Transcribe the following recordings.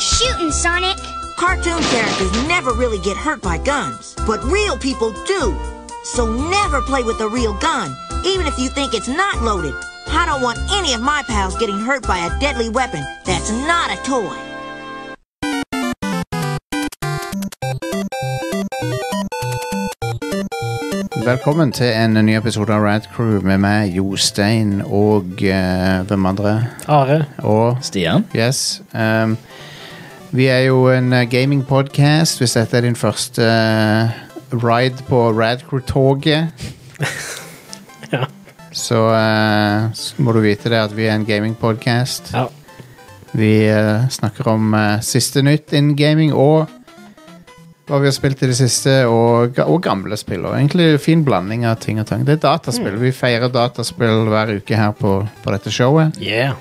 shooting, Sonic. Cartoon characters never really get hurt by guns, but real people do. So never play with a real gun, even if you think it's not loaded. I don't want any of my pals getting hurt by a deadly weapon that's not a toy. Velkommen til en ny episode av Rad Crew med meg, Jostein, og eh, hvem andre? Are. Og Stian? Yes. ehm, vi er jo en eh, gaming-podcast. Hvis dette er din første eh, ride på Radcrew-toget, Ja. så eh, s- må du vite det at vi er en gaming-podcast. ja. Vi eh, snakker om eh, siste nytt innen gaming og hva vi har spilt i det siste, og, ga- og gamle spill. Og egentlig fin blanding av ting og tang. Det er dataspill. Vi feirer dataspill hver uke her på, på dette showet. Yeah.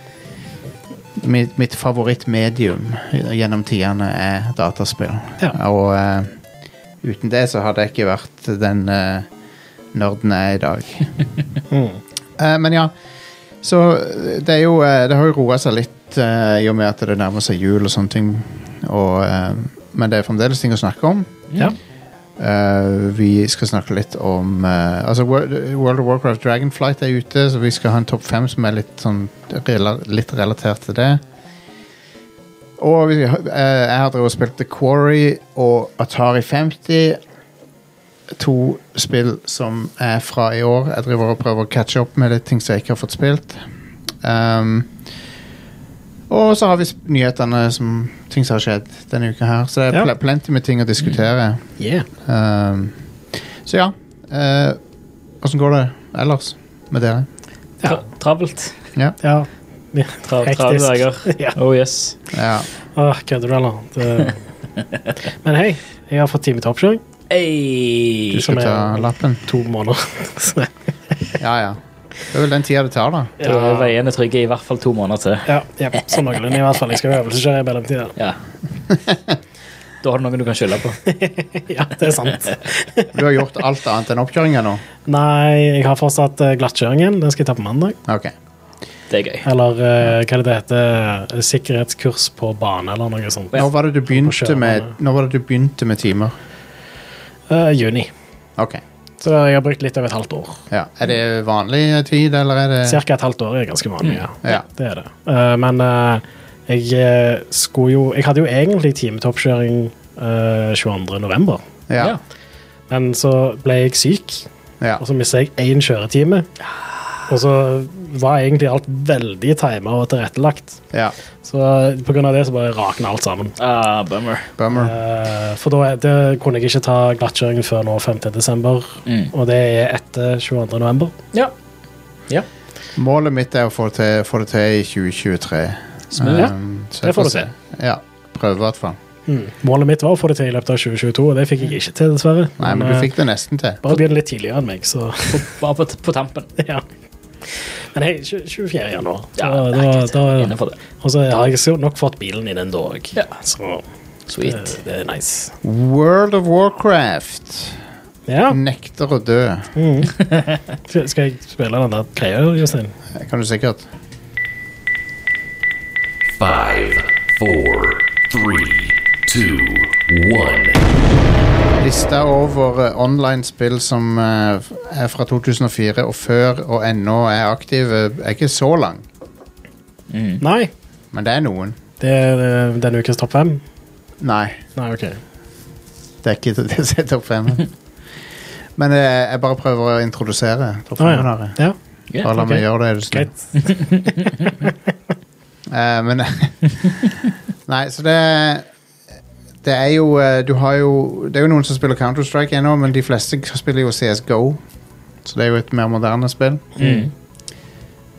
mitt, mitt favorittmedium gjennom tidene er dataspill. Ja. Og eh, uten det så hadde jeg ikke vært den eh, nerden jeg er i dag. Eh, men ja, så eh, det er jo eh, Det har jo roa seg litt eh, i og med at det nærmer seg jul og sånne ting. Og, eh, men det er fremdeles ting å snakke om. Ja. Eh, vi skal snakke litt om eh, Altså World, World of Warcraft Dragonflight er ute, så vi skal ha en topp fem som er litt, sånn, rela litt relatert til det. Og vi, har- eh, jeg har drevet og spilt The Quarry og Atari 50. To spill som er fra i år. Jeg driver og prøver å catche opp med litt ting som jeg ikke har fått spilt. Um, og så har vi sp- nyhetene som ting som har skjedd denne uka her. Så det er Ja. ple plenty med ting å diskutere. Yeah. Ehm, så ja. eh, Åssen går det ellers med dere? Ja. Tra travelt. Ja. Ja. Tra Hektisk. Travle dager. ja. Oh yes. ja. Åh, kødder du, eller? Det... Men hei, jeg har fått time til oppkjøring. Hey. Du Som skal er- ta lappen? To måneder. Så, Ja, ja. Det er vel den tida det tar, da. Da er veiene trygge i hvert fall to måneder til. Ja, ja, sånn noenlunde i hvert fall. Jeg skal jo øvelseskjøre i mellomtiden. Ja. da har du noen du kan skylde på. Ja, det er sant. Du har gjort alt annet enn oppkjøringa nå. Nei, jeg har fortsatt eh, glattkjøringen. Den skal jeg ta på mandag. Ok. Det er gøy. Eller eh, hva er det det heter? Eh, Sikkerhetskurs på bane, eller noe sånt. Når var det du begynte kjøre med, med- når var det du begynte med timer? Eh, juni. Ok. Så jeg har brukt litt over et halvt år. Ja. Er det vanlig tid, eller er det Cirka et halvt år er ganske vanlig. Ja. Eh. Mm. Ja. Det er det. Eh, men eh, jeg eh, skulle jo Jeg hadde jo egentlig time til oppkjøring eh, 22. november Ja. men så ble jeg syk, ja. og så mista jeg én kjøretime. Og så var egentlig alt veldig timet og tilrettelagt. ja. Så eh, på grunn av det så bare rakna alt sammen. Ah, bummer. Bummer. Eh, for da er- det kunne jeg ikke ta glattkjøringen før nå 5. desember, Mm. og det er etter 22. november. Ja. ja. Målet mitt er å få, til, få det til i 2023. Smooth. Ehm, så jeg Det får du se. Ja. Prøve, i hvert fall. Mm. Målet mitt var å få det til i løpet av 2022, og det fikk jeg ikke til, dessverre. Nei, men eh, du fikk det nesten til. Bare begynn litt tidligere enn meg, så På, bare på, på tampen. ja. Men hei, tju- 24. januar. Ja, så det er da, greit. da, Innenfor det. og så har jeg så nok fått bilen i den da òg, Ja. så det, Sweet. det er nice. World of Warcraft Ja, Mm. nekter å dø. skal skal jeg spille den der greia, Jostein? Det kan du sikkert. Five, four, three, two, one. Lista over eh, online spill som eh, f- er fra 2004 og før og ennå er aktive, er ikke så lang. Mm. Nei. Men det er noen. Det er eh, denne ukes topp fem? Nei, Nei, OK. det er ikke det som er topp fem. Men eh, jeg bare prøver å introdusere topp Ah, fem. ja. her. ja. Ja, Bare la ok. meg gjøre det. er du snill. Greit. Mm. Eh, men Nei, så det Det er jo eh, Du har jo Det er jo noen som spiller Counter-Strike ennå, men de fleste spiller jo CSGO. Så det er jo et mer moderne spill.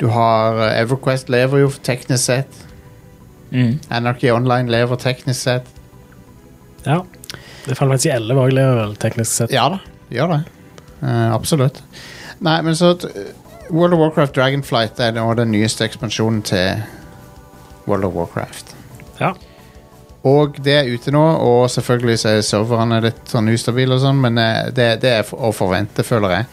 Du har eh, Everquest lever jo teknisk sett. Mm. Anarchy Online lever teknisk sett. Ja. Det faller faktisk i 11 òg, vel, teknisk sett. Ja da, gjør det. Eh, absolutt. Nei, men så t- World of Warcraft Dragonflight er nå den nyeste ekspansjonen til World of Warcraft. Ja. Og det er ute nå, og selvfølgelig så er serverne litt sånn ustabile og sånn, men eh, det, det er for- å forvente, føler jeg.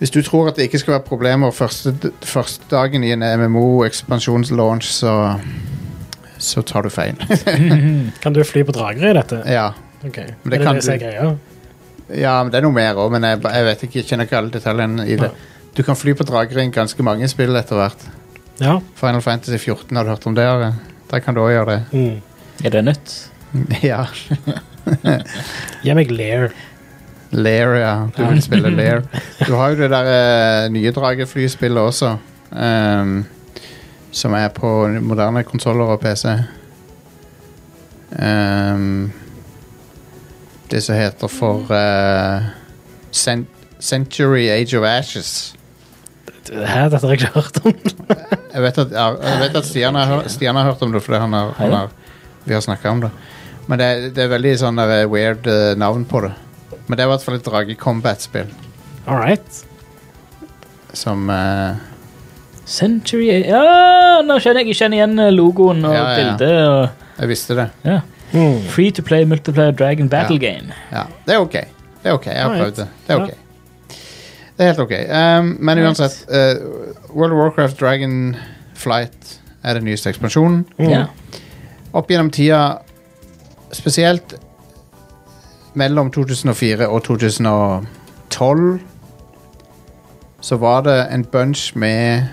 Hvis du tror at det ikke skal være problemer første, d- første dagen i en MMO-ekspansjonslaunch, så så tar du feil. Kan du fly på drager i dette? ja. Ok, det Er det kan det som er du. greia? ja, men det er noe mer òg, men jeg, jeg vet ikke, jeg kjenner ikke alle detaljene i det. Du kan fly på drager i ganske mange spill etter hvert. Ja. Final Fantasy 14, har du hørt om det? Are? Der kan du òg gjøre det. Mm. Er det nytt? ja. Gi meg lair. Lair, ja. Du vil spille Lair. Du har jo det der eh, nye drageflyspillet også. ehm, som er på moderne konsoller og PC. Ehm, det som heter for eh, Cen- Century Age of Ashes. Hæ, dette har jeg ikke hørt om. Jeg vet at, jeg vet at Stian, har, hør- Stian har hørt om det, fordi han har, han har, vi har snakka om det. Men det, er- det er veldig sånn der, eh, weird eh, navn på det. Men det er i hvert fall et drage-combat-spill. All right. Som eh, Century Ja, nå kjenner jeg jeg kjenner igjen eh, logoen og Ja, ja. bildet. Og, Jeg visste det. ja. Mm. Free to play multiplayer Dragon Battle Game. Ja, det er ok. Det er ok, Jeg har Alright. prøvd det. Det er Ja. ok. Det er helt ok. Um, men Alright. uansett, eh, World of Warcraft Dragon Flight er den nyeste ekspansjonen. Ja. Opp gjennom tida, spesielt mellom 2004 og 2012, så var det en bunch med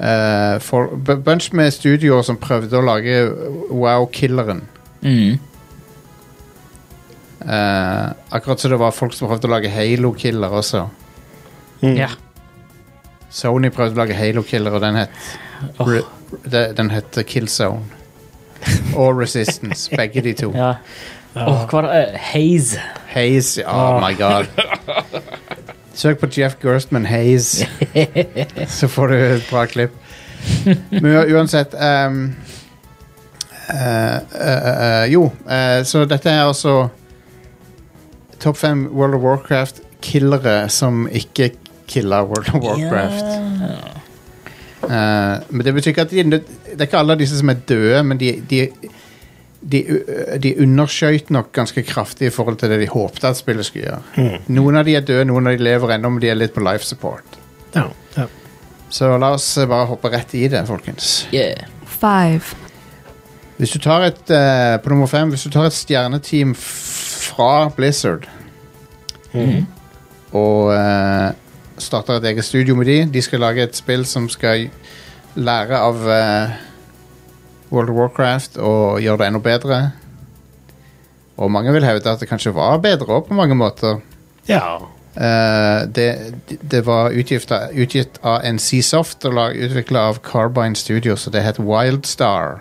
eh, for, bu- bunch med studioer som prøvde å lage wow-killeren. Mm. Eh, akkurat som det var folk som prøvde å lage Halo-killer også. Mm. ja. Sony prøvde å lage Halo-killer, og den het re, de- Den het Killzone. Og Resistance, begge de to. ja. Åh, hva var det? Eh, Haze. Haze Oh my god. Søk på Jeff Gerstman Haze, så får du et bra klipp. Men u- uansett ehm, eh, eh, eh, Jo, eh, så dette er altså topp fem World of Warcraft-killere som ikke killa World of Warcraft. Ja. Eh, men det betyr ikke at de, det er ikke alle av disse som er døde, men de, de, de, de underskøyt nok ganske kraftig i forhold til det de håpte at spillet skulle gjøre. Noen av de er døde, noen av de lever ennå, men de er litt på life support. Ja. ja. Så la oss eh, bare hoppe rett i det, folkens. Yeah. five, Hvis du tar et eh, på nummer fem, hvis du tar et stjerneteam f- fra Blizzard og eh, starter et eget studio med de, de skal lage et spill som skal lære av eh, World of Warcraft og gjøre det enda bedre. Og mange vil hevde at det kanskje var bedre òg, på mange måter. ja. Eh, det, det var utgift av, utgitt av NCSoft og lag- utvikla av Carbine Studios, og det het Wildstar.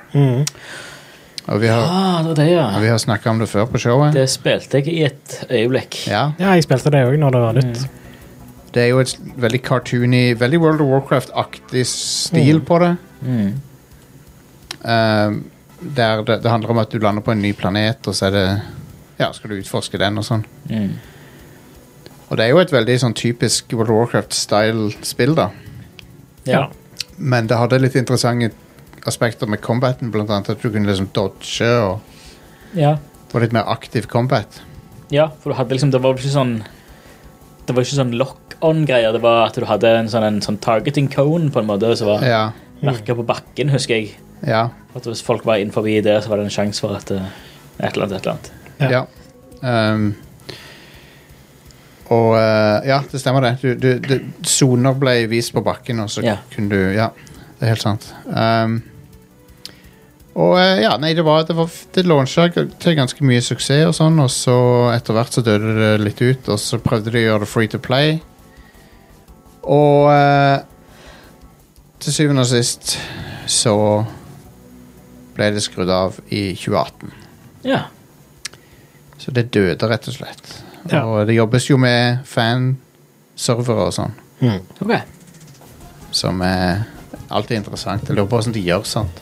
Og vi har, Ah, det var det, ja. ja, vi har snakka om det før på showet. Det spilte jeg i et øyeblikk. Ja, ja, jeg spilte det òg når det var nytt. det er jo et veldig cartoony, veldig World of Warcraft-aktig Mm. stil på det. Eh, der det, det handler om at du lander på en ny planet, og så er det Ja, skal du utforske den og sånn. Mm. Og det er jo et veldig sånn typisk World of Warcraft-style-spill, da. Ja. Men det hadde litt interessante aspekter med combaten, blant annet at du kunne liksom dodge og Ja. få litt mer aktiv combat. ja, for du hadde liksom Det var ikke sånn Det var ikke sånn lock-on-greier. Det var at du hadde en sånn, en sånn targeting cone på en måte som var Ja, merka på bakken, husker jeg. ja, At hvis folk var inn forbi der, så var det en sjanse for at eh, et eller annet, et eller annet. ja. Ehm, og eh, ja, det stemmer det. Du- du- du- Soner ble vist på bakken, og så Ja. kunne du Ja, det er helt sant. Ehm, og eh, ja, nei, det var Det, var, det launcha g- til ganske mye suksess og sånn, og så etter hvert så døde det litt ut, og så prøvde de å gjøre det free to play. Og eh, til syvende og sist så ble det skrudd av i 2018. Ja. Så det døde, rett og slett. Ja. Og det jobbes jo med fanservere og sånn, OK. som er alltid interessant. Jeg lurer på hvordan de gjør sånt.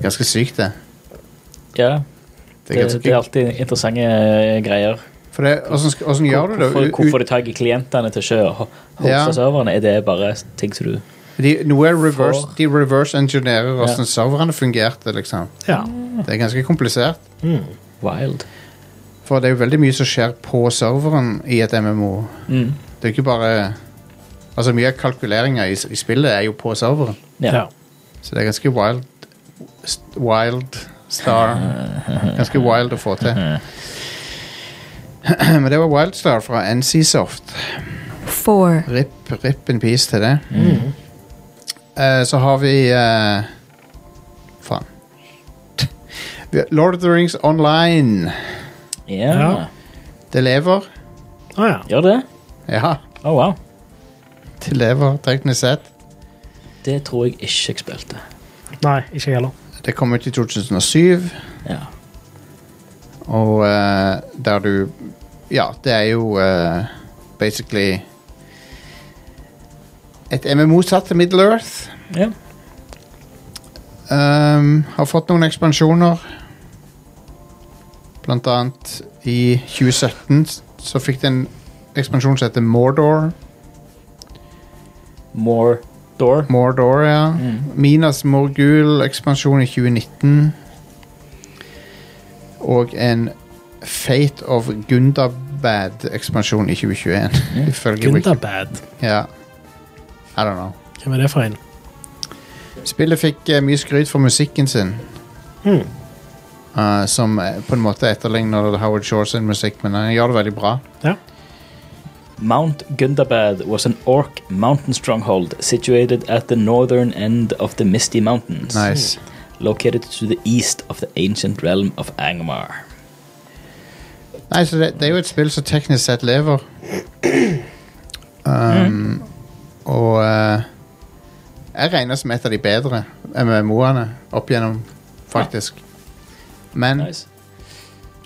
Ganske sykt, det. Ja. Det er Det, det er ganske, alltid interessante eh, greier. for det, hvordan, skal- hvordan gjør du det? Hvorfor, U- hvorfor de tar klientene til sjø og ho- hoster Ja. serverne? Er det bare ting som du de, noe er reverse, For- de reverse-engineerer Ja. hvordan serverne fungerte, liksom. Ja. Det er ganske komplisert. Wild. For det er jo veldig mye som skjer på serveren i et MMO. Mm. Det er jo ikke bare Altså Mye av kalkuleringa i, i spillet er jo på serveren, Ja. Ja. så det er ganske wild st- wild star. Ganske wild å få til. Men det var Wildstar fra NCSoft. four, Rip, rip in peace til det. Eh, så har vi eh, Faen. Vi har Lord of the Rings Online. Ja. Ja. Det lever. Å ja. Gjør det? Ja, Å, wow. det lever teknisk sett. Det tror jeg ikke jeg spilte. Nei, ikke jeg heller. Det kom ut i 2007, Ja. og eh, der du Ja, det er jo eh, basically Et MMO satt til Middle Earth. ja. Ehm, har fått noen ekspansjoner. Blant annet i 2017 s- så fikk det en ekspansjon som heter Mordor. More Door. Mordor, ja. Minas Morgul-ekspansjon i 2019. Og en Fate of Gundabad-ekspansjon i 2021. Ifølge Wiki- Gundabad. Ja. I don't know. Hvem er det for en? Spillet fikk eh, mye skryt for musikken sin. Mm. Eh, som eh, på en måte etterligner Howard Shore sin musikk, men han gjør det veldig bra. Ja. Mount Gundabad was an orc mountain stronghold situated at the northern end of the Misty Mountains, Nice. located to the east of the ancient realm of Angmar. Nei, så det, det er jo et spill som teknisk sett lever. Um, Og eh, jeg regner som et av de bedre øh, MMO-ene opp gjennom, faktisk. Men Nice.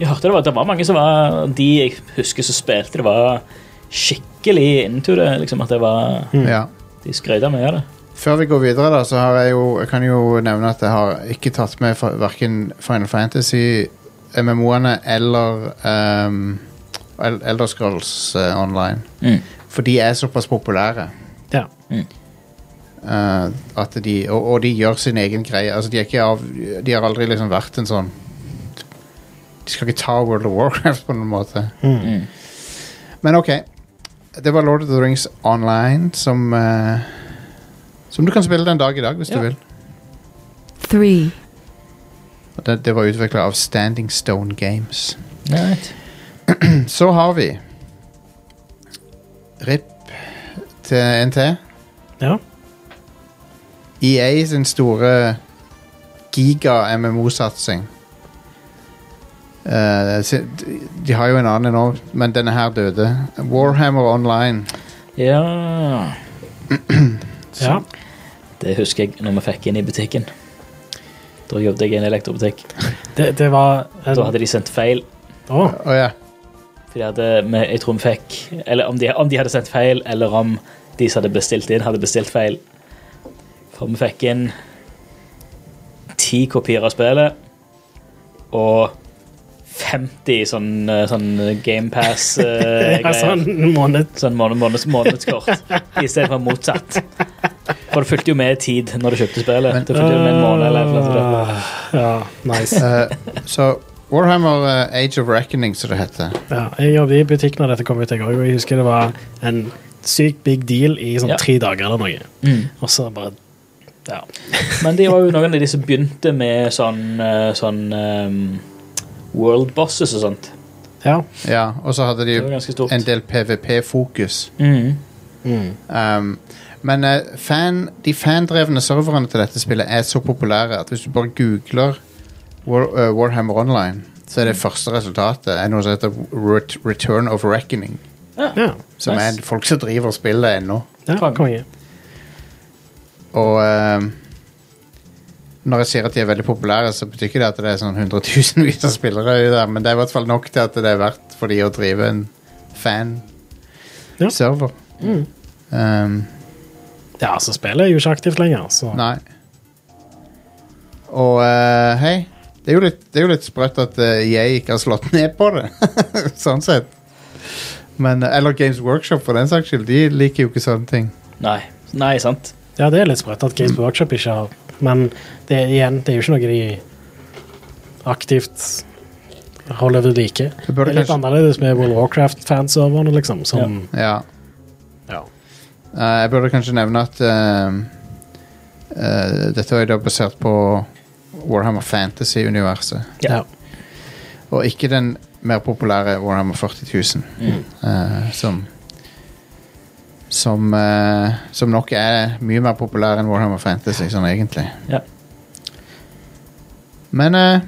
Jeg hørte det var, det var mange som var De jeg husker som spilte, det var skikkelig into det. liksom at det var ja. De skrøt av mye av det. Før vi går videre, da, så har jeg jo Jeg kan jo nevne at jeg har ikke tatt med fa- hverken Final Fantasy, MMO-ene eller um, El- Elder Scrolls eh, Online. Mm. For de er såpass populære. Ja. Eh, at de, og, og de gjør sin egen greie. Altså, de, er ikke av, de har aldri liksom vært en sånn De skal ikke ta World of Warcraft på noen måte. Men ok. Det var Lord of the Rings Online, som eh, Som du kan spille den dag i dag, hvis Ja. du vil. three, Og Det, det var utvikla av Standing Stone Games. Right. Så har vi RIP til NT. ja. EA E sin store giga-MMO-satsing. Eh, si- de- de har jo en annen nå, men denne her døde. Warhammer Online. Ja ja. Det husker jeg når vi fikk inn i butikken. Da jobbet jeg i en elektrobutikk. Det, det var en, Da hadde de sendt feil. Å, Å ja. For de hadde, men jeg tror vi fikk Eller om de, om de hadde sendt feil, eller om de som hadde bestilt inn, hadde bestilt feil. For vi fikk inn ti kopier av spillet og 50 sånn, eh, sånn GamePass-greier. ja, sånn en måned. Sånn måned, måned, månedskort i stedet for motsatt. For det fulgte jo med tid når du kjøpte spillet. det fulgte jo med en måned eller et eller annet. Ah. Ja, nice. Eh, så Warhammer eh, Age of Reckoning, som det heter. Ja, jeg jobbet i butikk når dette kom ut, jeg òg, og jeg husker det var en sykt big deal i sånn Ja. tre dager eller noe. Mm. Og så bare Ja. Men de var jo noen av de som begynte med sånn, eh, sånn ehm, World bosses og sånt. ja. Ja, og så hadde de Det var ganske stort. en del PVP-fokus. Mm. Um, men eh, fan, de fandrevne serverne til dette spillet er så populære at hvis du bare googler War, eh, Warhammer Online, så er Mm. det første resultatet er noe som heter Ret Return of Reckoning. ja. Som Nice. er folk som driver spillet ennå. ja. Konge. Konge. Og um, når jeg sier at de er veldig populære, så betyr ikke det at det er sånn hundretusenvis av spillere i der, men det er i hvert fall nok til at det er verdt for de å drive en fan-server. Ja. Ja, så spillet er jo ikke aktivt lenger, så Ehm, Nei. Og eh, hei, det er jo litt, det er jo litt sprøtt at eh, jeg ikke har slått ned på det. sånn sett. Men, eh, eller Games Workshop, for den saks skyld. De liker jo ikke sånne ting. Nei. Nei, sant. Ja, det er litt sprøtt at Mm. Games Workshop ikke har Men det er, igjen, det er jo ikke noe de aktivt holder ved like. Det, burde er litt kanskje- annerledes med World of Warcraft-fanserverne, liksom. Som, Ja. ja. Eh, jeg burde kanskje nevne at eh, eh, dette er jo da basert på Warhammer Fantasy-universet. Ja. Og ikke den mer populære Warhammer 40.000 eh, som som, eh, som nok er mye mer populær enn Warhammer Fantasy, sånn egentlig. Ja. Men eh,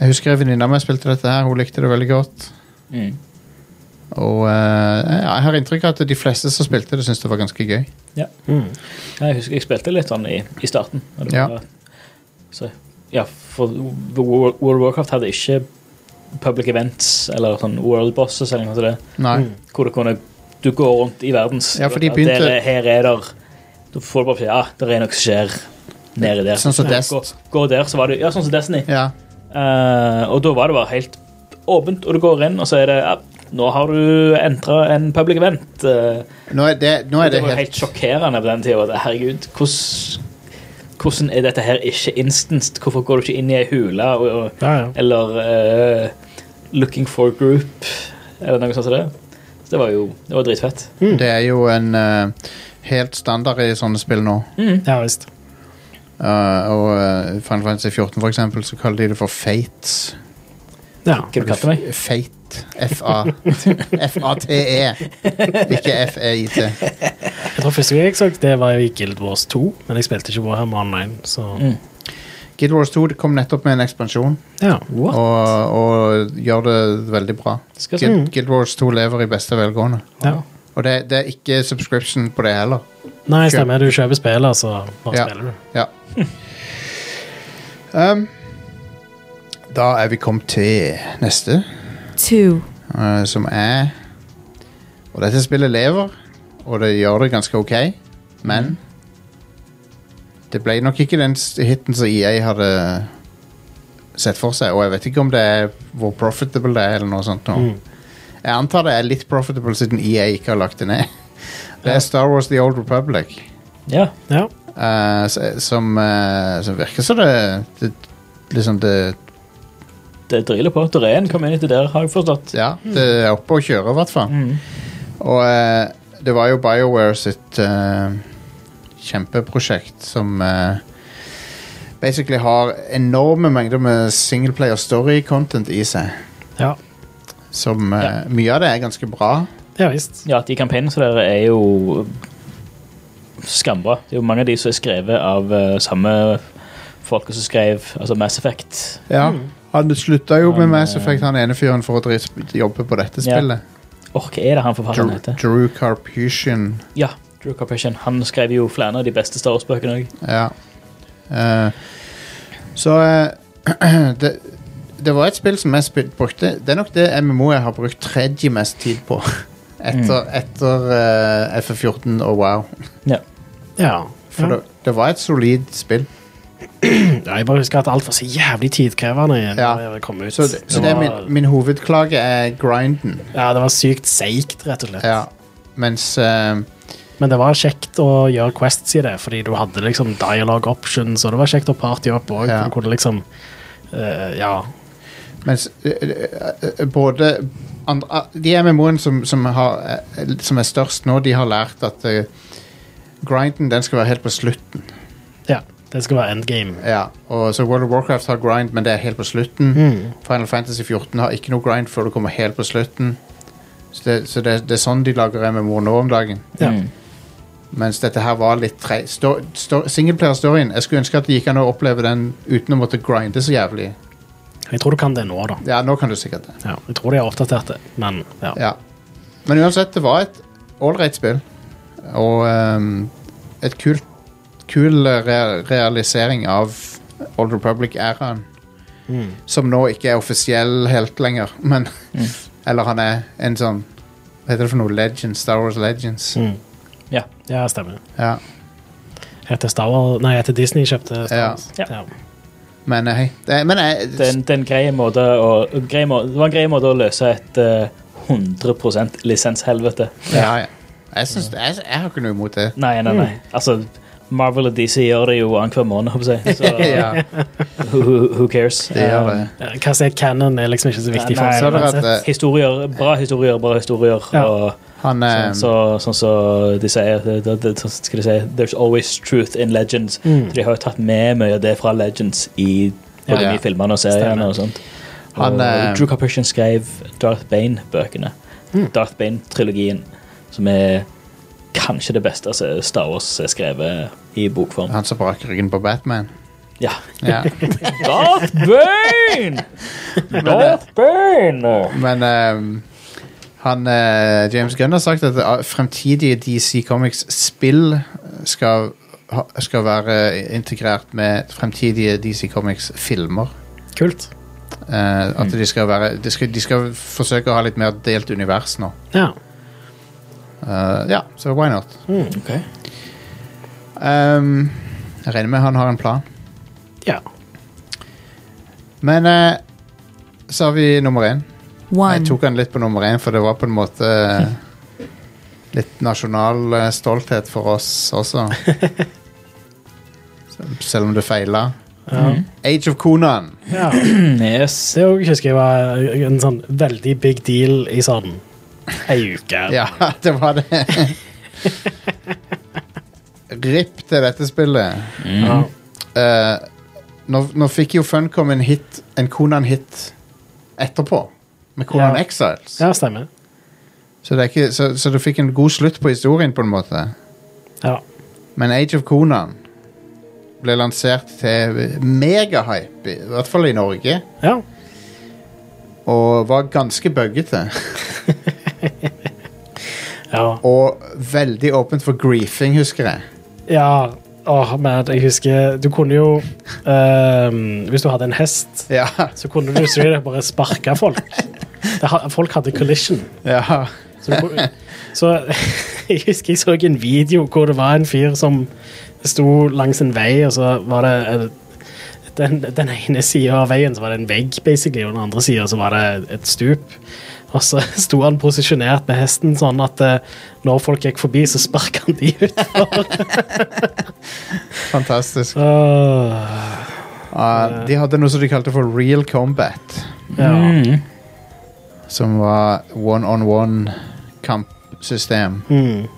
jeg husker en venninne av meg spilte dette her, hun likte det veldig godt. Mm. Og eh, jeg har inntrykk av at de fleste som spilte det, syntes det var ganske gøy. ja. Jeg husker jeg spilte litt sånn i, i starten. og det Ja. var- Så, ja, for World World of Warcraft hadde ikke public events eller sånn world bosses eller noe sånt. Nei. hvor du kunne du går rundt i verdens. Ja, for de At begynte- der er- her er der Du får du bare beskjed ja, det er noe som skjer nede der. Sånn som Ja, Dest- gå, gå der, så var det Ja, sånn som Destiny. Ja. Eh, og da var det bare helt åpent, og du går inn, og så er det ja, Nå har du entra en public event. Eh, Nå er det, nå er det det var jo helt helt sjokkerende på den tida. Herregud, hvordan hvordan er dette her ikke instant? Hvorfor går du ikke inn i ei hule? Og, og, Ja, ja. eller eh, Looking for Group, eller noe sånt som det. Så det var jo det var dritfett. Det er jo en eh, helt standard i sånne spill nå. Mm. ja visst. Eh, og uh, Final Fantasy 14 for eksempel, så kaller de det for Fates. Ja. Hva du kalte meg? F- Fate. F-A- F-A-T-E. E. Ikke E F-E-I-T. Jeg tror første gang jeg så det, var i Guild Wars 2, men jeg spilte ikke Warhammer Online, så Mm. Guild Wars 2 det kom nettopp med en ekspansjon, ja. og, og gjør det veldig bra. Skal jeg Guild, Guild Wars 2 lever i beste velgående. Mm. ja. Og det, det er ikke subscription på det heller. Nei, stemmer. Du kjøper spillet, så bare Ja. spiller du. Ja. Um, da er vi kommet til neste. 2. eh, som er Og dette spillet lever, og det gjør det ganske ok, men Det ble nok ikke den s- hiten som EA hadde sett for seg, og jeg vet ikke om det er hvor profitable det er, eller noe sånt. nå. Jeg antar det er litt profitable siden EA ikke har lagt det ned. Det er Star Wars The Old Republic, Ja. Ja. eh, s- som, eh, som virker som det, det Liksom det Det dryler på. Det er en community der, har jeg forstått. Ja, det er oppe å kjøre, i hvert fall. Mm. Og eh, det var jo BioWare sitt eh, kjempeprosjekt som eh, basically har enorme mengder med singleplayer story-content i seg. Ja. Som eh, Mye av det er ganske bra. ja visst. Ja, De kampanjene som der er jo skambra. Det er jo mange av de som er skrevet av eh, samme folka som skrev altså Mass Effect. Ja. Han slutta jo med Mm. Han, Mass eh, Effect, han ene fyren, for å drit- jobbe på dette Ja. spillet. Åh, hva er det han forfatteren Drew, heter? Drew Carpusian. Ja, Drew Carpation. Han skrev jo flere av de beste Star Wars-bøkene òg. Ja. Eh, så eh, det, det var et spill som jeg spil, brukte Det er nok det MMO jeg har brukt tredje mest tid på. Etter, etter eh, FF14 og WoW. Ja. Ja. For ja. det, det var et solid spill. Ja, jeg bare husker at alt var så jævlig tidkrevende igjen. Ja. når jeg kom ut. Så, det, så det er var, min, min hovedklage er grinden. ja, det var sykt seigt, rett og slett. Ja. Mens eh, Men det var kjekt å gjøre quests i det, fordi du hadde liksom dialogue options, og det var kjekt å party opp òg. Ja. Du kunne liksom eh, Ja. Mens eh, eh, eh, både andre, ah, De MMO-ene som, som, har, eh, som er størst nå, de har lært at eh, grinden den skal være helt på slutten. ja. Det skal være endgame. Ja, og så World of Warcraft har grind, men det er helt på slutten. Final Fantasy 14 har ikke noe grind før du kommer helt på slutten. Så det, så det, det er sånn de lager MMO nå om dagen. Ja. Mens dette her var litt tre... Sto, sto, Singleplayer-storyen. Jeg skulle ønske at det gikk an å oppleve den uten å måtte grinde så jævlig. Jeg tror du kan det nå, da. Ja, nå kan du sikkert det. Ja, jeg tror de har oppdatert det, men ja. Ja. Men uansett, det var et ålreit spill. Og ehm, et kult kul eh, re realisering av Old Republic-æraen. Som nå ikke er offisiell helt lenger, men Mm. Eller han er en sånn Hva heter det for noe? Legends, Star Wars Legends. Ja. ja stemmer. Ja. Etter Star Wars Nei, etter Disney kjøpte Star Ja. Wars. Ja. Men eh, hei. Det, men eh, Det er en, det er en grei måte å, grei må, det var en grei måte å løse et eh, 100 lisenshelvete. ja, ja. Jeg, syns, jeg, jeg har ikke noe imot det. Nei, nei, nei. Altså, Marvel og DC gjør det jo annenhver måned, håper jeg. Så Ja, who, who, who cares? Eh, det gjør det. Ja, Eh, Hva som er canon, er liksom ikke så viktig Nei, for Så er det meg. at uansett. eh, Historier, bra historier, bra historier. Ja. Og han eh, sånn så, sånn så de sier det, det, det, sånn skal de si, There's always truth in legends. Mm. De har jo tatt med mye av det fra legends i Ja. både de filmene og seriene. og sånn. sånt. Han, og eh, Drew Carpation skrev Darth Bane-bøkene. Darth Bane-trilogien, som er kanskje det beste som Star Wars er skrevet i bokform. Han som brak ryggen på Batman. Ja. Ja. Darth Bane! Darth Bane! Men ehm, han, eh, James Gunn har sagt at eh, fremtidige DC Comics-spill skal, ha- skal være integrert med fremtidige DC Comics-filmer. Kult. Eh, at de, skal være, de, skal, de skal forsøke å ha litt mer delt univers nå. Ja. Eh, ja, så why not? Ok. Ehm, jeg regner med han har en plan. ja. Men eh, så har vi nummer én. Jeg one, tok han litt på nummer én, for det var på en måte eh, litt nasjonal eh, stolthet for oss også. Sel- Selv om det feila. Age of Konan. ja. Mm, Yes. Det òg husker jeg var en sånn veldig big deal i sånn ei uke. Ja, det var det. RIP til dette spillet. Ja. Eh, nå, nå fikk jo Funcom en hit, en Konan-hit etterpå, med Konan Ja. Exiles. ja, stemmer. Så, det er ikke, så, så du fikk en god slutt på historien, på en måte. Ja. Men Age of Conan ble lansert til megahype, i hvert fall i Norge, ja. og var ganske buggete. Ja. Og veldig åpent for griefing, husker jeg. ja. Åh, men jeg husker Du kunne jo ehm, Hvis du hadde en hest, Ja, så kunne du straight up bare sparke folk. Det, ha- folk hadde collision. ja. Så, du, kunne- så jeg husker jeg så en video hvor det var en fyr som sto langs en vei, og så var det eh, den, den ene sida av veien så var det en vegg, basically, og den andre sida så var det et stup. Og så sto han posisjonert med hesten sånn at eh, når folk gikk forbi, så sparka han de ut. Fantastisk. Åh, Ah, de hadde noe som de kalte for real combat, ja. som var one-on-one-kampsystem Mm.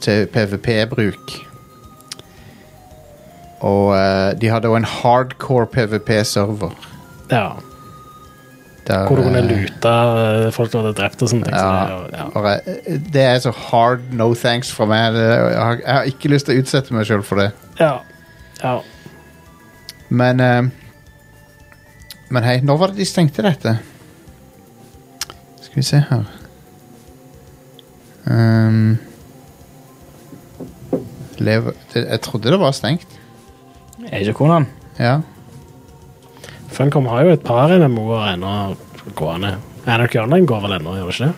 til PVP-bruk. Og eh, de hadde også en hardcore PVP-server. ja. der, Hvor du kunne eh, lute eh, folk du hadde drept og sånne ting. Ja, Så det, ja. bare, det er så hard no thanks fra meg. Det- Jeg har, jeg har ikke lyst til å utsette meg sjøl for det. Ja. ja. Men eh, Men hei, når var det de stengte dette? Skal vi se her Ehm, lever, det, Jeg trodde det var stengt. Age of Conan. Ja. Funcom har jo et par MMO-er ennå gående. Anarchy Online går vel ennå, gjør det ikke det?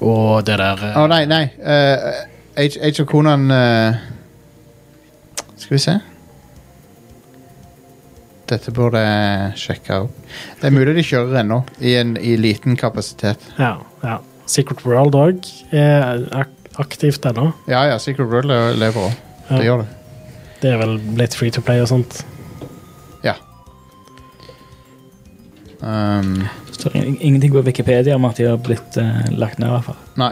Og det der Å, nei, nei. eh, Age, Age of Conan eh, Skal vi se. Dette burde jeg sjekke opp. Det er mulig de kjører ennå, i, en, i liten kapasitet. Ja, ja. Secret World òg er ak aktivt ennå. Ja ja, Secret World le- lever òg. Ja. Det gjør det. Det er vel litt free to play og sånt. Ja. Um, Det står in- ingenting på Wikipedia om at de har blitt eh, lagt ned. i hvert fall. nei.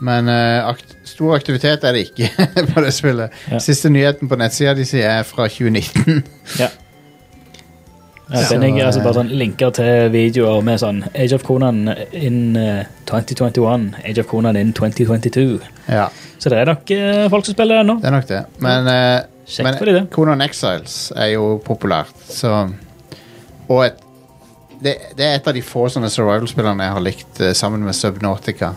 Men eh, akt stor aktivitet er det ikke på det spillet. Ja. Siste nyheten på nettsida de sier, er fra 2019. Ja, Så, den jeg, altså, eh, bare sånn linker til videoer med sånn Age of Conan in eh, 2021, Age of Conan in 2022. ja. Så det er nok eh, folk som spiller ennå. Det er nok det. Men, eh, Kjekt men for de, det. Conan Exiles er jo populært, så Og et, det, det er et av de få sånne survival-spillerne jeg har likt eh, sammen med Subnautica.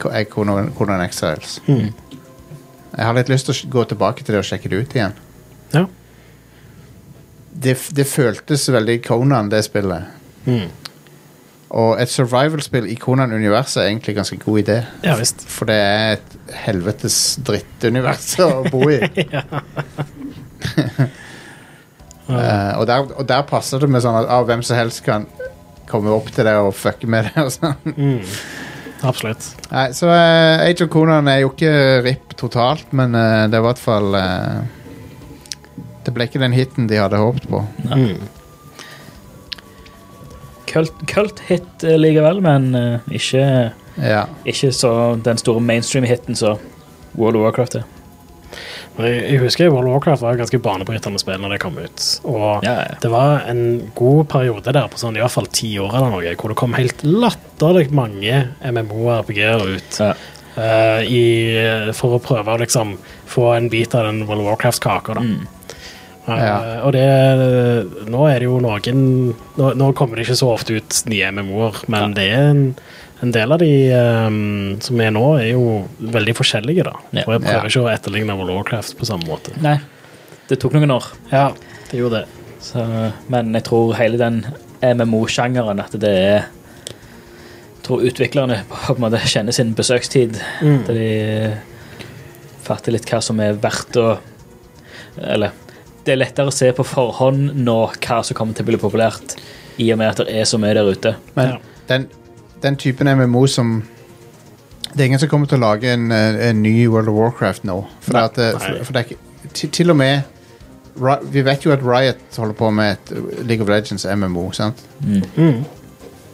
Ko- er Conan, Conan Exiles. Jeg har litt lyst til å sj- gå tilbake til det og sjekke det ut igjen. Ja. Det, f- det føltes veldig Conan, det spillet. Mm. Og et survival-spill i Conan-universet er egentlig ganske god idé. Ja visst. For det er et helvetes drittunivers å bo i. Eh, og, der, og der passer det med sånn at ah, hvem som helst kan komme opp til deg og fucke med deg. Og sånn. Absolutt. Nei, så eh, Age of Conan er jo ikke RIP totalt, men eh, det er i hvert fall eh, Det ble ikke den hiten de hadde håpet på. Kult, kult hit eh, likevel, men eh, ikke, Ja. ikke så den store mainstream-hiten som World of Warcraft er. Men Jeg, jeg husker World of Warcraft var et ganske banebrytende spill når det kom ut. Og Ja, ja. det var en god periode der, på sånn i hvert fall ti år eller noe, hvor det kom helt latterlig mange MMO-RPG-er ut. Ja. eh, i, for å prøve å liksom få en bit av den World of Warcraft-kaka, da. Eh, Ja. og det Nå er det jo noen Nå, nå kommer det ikke så ofte ut nye MMO-er, men det er en, en del av de eh, som er nå, er jo veldig forskjellige, da. Ja. Og jeg Ja. prøver ikke å etterligne World of Warcraft på samme måte. Nei, det tok noen år. Ja, det gjorde det. Så, men jeg tror hele den MMO-sjangeren at det er Jeg tror utviklerne på en måte kjenner sin besøkstid. At de eh, fatter litt hva som er verdt å Eller det er lettere å se på forhånd nå hva som kommer til å bli populært, i og med at det er så mye der ute. Men Ja. den, den typen MMO som Det er ingen som kommer til å lage en, eh, en ny World of Warcraft nå. For, Nei. at, eh, Nei. for, for det er ikke til, til og med Ri- Vi vet jo at Riot holder på med et eh, League of Legends MMO, sant? Mm.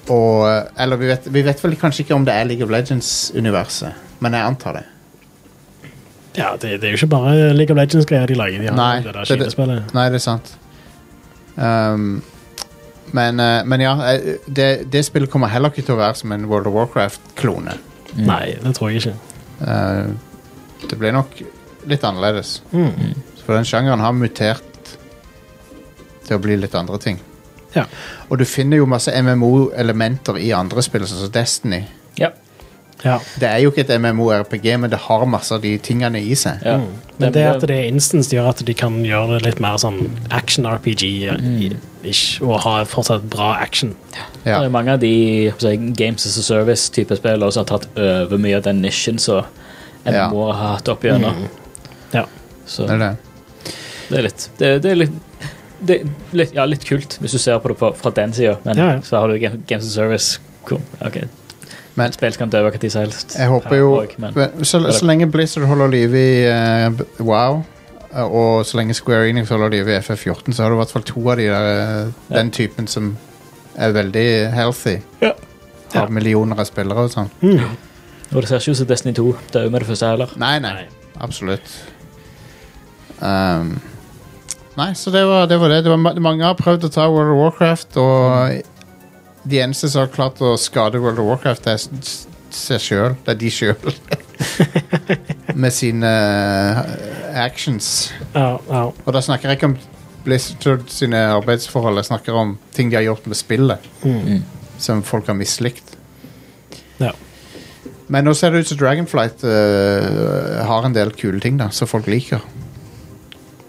Og, eh, eller vi vet, vi vet vel kanskje ikke om det er League of Legends-universet, men jeg antar det. Ja, det, det er jo ikke bare League of Legends-greier de lager. De har Nei, jo det der det- det- skivespillet. Nei, det er sant. Ehm, men, eh, men ja, eh, det, det spillet kommer heller ikke til å være som en World of Warcraft-klone. Nei, det tror jeg ikke. Eh, det blir nok litt annerledes. For den sjangeren har mutert til å bli litt andre ting. Ja. Og du finner jo masse MMO-elementer i andre spill, sånn som Destiny. Ja. ja. Det er jo ikke et MMO-RPG, men det har masse av de tingene i seg. ja. Mm. Men det at det er instance, det gjør at de kan gjøre det litt mer sånn Mm. action-RPG-ish. Og ha fortsatt bra action. Ja. Det er mange av de hva skal jeg si, Games as a Service-type spill også har tatt over mye av den nisjen som Ja. MMO har hatt opp igjennom. Mm. Ja. Så- Det er det. Det er litt Det, det er litt det er litt, ja, litt kult, hvis du ser på det på, fra den sida, men Ja, ja. så har du Ga- Games of Service. Cool. ok. Men- Spill kan dø hva tid som helst. Jeg håper Ja, jo og- men, men, så, så lenge Blizzard holder liv i eh, B- WoW, eh, og så lenge Square Enix holder liv i FF14, så har du i hvert fall to av de der, eh, den typen som er veldig healthy. Ja. Har millioner av spillere og sånn. og det ser ikke ut som Destiny 2 dør med det første heller. Nei, nei. Absolutt. Um, nei, så det var det. Var det. det var, ma- mange har prøvd å ta World of Warcraft, og de eneste som har klart å skade World of Warcraft, det er s- seg sjøl. Det er de sjøl. Med sine eh, actions. Ja, ja. Og da snakker jeg ikke om Blizzard sine arbeidsforhold, jeg snakker om ting de har gjort med spillet, som folk har mislikt. ja. Men nå ser det ut som Dragonflight eh, har en del kule ting da, som folk liker.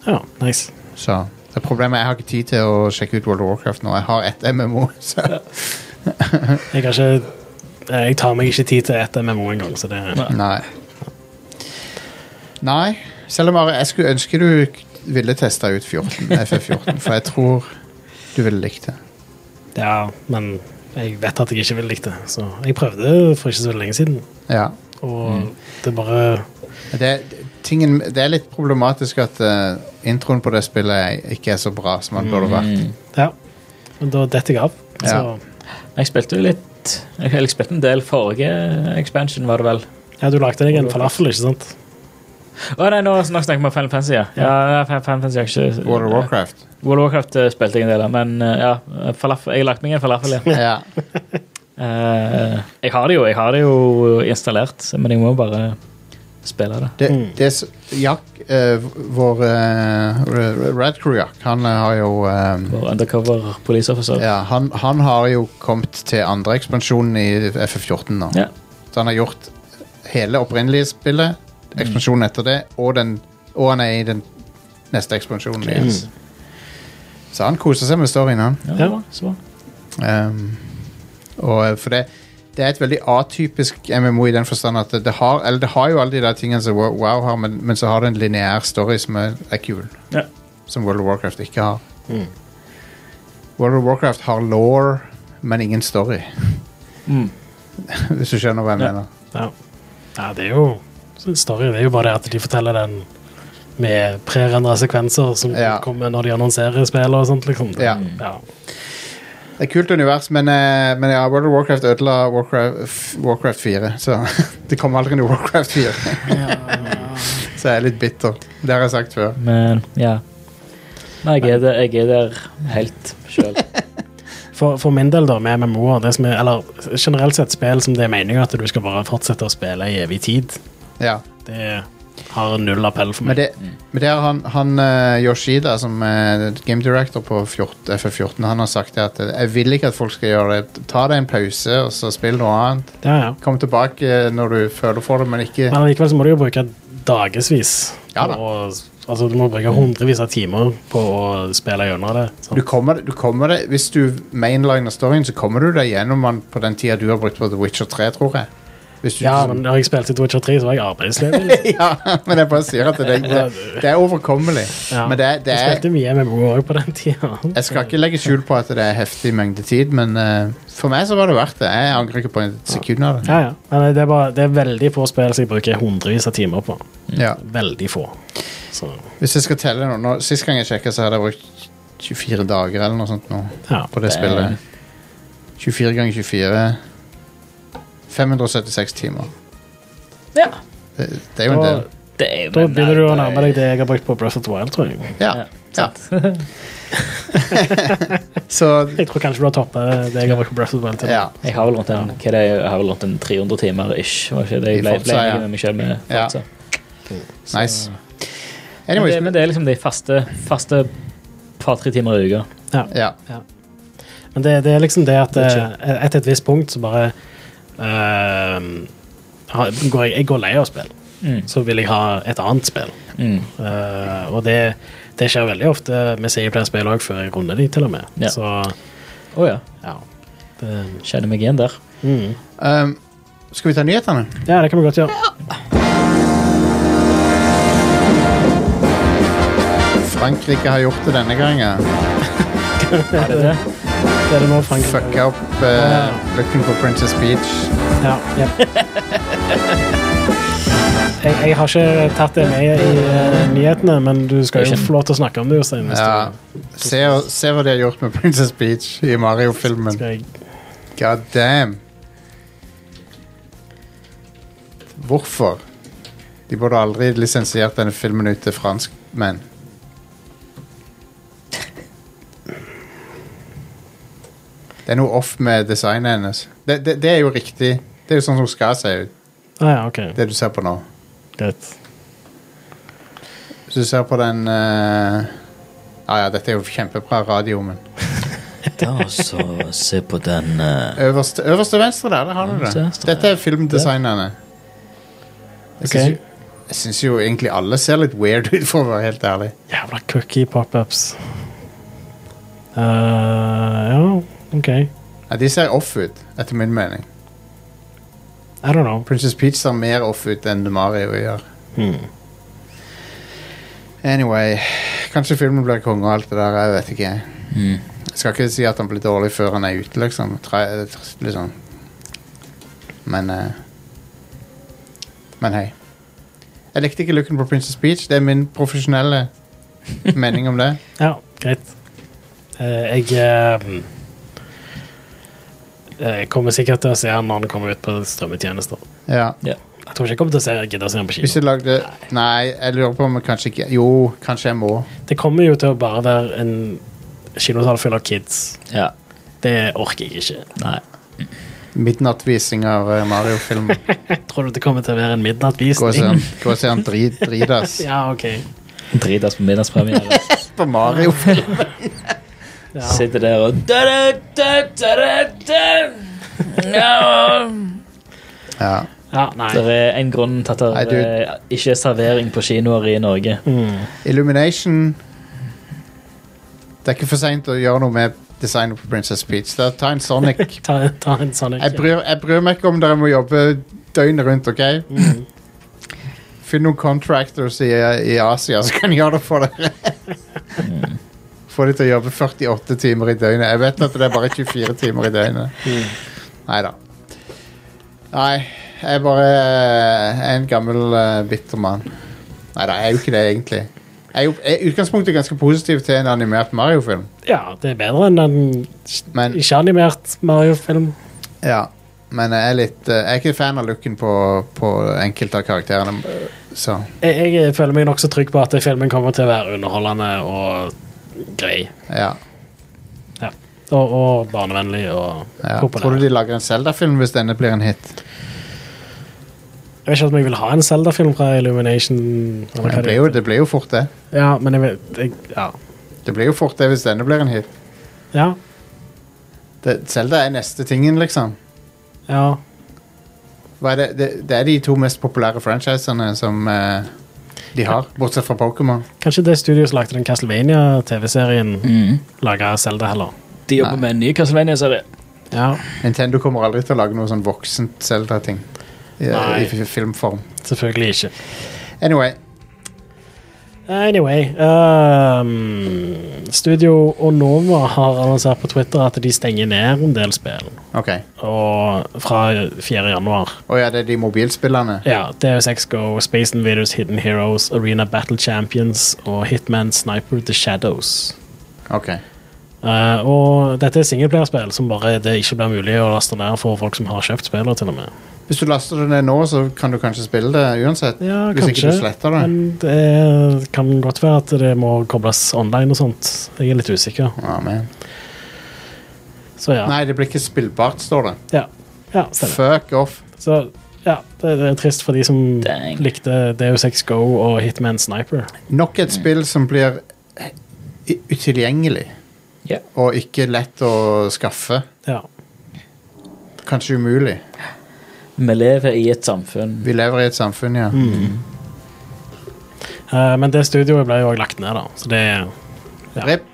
ja nice. Så det problemet er jeg har ikke tid til å sjekke ut World of Warcraft nå. Jeg har ett MMO. Så. Jeg har ikke eh, Jeg tar meg ikke tid til ett MMO engang, så det Nei. Nei. Selv om Are, jeg skulle ønske du k- ville testa ut 14, FF14, for jeg tror du ville likt det. Ja, men jeg vet at jeg ikke ville likt det, så jeg prøvde for ikke så veldig lenge siden. Ja. Og det bare Det, det- tingen, det er litt problematisk at eh, introen på det spillet er- ikke er så bra som den burde vært. Ja. Men da detter jeg av. Så Ja. Jeg spilte jo litt Jeg, jeg spilte en del forrige expansion, var det vel. ja, du lagde deg en falafel, ikke sant? Å nei, nå nå snakker jeg om Final Fantasy. Ja, ja Final- Final Fantasy har jeg ikke World of Warcraft. World of Warcraft eh, spilte jeg en del av, men eh, ja, falafel, jeg lagde meg en falafel, ja. Ja. Eh, jeg har det jo, jeg har det jo installert, men jeg må bare spille det. Det, det er så, Jack, eh, vår uh, Red Crew Jack, han eh, har jo eh, Vår undercover police officer. Ja, han, han har jo kommet til andre ekspansjonen i FF14 nå. Ja. Så han har gjort hele opprinnelige spillet, ekspansjonen etter det, og, den, og han er i den neste ekspansjonen. Yes. Så han koser seg med storyen, han. Ja, Ja. bra, så bra. Ehm, og eh, for det, det er et veldig atypisk MMO i den forstand at det, det, har, eller det har jo alle de der tingene som Wo- WoW har, men, men så har det en lineær story som er, er kul. Ja. Som World of Warcraft ikke har. World of Warcraft har law, men ingen story. Hvis du skjønner hva jeg Mm. Ja. mener. Ja. ja, det er jo så Storyen er jo bare det at de forteller den med prerendra sekvenser som Ja. kommer når de annonserer spillet og sånt, liksom. Ja. ja. Det er et kult univers, men, eh, men ja, World of Warcraft ødela Warcraft, f- Warcraft 4. Så det kom aldri noe Warcraft 4. så jeg er litt bitter. Det har jeg sagt før. Men ja. Nei, jeg er der, jeg er der helt sjøl. For, for min del, da, med MMO-er det som er, Eller generelt sett spill som det er meninga at du skal bare fortsette å spille i evig tid, Ja. det har null appell for Men meg. det, men det har han, han eh, Yoshida, som er game director på 14, FF14, han har sagt det at eh, jeg vil ikke at folk skal gjøre det. Ta deg en pause, og så spill noe annet. Ja, ja. Kom tilbake eh, når du føler for det, men ikke Men likevel så må du jo bruke dagevis. Ja da. Og, altså, du må bruke hundrevis av timer på å spille gjennom det. sant? du kommer, du kommer deg- Hvis du mainliner storyen, så kommer du deg gjennom den på den tida du har brukt på The Witcher 3, tror jeg. Hvis du, Ja, men da jeg spilte i Witcher 3, så var jeg arbeidsledig. liksom. ja, men jeg bare sier at det, det, det er overkommelig. Ja. Men det, er- det Jeg er spilte mye MMO også på den tida. Jeg skal ikke legge skjul på at det er heftig mengde tid, men eh, for meg så var det verdt det. Jeg angrer ikke på en sekund av det. Ja, ja. Men det er, bare, det er veldig få spill som jeg bruker hundrevis av timer på. Ja. Veldig få. Så, Hvis jeg skal telle nå, nå Sist gang jeg sjekka, så hadde jeg brukt 24 dager eller noe sånt nå ja. på det spillet. 24 ganger 24 576 timer. Ja. Det, det er jo en del. Det er jo Da men nei, begynner du å det er- nærme deg det jeg har brukt på Breath of the Wild, tror jeg. Ja. ja. så Jeg tror kanskje du har toppet det jeg har brukt på Breath of the Wild. til. Ja. Jeg har vel rundt en, hva er det, jeg har vel rundt en 300 timer ish. Var ikke I det jeg ble, Forza, ble ja. enig med meg selv med Ja. Forza. Nice. Men, Anyways, det, men det er liksom de faste, faste par-tre timer i uka. Ja. ja. Men det, det er liksom det at eh, etter et visst punkt så bare eh, har- går jeg, jeg går lei av spill. Mm. Så vil jeg ha et annet spill. Mm. Eh, og det, det skjer veldig ofte med singleplayer-spill òg, før jeg runder de, til og med. Ja. Så Å ja. ja. Det, Kjenner meg igjen der. mm. Um, skal vi ta nyhetene? ja, det kan vi godt gjøre. Frankrike har gjort det denne gangen. Er det det? Det er det nå, Frank. Fucka opp uh, lykken på Princess Beach. Ja, ja. Jeg, jeg har ikke tatt det med i eh, nyhetene, men du skal jo Ikke- få lov til å snakke om det, Jostein. hvis Ja. Se, se hva de har gjort med Princess Beach i du Mario-filmen. skal God damn. Hvorfor? De burde aldri lisensiert denne filmen ut til franskmenn. Det er noe off med designet hennes. Det, det, det er jo riktig. Det er jo sånn som skal se ut, Ah, ja, ok. det du ser på nå. Greit. Hvis du ser på den eh, ah, Ja, dette er jo kjempebra radio, men Da så altså, se på den eh, Øverste, øverste venstre der, der har du Øverste det. venstre, Dette er filmdesignerne. Jeg syns Ok. jo- jeg syns jo egentlig alle ser litt weird ut, for å være helt ærlig. Jævla cookie pop-ups. Eh, ja, OK. Ja, de ser off ut, etter min mening. I don't know. Princess Peach ser mer off ut enn Mario gjør. Hmm. Anyway, kanskje filmen blir konge og alt det der, jeg vet ikke. Jeg skal ikke si at han blir dårlig før han er ute, liksom. Tre, liksom. Men eh, Men hei. Jeg likte ikke looken på Princess Peach. Det er min profesjonelle mening om det. Ja, greit. Eh, jeg eh, jeg kommer sikkert til å se han når han kommer ut på strømmetjenester. Ja. Ja. Jeg tror ikke jeg kommer til å se, gidde å se han på Hvis kino. jeg lagde Nei, jeg lurer på om jeg kanskje ikke Jo, kanskje jeg må. Det kommer jo til å bare være en kinosal full av kids. Ja. Det orker jeg ikke. Nei. Midnattvising av eh, Mario-film. Tror du det kommer til å være en Gå og se midnattvisning? han- gå og se han drit- dritas Ja, OK. Dritas på middagspremiere. på Mario-film. Ja. Sitter der og da, da, da, da, da, da. No. Ja. ja nei. Det er en grunn til at Nei, det du- eh, ikke er servering på kinoer i Norge. Illumination Det er ikke for seint å gjøre noe med designet på Princess Peach. Da, ta en Sonic. Ta, ta en sånn Jeg bryr, jeg bryr meg ikke om dere må jobbe døgnet rundt, OK? Finn noen contractors i, i Asia som kan gjøre det for dere. Få de til å jobbe 48 timer i døgnet. Jeg vet at det er bare 24 timer i døgnet. Nei da. Nei, jeg er bare jeg er en gammel eh, bitter mann. Nei da, jeg er jo ikke det, egentlig. Jeg er jo jeg er i utgangspunktet ganske positiv til en animert Mario-film, Ja, det er bedre enn en men ikke-animert Mario-film. ja. Men jeg er litt eh, Jeg er ikke fan av looken på, på enkelte av karakterene, så Jeg, jeg føler meg nokså trygg på at filmen kommer til å være underholdende og grei. ja. Ja. Og, og barnevennlig og ja. Tror populær. du de lager en Zelda-film hvis denne blir en hit? Jeg vet ikke om jeg vil ha en Zelda-film fra Illumination. eller hva Det det blir jo, det blir jo fort det. Ja, men jeg vet jeg, ja. Det blir jo fort det hvis denne blir en hit. ja. Det- Zelda er neste tingen, liksom. Ja. Hva er det? Det, det er de to mest populære franchisene som eh, de har, bortsett fra Pokémon. Kanskje det studioet som lagde den Castlevania-TV-serien, laga Zelda heller. De jobber med Mm. en ny Castlevania-serie. Ja, Nintendo kommer aldri til å lage noe sånn voksent Zelda-ting i, Nei. i f- filmform. selvfølgelig ikke. Anyway, Anyway ehm, Studio Onova har annonsert på Twitter at de stenger ned en del spill. ok. Og fra 4. januar. Å ja, det er de mobilspillene? Ja, DSX Go, Space Invaders, Hidden Heroes, Arena Battle Champions og Hitman Sniper The Shadows. Ok. Eh, og dette er singelplayerspill som bare det ikke blir mulig å laste ned for folk som har kjøpt spillet, til og med. Hvis du laster det ned nå, så kan du kanskje spille det uansett? Ja, hvis kanskje. ikke du sletter det? Men det er- kan godt være at det må kobles online og sånt. Jeg er litt usikker. Ja, men. Så ja. Nei, det blir ikke spillbart, står det. Ja, ja stemmer. Fuck off. Så ja, det, det er trist for de som Dang. likte DU6 Go og Hitman Sniper. Nok et spill som blir i- utilgjengelig Ja. og ikke lett å skaffe. Ja. Kanskje umulig. Vi lever i et samfunn. Vi lever i et samfunn, ja. Mm. Eh, men det studioet ble jo også lagt ned, da. Så det er ja. Rip.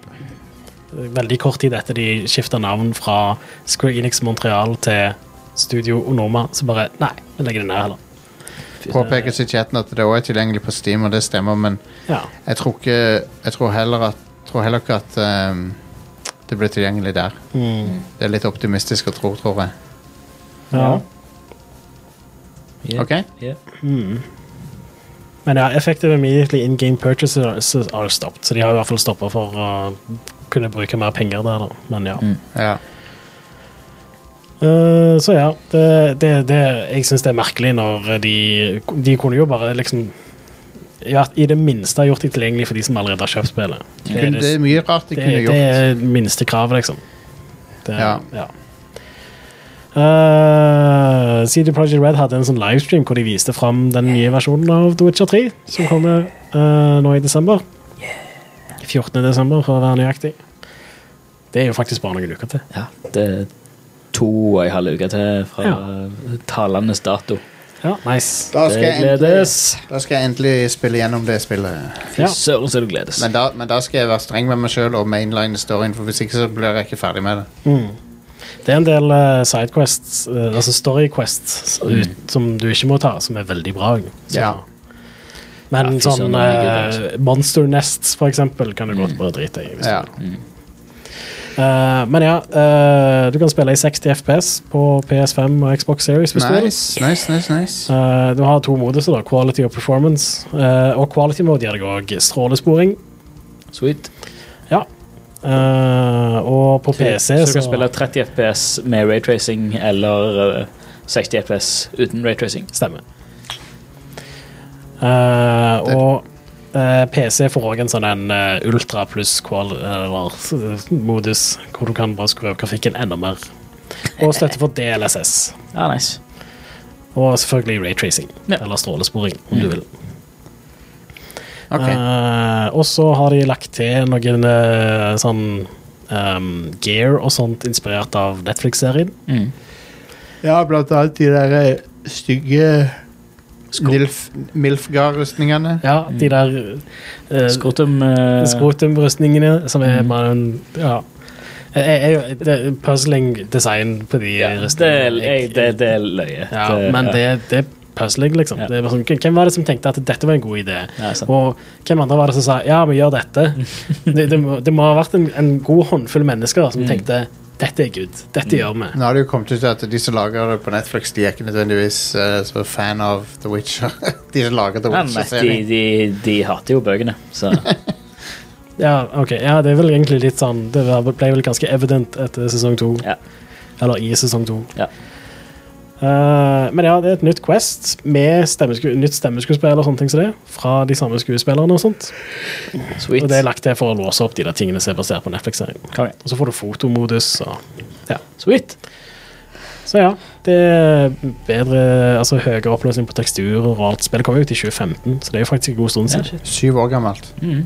veldig kort tid etter de skifta navn fra Square Enix Montreal til Studio Onoma, så bare Nei, vi legger det ned heller. Påpekes i chatten at det òg er tilgjengelig på Steam, og det stemmer, men Ja. jeg tror, ikke, jeg tror, heller, at, tror heller ikke at ehm, det blir tilgjengelig der. Mm. Det er litt optimistisk å tro, tror jeg. ja. Ja. Ok? Ja. Men ja, effective immediately in game purchases are stopped, så de har i hvert fall stoppa for å kunne bruke mer penger der, da. Men ja. Ja. Eh, så ja, det, det, det Jeg syns det er merkelig når de De kunne jo bare liksom ja, I det minste ha gjort det tilgjengelig for de som allerede har kjøpt spillet. Det er Men Det det, er mye rart de det, kunne det gjort. er minste kravet, liksom. Det, Ja. ja. Eh, CD Projekt Red hadde en sånn livestream hvor de viste fram den nye versjonen av The Witcher 3, som kommer eh, nå i desember. 14. desember, for å være nøyaktig. Det er jo faktisk bare noen uker til. ja. Det er to og en halv uke til fra Ja. talendes dato. Ja, nice. Da skal, Det jeg endelig, gledes. da skal jeg endelig spille gjennom det spillet. Fy Ja. søren, så det gledes. Men da, men da skal jeg være streng med meg sjøl og mainline storyen, for hvis ikke så blir jeg ikke ferdig med det. Det er en del eh, sidequests, eh, altså storyquests, ut, som du ikke må ta, som er veldig bra. Så. Ja. Men Ja, fy søren, sånn det er gøy, altså. eh, Monster Nests, for eksempel, kan du godt bare drite i. hvis Ja. du- Eh, men ja, eh, du kan spille i 60 FPS på PS5 og Xbox Series. Hvis du vil. Nice, nice, nice. nice. Eh, du har to moduser, da, quality og performance. Eh, og quality mode gir deg òg strålesporing. Sweet. Ja. Eh, og på PC så du kan spille 30 FPS med raytracing eller eh, 60 FPS uten raytracing. Stemmer. Eh, og eh, PC får òg en sånn en eh, ultra pluss qual eller eh, modus, hvor du kan bare skru av grafikken enda mer. Og støtte for DLSS. Ja, nice. Og selvfølgelig raytracing, Ja. eller strålesporing, om du vil. Ok. Eh, og så har de lagt til noen eh, sånn ehm, gear og sånt inspirert av Netflix-serien. Ja, blant annet de der eh, stygge Milfgar-rustningene. Ja, de der eh, Skrotum eh, Mm. skrotumrustningene, som er bare en Ja. Jeg, jeg, jeg, det er puzzling design på de ja, det, rustningene. er- jeg- det, det er løye. ja, Det- men det, det er puzzling, liksom. Ja. Det er bare sånn, hvem var det som tenkte at dette var en god idé? Ja, sant. og hvem andre var det som Mm. sa ja, vi gjør dette? det, det, må, det må ha vært en, en god håndfull mennesker som tenkte Dette er good. Dette gjør vi. Nå har det jo kommet ut at de som lager det på Netflix, de er ikke nødvendigvis eh, så fan av The Witcher. de som lager The Men de, Witcher-serien. de, de hater jo bøkene, så Ja, ok. Ja, det er vel egentlig litt sånn Det var- ble vel ganske evident etter sesong to. Ja. Eller i sesong to. Ja. Eh, men ja, det er et nytt Quest med stemmesku nytt stemmeskuespill og sånne ting som det. Fra de samme skuespillerne og sånt. Sweet. Og det er lagt til for å låse opp de der tingene som er basert på Netflix-serien. Konge. Og så får du fotomodus og ja. Sweet. Så ja, det er bedre Altså høyere oppløsning på teksturer og alt. Spillet kom jo ut i 2015, så det er jo faktisk en god stund Ja, siden. shit. Syv år gammelt. Mm.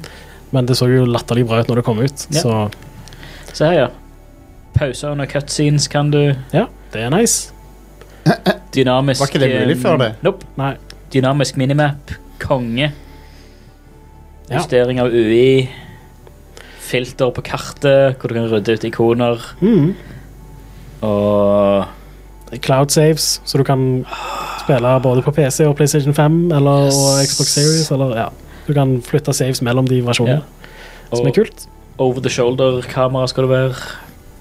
Men det så jo latterlig bra ut når det kom ut, Ja. så Se her, ja. Pauser under cutscenes kan du. ja, det er nice. Dynamisk Var ikke det mulig eh, før det? Nope. Nei. Dynamisk minimap. Konge. Ja. Justering av UI. Filter på kartet, hvor du kan rydde ut ikoner. Mhm. Og Cloud saves, så du kan spille både på PC og PlayStation 5 eller Yes. og Xbox Series. Eller, ja. Du kan flytte saves mellom de versjonene, Ja. som er Og- kult. over the shoulder-kamera skal det være.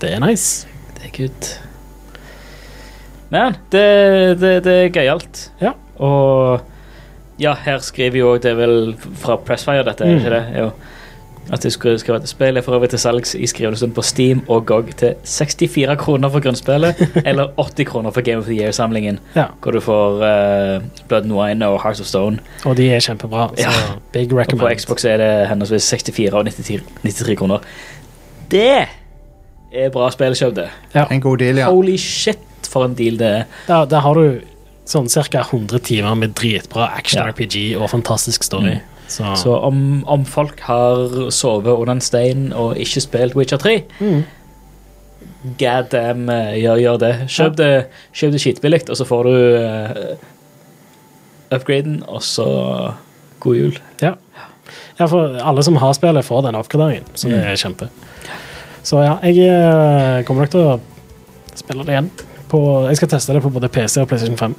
Det er nice. Det er good. Men det, det, det er gøyalt. Ja. Og ja, her skriver jo òg det er vel fra Pressfire, dette, er Mm. ikke det? Jo. At det skulle skrive at spillet er for øvrig til salgs i skrivende stund på Steam og GOG til 64 kroner for grunnspillet eller 80 kroner for Game of the Year-samlingen, Ja. hvor du får eh, Blood and Wine og Hearts of Stone. Og de er kjempebra. Så Ja. big Og på recommend. Xbox er det henholdsvis 64 og 93, 93 kroner. Det er bra spillkjøp, det. Ja. En god deal, ja. Holy shit, for en deal det er. Der, der har du sånn ca. 100 timer med dritbra Ja. action-RPG og fantastisk story. Mm. Så, Så om, om folk har sovet under en stein og ikke spilt Witcher 3 Mm. God damn, eh, gjør, gjør det. Kjøp det, kjøp det skitbillig, og så får du eh, upgraden, og så god jul. ja. ja, for alle som har spillet, får den oppgraderingen, så det Mm. er kjempe. Så ja, jeg eh, kommer nok til å spille det igjen. På, jeg skal teste det på både PC og PlayStation 5,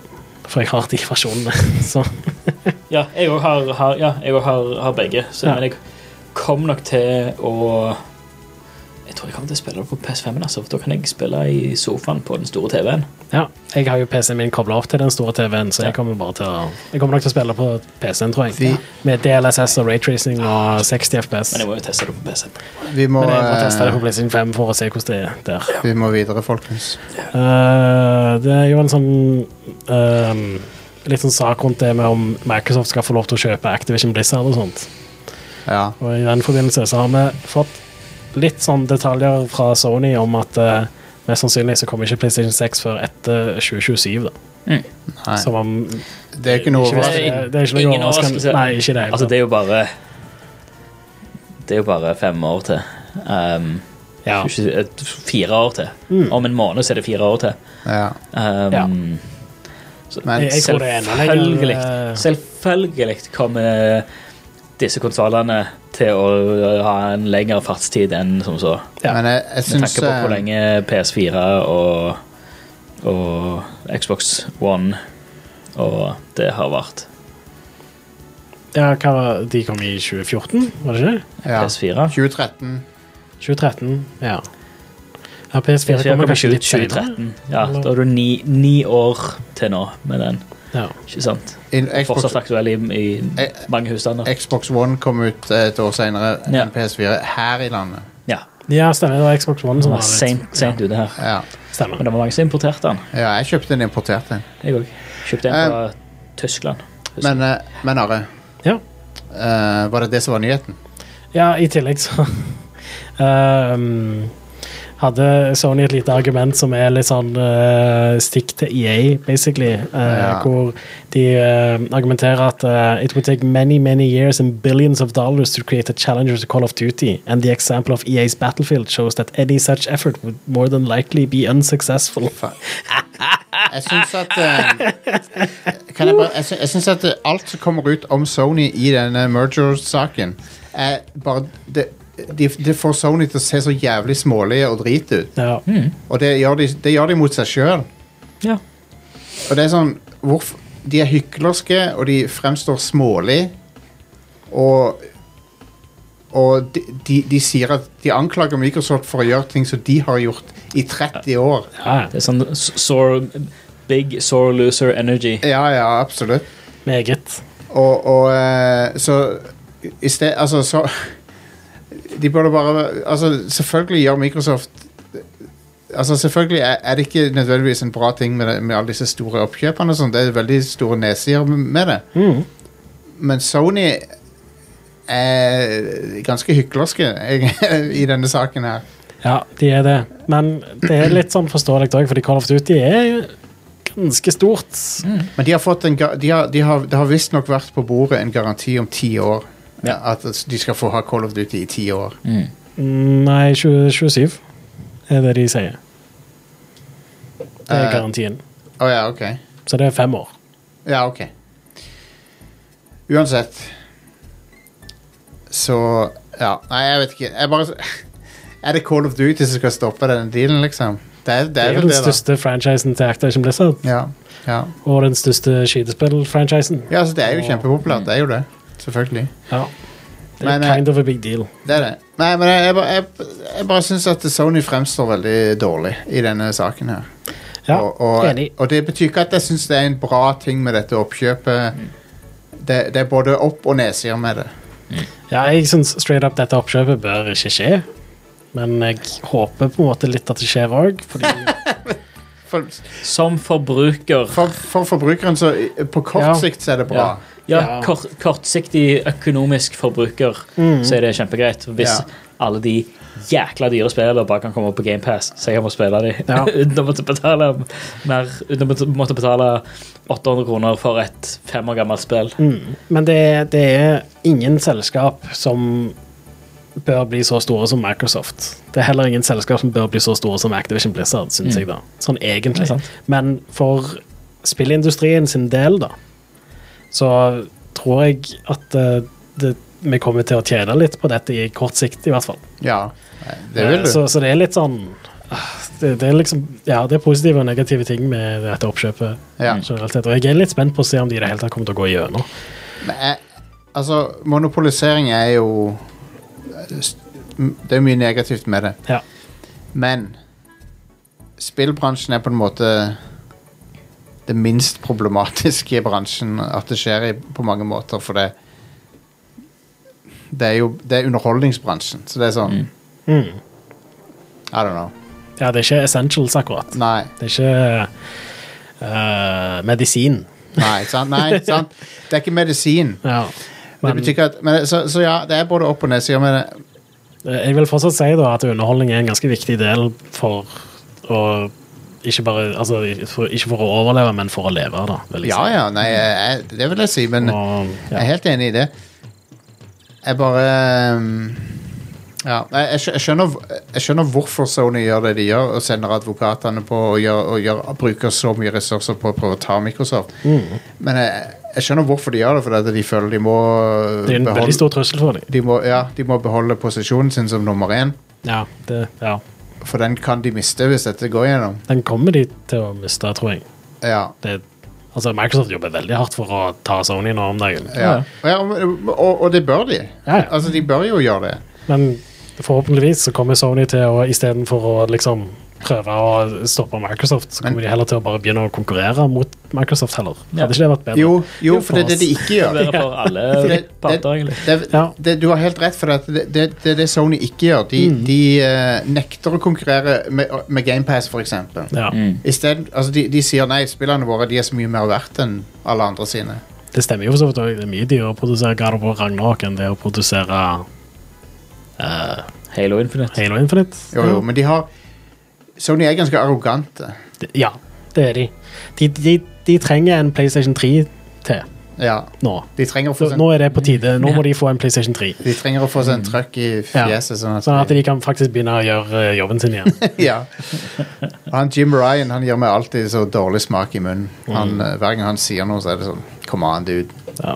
for jeg har de versjonene. Så Ja, jeg òg har, har, ja, jeg også har, har begge, så, Ja. men jeg kom nok til å Jeg tror jeg kommer til å spille det på PS5, altså, for da kan jeg spille i sofaen på den store TV-en. ja, jeg har jo PC-en min kobla opp til den store TV-en, så jeg Ja. kommer bare til å Jeg kommer nok til å spille på PC-en, tror Vi- jeg. Med DLSS og raytracing og 60 FPS. Men jeg må jo teste det på PC. Vi må, Men jeg må teste det eh, på PlayStation 5 for å se hvordan det er der. vi må videre, folkens. Eh, det er jo en sånn ehm, Litt sånn sak rundt det med om Microsoft skal få lov til å kjøpe Activision Blizzard og sånt. Ja. Og i den forbindelse så har vi fått litt sånn detaljer fra Sony om at eh, mest sannsynlig så kommer ikke PlayStation 6 før etter 2027, da. Nei. Som om Det er ikke noe ikke hvis det, overraskende. er- det er ikke noe Ingen overraskelse. overraskelse. Nei, ikke det. Altså, det er jo bare Det er jo bare fem år til. Um, ja. Mm. ikke- eh, fire år til. Om en måned så er det fire år til. Ja. Um, Ja. så- Men- Jeg- jeg tror det er enda lenger, Selvfølgelig eh. Selvfølgelig kommer disse konsollene til å øh, ha en lengre fartstid enn som så. Ja. Men jeg, jeg Med syns tanke på hvor eh, lenge PS4 og, og Xbox One og det har vært. ja, hva var De kom i 2014, var det ikke? det? ja. PS4. 2013 2013, ja. Ja, PS4 PS4 kommer kom i kanskje litt senere. Mm. 2013. Ja, da har du ni, ni år til nå med den. Ja. Ikke sant? In- Xbox, Fortsatt aktuell i, i mange husstander. Xbox One kom ut eh, et år senere enn Ja. PS4 her i landet. Ja, Ja, stemmer. Det var Xbox One det som var var litt sent, sent ute her. Ja, Stemmer. Men det var mange som importerte den. ja jeg kjøpte en importert en. Jeg òg. Kjøpte en fra Tyskland. Men, eh, men Are, Ja. eh, var det det som var nyheten? ja, i tillegg så ehm, hadde Sony et lite argument som er litt sånn eh, stikk til EA, basically. eh, Ja. Hvor de eh, argumenterer at eh, it would take many, many years and billions of dollars to create a challenger to Call of Duty, and the example of EA's Battlefield shows that any such effort would more than likely be unsuccessful. Jeg syns at eh, kan jeg, bare, jeg, sy- jeg syns at eh, alt som kommer ut om Sony i denne merger-saken, er bare det, de, det får Sony til å se så jævlig smålige og drit ut. Ja. Og det gjør de, det gjør de mot seg sjøl. Ja. Og det er sånn hvorf- De er hyklerske, og de fremstår smålig. Og Og de, de, de sier at de anklager Microsoft for å gjøre ting som de har gjort i 30 år. Ja, ja. Det er sånn s- sore, big sore loser energy. Ja, ja, absolutt. meget. Og, og eh, så i sted, Altså, så De burde bare Altså, selvfølgelig gjør Microsoft Altså, selvfølgelig er, er det ikke nødvendigvis en bra ting med, det, med alle disse store oppkjøpene og sånn. Det er veldig store nedsider med det. Men Sony er ganske hyklerske eg- i denne saken her. Ja, de er det. Men det er litt sånn forståelig òg, fordi Call of Duty er jo ganske stort. Men de har fått en, ga- de har, de har, det har visstnok vært på bordet en garanti om ti år. At de skal få ha Call of Duty i ti år. Nei, 20, 27 er det de sier. Det er Eh. garantien. Å ja, ok. Så det er fem år. Ja, ok. Uansett. Så Ja, nei, jeg vet ikke. Jeg bare Er det Call of Duty som skal stoppe denne dealen, liksom? Det er, det Det er er jo vel den det, da. største franchisen til Activision Blizzard, Ja, ja. og den største skytespill-franchisen. ja altså, det er jo kjempepopulært. Det er jo det. Selvfølgelig. Ja. Det er Men, eh, kind of a big deal. Det er det. Nei, men jeg, jeg, bare- jeg, jeg bare syns at Sony fremstår veldig dårlig i denne saken her. Ja, og, og, enig. og det betyr ikke at jeg syns det er en bra ting med dette oppkjøpet. Mm. Det, det er både opp- og nedsider med det. Ja, jeg syns straight up dette oppkjøpet bør ikke skje. Men jeg håper på en måte litt at det skjer òg, fordi For, Som forbruker for, for forbrukeren så i- på kort Ja. sikt så er det bra. Ja, ja Ja. kort, kortsiktig økonomisk forbruker, så er det kjempegreit. Hvis Mm. Ja. alle de jækla dyre spillene bare kan komme opp på GamePass, så jeg kan få spille de Ja. uten å måtte betale mer, uten å måtte- måtte betale 800 kroner for et fem år gammelt spill. Mm. Men det, er- det er ingen selskap som bør bli så store som Microsoft. Det er heller ingen selskap som bør bli så store som Activision Blizzard, syns jeg, da. Sånn Det er egentlig. sant. Men for spillindustrien sin del, da, så tror jeg at eh, det, vi kommer til å tjene litt på dette i kort sikt, i hvert fall. Eh, Ja, det vil du. Så, så det er litt sånn ah, det, det er liksom, ja, det er positive og negative ting med dette oppkjøpet. Ja. generelt sett, Og jeg er litt spent på å se om de i det hele tatt kommer til å gå gjennom. Men jeg, altså, monopolisering er jo Det er mye negativt med det. Ja. Men spillbransjen er på en måte det minst problematiske i bransjen at det skjer i, på mange måter, for det det er jo det er underholdningsbransjen, så det er sånn Mm. I don't know. ja, det er ikke essentials, akkurat. Nei. Det er ikke eh, medisin. Nei, sant? Nei, sant? Det er ikke medisin. Ja. det betyr ikke at, men, så, så ja, det er både opp- og nedsider med det. Eh, Jeg vil fortsatt si da at underholdning er en ganske viktig del for å ikke bare, altså, for, ikke for å overleve, men for å leve, da. Vil jeg Ja, si. ja, nei, jeg, jeg, det vil jeg si, men Og, jeg er ja. helt enig i det. Jeg bare um, Ja, jeg, jeg skjø- jeg, skjønner, jeg skjønner hvorfor Sony gjør det de gjør, og sender advokatene på og, gjør, og gjør, bruker så mye ressurser på å prøve å ta Microsoft. Mm. Men jeg, jeg skjønner hvorfor de gjør det, fordi at de føler de må Det er en veldig stor trussel for dem. de må, ja, de må beholde posisjonen sin som nummer én, Ja, det, ja. for den kan de miste hvis dette går gjennom. Den kommer de til å miste, tror jeg. Ja. det, altså Microsoft jobber veldig hardt for å ta Sony nå om dagen. Ja. Ja, og, og, og det bør de. Ja, ja. Altså, de bør jo gjøre det. Men forhåpentligvis så kommer Sony til å istedenfor å liksom prøve å stoppe Microsoft, så kommer de heller til å bare begynne å konkurrere mot Microsoft heller. Ja. Hadde ikke det vært bedre? Jo, jo for det er det de ikke Det gjør. blir for alle For det- parter, egentlig. det- Ja. det- Du har helt rett, for det det- det det er det Sony ikke gjør. De, de eh, nekter å konkurrere med, med GamePass, f.eks. Ja, Altså, de, de sier nei, spillene våre de er så mye mer verdt enn alle andre sine. Det stemmer jo for så vidt òg. Det er mye dyrere å produsere God of War Ragnarok enn det å produsere Halo Infinite. Halo Infinite. Jo, jo, men de har Sony er ganske arrogante. Ja, det er de. De, de. de trenger en PlayStation 3 til Ja. nå. De trenger å få Så seg nå er det på tide. Nå må de få en PlayStation 3. de trenger å få seg en trøkk i Ja. fjeset. Sånn at, Sånn at de kan faktisk begynne å gjøre eh, jobben sin igjen. ja. Han Jim Ryan han gir meg alltid så dårlig smak i munnen. Mm. Han, eh, hver gang han sier noe, så er det sånn Come on, dude. Ja.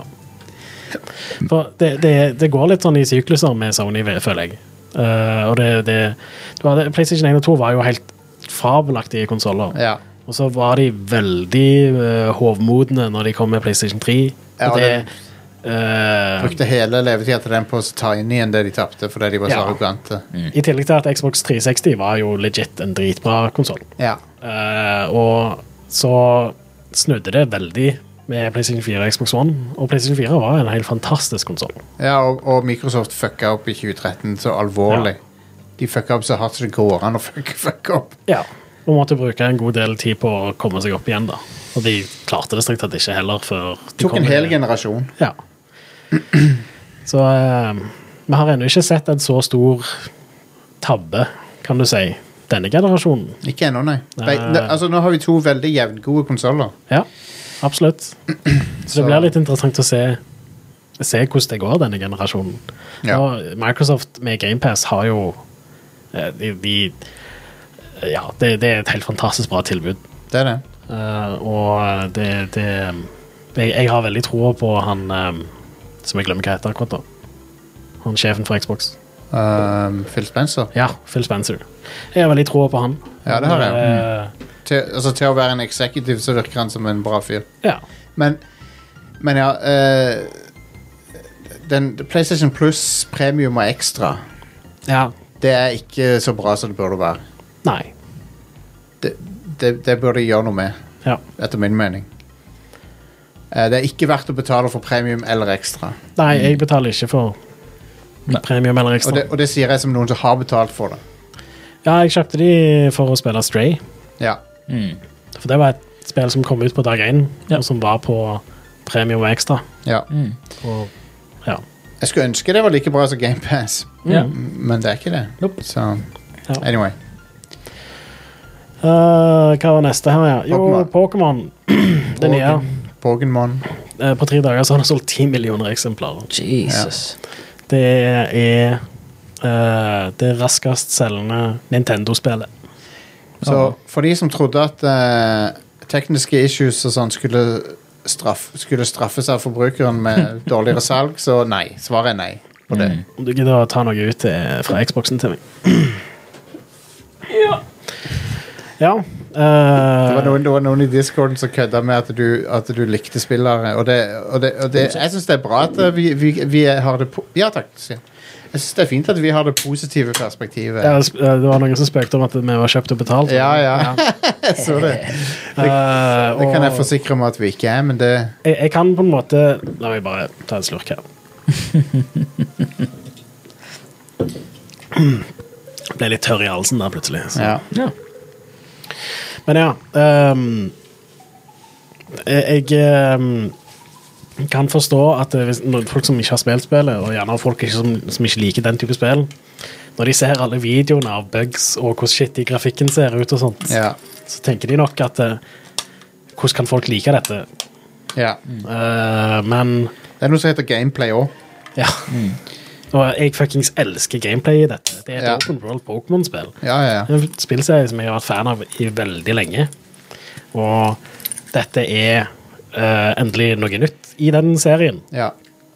For det, det, det går litt sånn i sykluser med Sony, føler jeg. Eh, og det, det, du hadde, PlayStation 1 og 2 var jo helt fabelaktige konsoller. Ja. Og så var de veldig eh, hovmodne når de kom med PlayStation 3. Ja, og det, det- Eh, Brukte hele levetida til den på å tiny enn det de tapte fordi de var så Ja. Mm. arrogante. I tillegg til at Xbox 360 var jo legit en dritbra konsoll. Ja. og så snudde det veldig med PlayStation 4 og Xbox One. Og PlayStation 4 var en helt fantastisk konsoll. ja og, og Microsoft fucka opp i 2013 så alvorlig. De fucka opp så hardt som det går an å fucke fucke opp. Ja. Og måtte bruke en god del tid på å komme seg opp igjen, da. Og de klarte det strengt tatt ikke heller før de Tok en kom hel med- generasjon. Ja. Så eh, vi har ennå ikke sett en så stor tabbe, kan du si, denne generasjonen. Ikke ennå, nei. Be Nei. ne- altså, nå har vi to veldig jevngode konsoller. Ja, absolutt. Så Så- det blir litt interessant å se, se hvordan det går denne generasjonen. Ja. Og Microsoft med GamePass har jo eh, de, de Ja, det, det er et helt fantastisk bra tilbud. Det er det. Eh, og det, det jeg, jeg har veldig troa på han eh, som jeg glemmer hva heter akkurat nå. Han sjefen for Xbox. Um, Phil Spencer. Ja, Phil Spencer. Jeg har veldig troa på han. Ja, det har jeg. Eh, Mm. Til, altså, til å være en executive så virker han som en bra fyr. ja. Men, men ja eh, den, PlayStation Plus premium og ekstra, ja. det er ikke så bra som det burde være. Nei. Det, det, det burde de gjøre noe med, Ja. etter min mening. Eh, det er ikke verdt å betale for premium eller ekstra. Nei, Mm. jeg betaler ikke for premium eller Og ekstra. det, og det sier jeg som noen som har betalt for det. Ja, jeg kjøpte de for å spille Stray. Ja. For det var et spill som kom ut på dag én, Ja. og som var på premium og ekstra. ja. Og, ja. Jeg skulle ønske det var like bra som GamePass, Ja. Mm. men det er ikke det. Nope. Så Ja. anyway. Eh, hva var neste her, ja? Jo, Pokémon. Det nye. Pokémon. Eh, På tre dager så har det solgt 10 millioner eksemplarer. Jesus. Det er eh, det raskest selgende Nintendo-spillet. Så for de som trodde at eh, tekniske issues og sånn skulle, straff, skulle straffes av forbrukeren med dårligere salg, så nei. Svaret er nei på det. Om du gidder å ta noe ut eh, fra Xboxen til meg. Ja. Det var eh, noen, det var noen i discorden som kødda med at du, at du likte spillere, og det, og det, og det Jeg syns det er bra at eh, vi, vi, vi har det po Ja takk, Stian. Jeg syns det er fint at vi har det positive perspektivet. ja, sp- eh, det var noen som spøkte om at vi var kjøpt og betalt. Ja, ja. jeg så det. Eh, Det kan jeg og- forsikre om at vi ikke er, men det jeg, jeg kan på en måte La meg bare ta en slurk her. Ble litt tørr i halsen der plutselig. Så. Ja. Ja. Men ja ehm, Jeg ehm, kan forstå at hvis, når folk som ikke har spilt spillet, og gjerne folk ikke, som, som ikke liker den type spill, når de ser alle videoene av bugs og hvor shitty grafikken ser ut, og sånt, Ja. så tenker de nok at eh, hvordan kan folk like dette? ja. Eh, men Det er noe som heter gameplay òg. Ja. Mm. Og jeg fuckings elsker gameplay i dette. Det er et Ja. open world Pokémon-spill. Ja, ja, ja. En spillserie som jeg har vært fan av i veldig lenge. Og dette er eh, endelig noe nytt i den serien. Ja.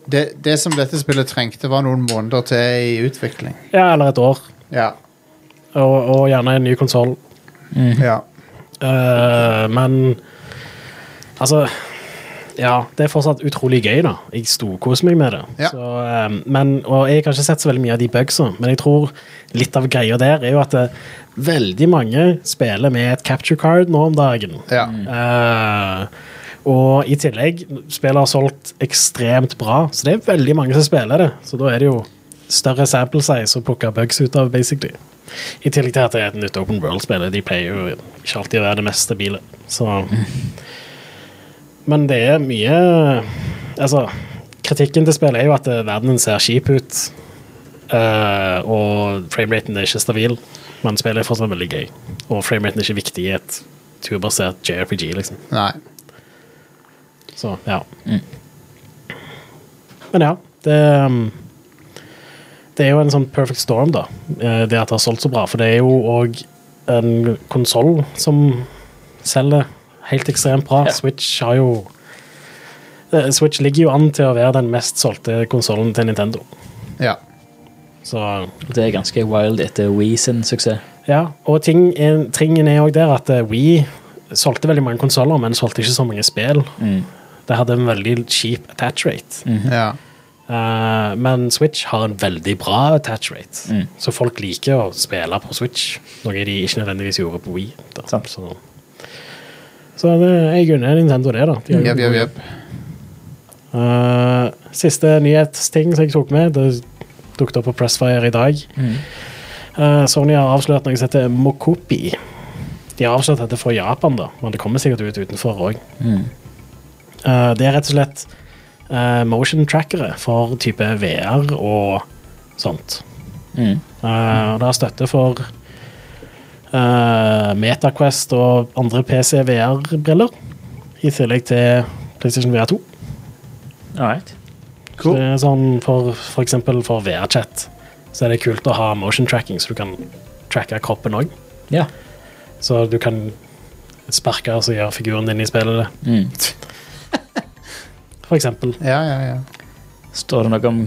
Det, det som dette spillet trengte, var noen måneder til i utvikling. Ja, eller et år. Ja. Og, og gjerne en ny konsoll. Eh, ja. men altså Ja, det er fortsatt utrolig gøy, da. Jeg storkoser meg med det. Ja. Så, eh, men, og jeg har ikke sett så veldig mye av de bugsa, men jeg tror litt av greia der er jo at eh, veldig mange spiller med et capture card nå om dagen. Ja. Eh, og i tillegg, spillet har solgt ekstremt bra, så det er veldig mange som spiller det. Så da er det jo større sample size å plukke bugs ut av, basically. I tillegg til at det er et nytt Open World-spill. De pleier jo ikke alltid å være det mest stabile. Så Men det er mye Altså, kritikken til spillet er jo at eh, verdenen ser kjip ut. eh, og frameraten er ikke stabil, men spillet er fortsatt veldig gøy. Og frameraten er ikke viktig i et turbasert JRPG, liksom. Nei. Så, ja. Men ja, det um, Det er jo en sånn perfect storm, da. eh, Det at det har solgt så bra. For det er jo òg en konsoll som selger helt ekstremt bra. Ja. Switch har jo eh, Switch ligger jo an til å være den mest solgte konsollen til Nintendo. Ja. Så Det er ganske wild etter Wii sin suksess. ja. Og ting er, tingen er òg der at eh, Wii solgte veldig mange konsoller, men solgte ikke så mange spill. Det hadde en veldig kjip attach rate. Ja. Eh, men Switch har en veldig bra attach rate, så folk liker å spille på Switch. Noe de ikke nødvendigvis gjorde på Wii. Da. Sant. Så, så det, jeg unner Nintendo det, da. Mm. De har jo Jepp, gode- jepp, jepp. Eh, siste nyhetsting som jeg tok med, det dukket opp på Pressfire i dag. Eh, Sony har avslørt noe som heter Mokopi. De har avslørt dette fra Japan, da, men det kommer sikkert ut utenfor òg. det er rett og slett eh, motion trackere for type VR og sånt. Mm. Eh, og det har støtte for eh, MetaQuest og andre PC-VR-briller, i tillegg til PlayStation VR 2. All right. Så Det er sånn for, for eksempel for VR-chat så er det kult å ha motion tracking, så du kan tracke kroppen òg. Ja. Så du kan sparke og så gjøre figuren din i spillet. det. Mm. For eksempel. Ja, ja, ja. Står det noe om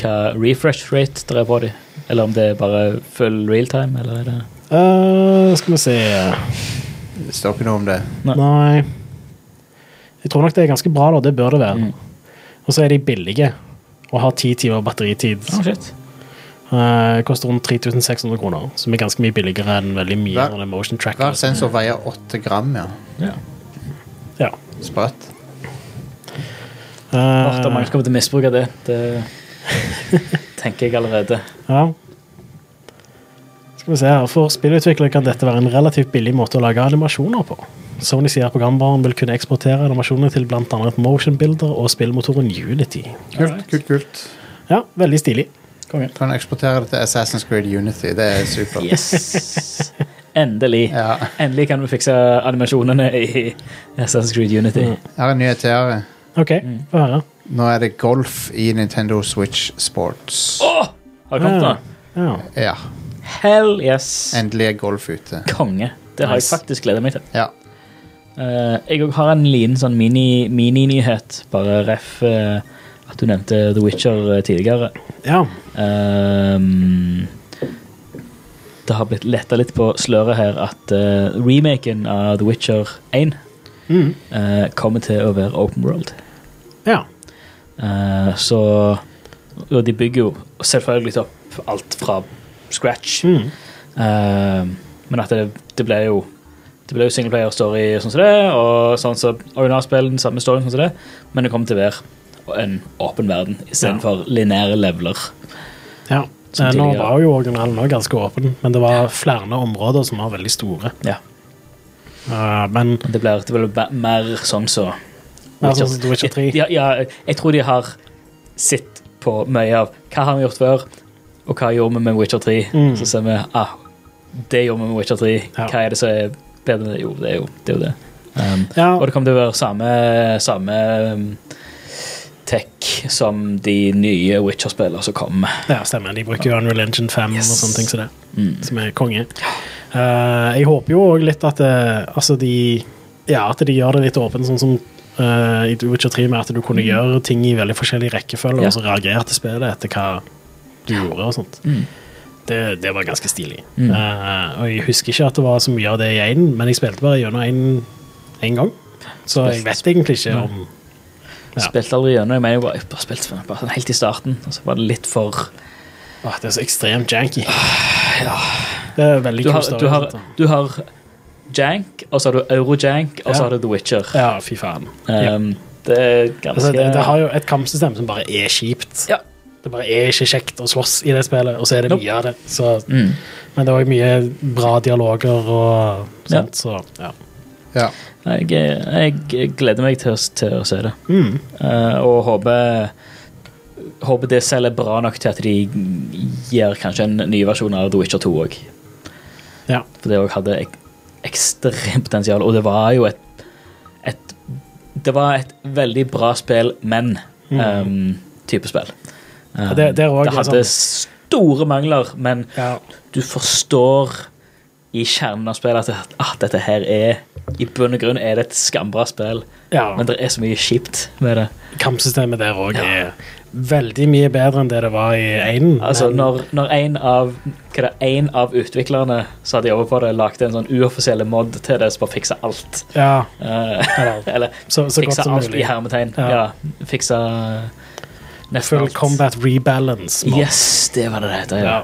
hva refresh rate det er på dem? Eller om det er bare full realtime? Eller er det Eh, skal vi se Det står ikke noe om det. Nei. Jeg tror nok det er ganske bra, da. Det bør det være. Og så er de billige og har ti timer batteritid. Å, Oh, shit. Eh, koster rundt 3600 kroner, som er ganske mye billigere enn veldig mye Hver- av det motion Hver tracker. sensor veier åtte gram, ja. Ja. Ja. Eh, Sprøtt. Åh, det er mange som kommer til å misbruke det. Det tenker jeg allerede. Ja. Skal vi se her. For spillutviklere kan dette være en relativt billig måte å lage animasjoner på. Sony sier at programvaren vil kunne eksportere animasjoner til bl.a. Motion Builder og spillmotoren Unity. Kult, kult, kult. Ja, veldig stilig. Konge. Kan eksportere det til Assassin's Creed Unity. Det er supert. Yes. Endelig. Ja. Endelig kan vi fikse animasjonene i Assassin's Creed Unity. Mm. Her er nyheter. OK, Mm. få høre. Nå er det golf i Nintendo Switch Sports. Åh! Har det kommet Ja. nå? Ja. Ja, Hell yes. endelig er golf ute. Konge. Det har jeg Nice. faktisk gleda meg til. Ja. Eh, jeg òg har en liten sånn mini- mini-nyhet, bare ref eh, at du nevnte The Witcher eh, tidligere. ja. Ehm, det har blitt letta litt på sløret her at eh, remaken av The Witcher 1 Mhm. eh, kommer til å være open world. ja. Eh, så Og de bygger jo selvfølgelig opp alt fra scratch. Mm. Eh, men at det, det ble jo Det ble jo singleplayer-story sånn som det, og sånn som originalspill, den samme storyen, sånn som det, men det kommer til å være en åpen verden istedenfor lineære leveler. ja. Som Eh, Nå tidligere. var jo originalen også ganske åpen, men det var flere områder som var veldig store. Ja. Eh, men Det blir, det blir ba- mer sånn som Mer sånn som The Witcher 3. Ja, ja, jeg tror de har sett på mye av hva har vi gjort før, og hva gjorde vi med Witcher 3. Mm. Så ser vi ah, det gjorde vi med Witcher 3. Ja. Hva er det som er bedre? enn det? Jo, det er jo det. Er jo det. Um, ja, Og det kommer til å være samme, samme um, tech som de nye Witcher-spillene som kommer. ja, stemmer. De bruker jo Unreal Engine 5 og Yes. Mm. sånne ting som det. som er konge. Eh, jeg håper jo òg litt at, eh, altså de, ja, at de gjør det litt åpent, sånn som eh, i The Witcher 3, med at du kunne gjøre ting i veldig forskjellig rekkefølge, Mm. Ja. og så reagerte spillet etter hva du gjorde. og sånt. Mm. Det, det var ganske stilig. Mm. Eh, og jeg husker ikke at det var så mye av det i én, men jeg spilte bare gjennom én gang. Så jeg vet egentlig ikke om Ja. Spilte aldri gjennom. Jeg mener, jeg bare, jeg bare spilte bare sånn helt i starten, og så var det litt for Åh, Det er så ekstremt janky. Det er veldig Ah, du kul har, story, sånn. du, har, sånt da. du har Jank, og så har du Eurojank, og så Ja. har du The Witcher. Ja, fy faen. ja. Um, Det er ganske Ehm, Altså, det, det har jo et kampsystem som bare er kjipt. Ja. Det bare er ikke kjekt å slåss i det spillet, og så er det Nope. mye av det. Så, Mm. men det er òg mye bra dialoger og sånt, så ja. Ja. Jeg, jeg gleder meg til å, til å se det. Mm. Eh, og håper Håper det selv er bra nok til at de gir kanskje en ny versjon av The Witcher 2 òg. ja. For det òg hadde ek ekstremt potensial, og det var jo et, et Det var et veldig bra spill, men Mm. um, type spill. Um, det- det er også hadde sånn- store mangler, men ja. du forstår i kjernen av spillet at ah, dette her er I bunn og grunn er det et skambra spill, Ja. men det er så mye kjipt med det. Kampsystemet der òg Ja. er veldig mye bedre enn det det var i Einen. Altså, men- når, når en, av, hva er det, en av utviklerne som hadde jobbet på det, lagde en sånn uoffisiell mod til det som bare fiksa alt. ja, Eh, eller, eller så, så godt fiksa som alt i mulig. hermetegn. Ja. Ja. fiksa nesten Full alt. combat rebalance. mod. Yes, det var det det heter. Ja. Ja.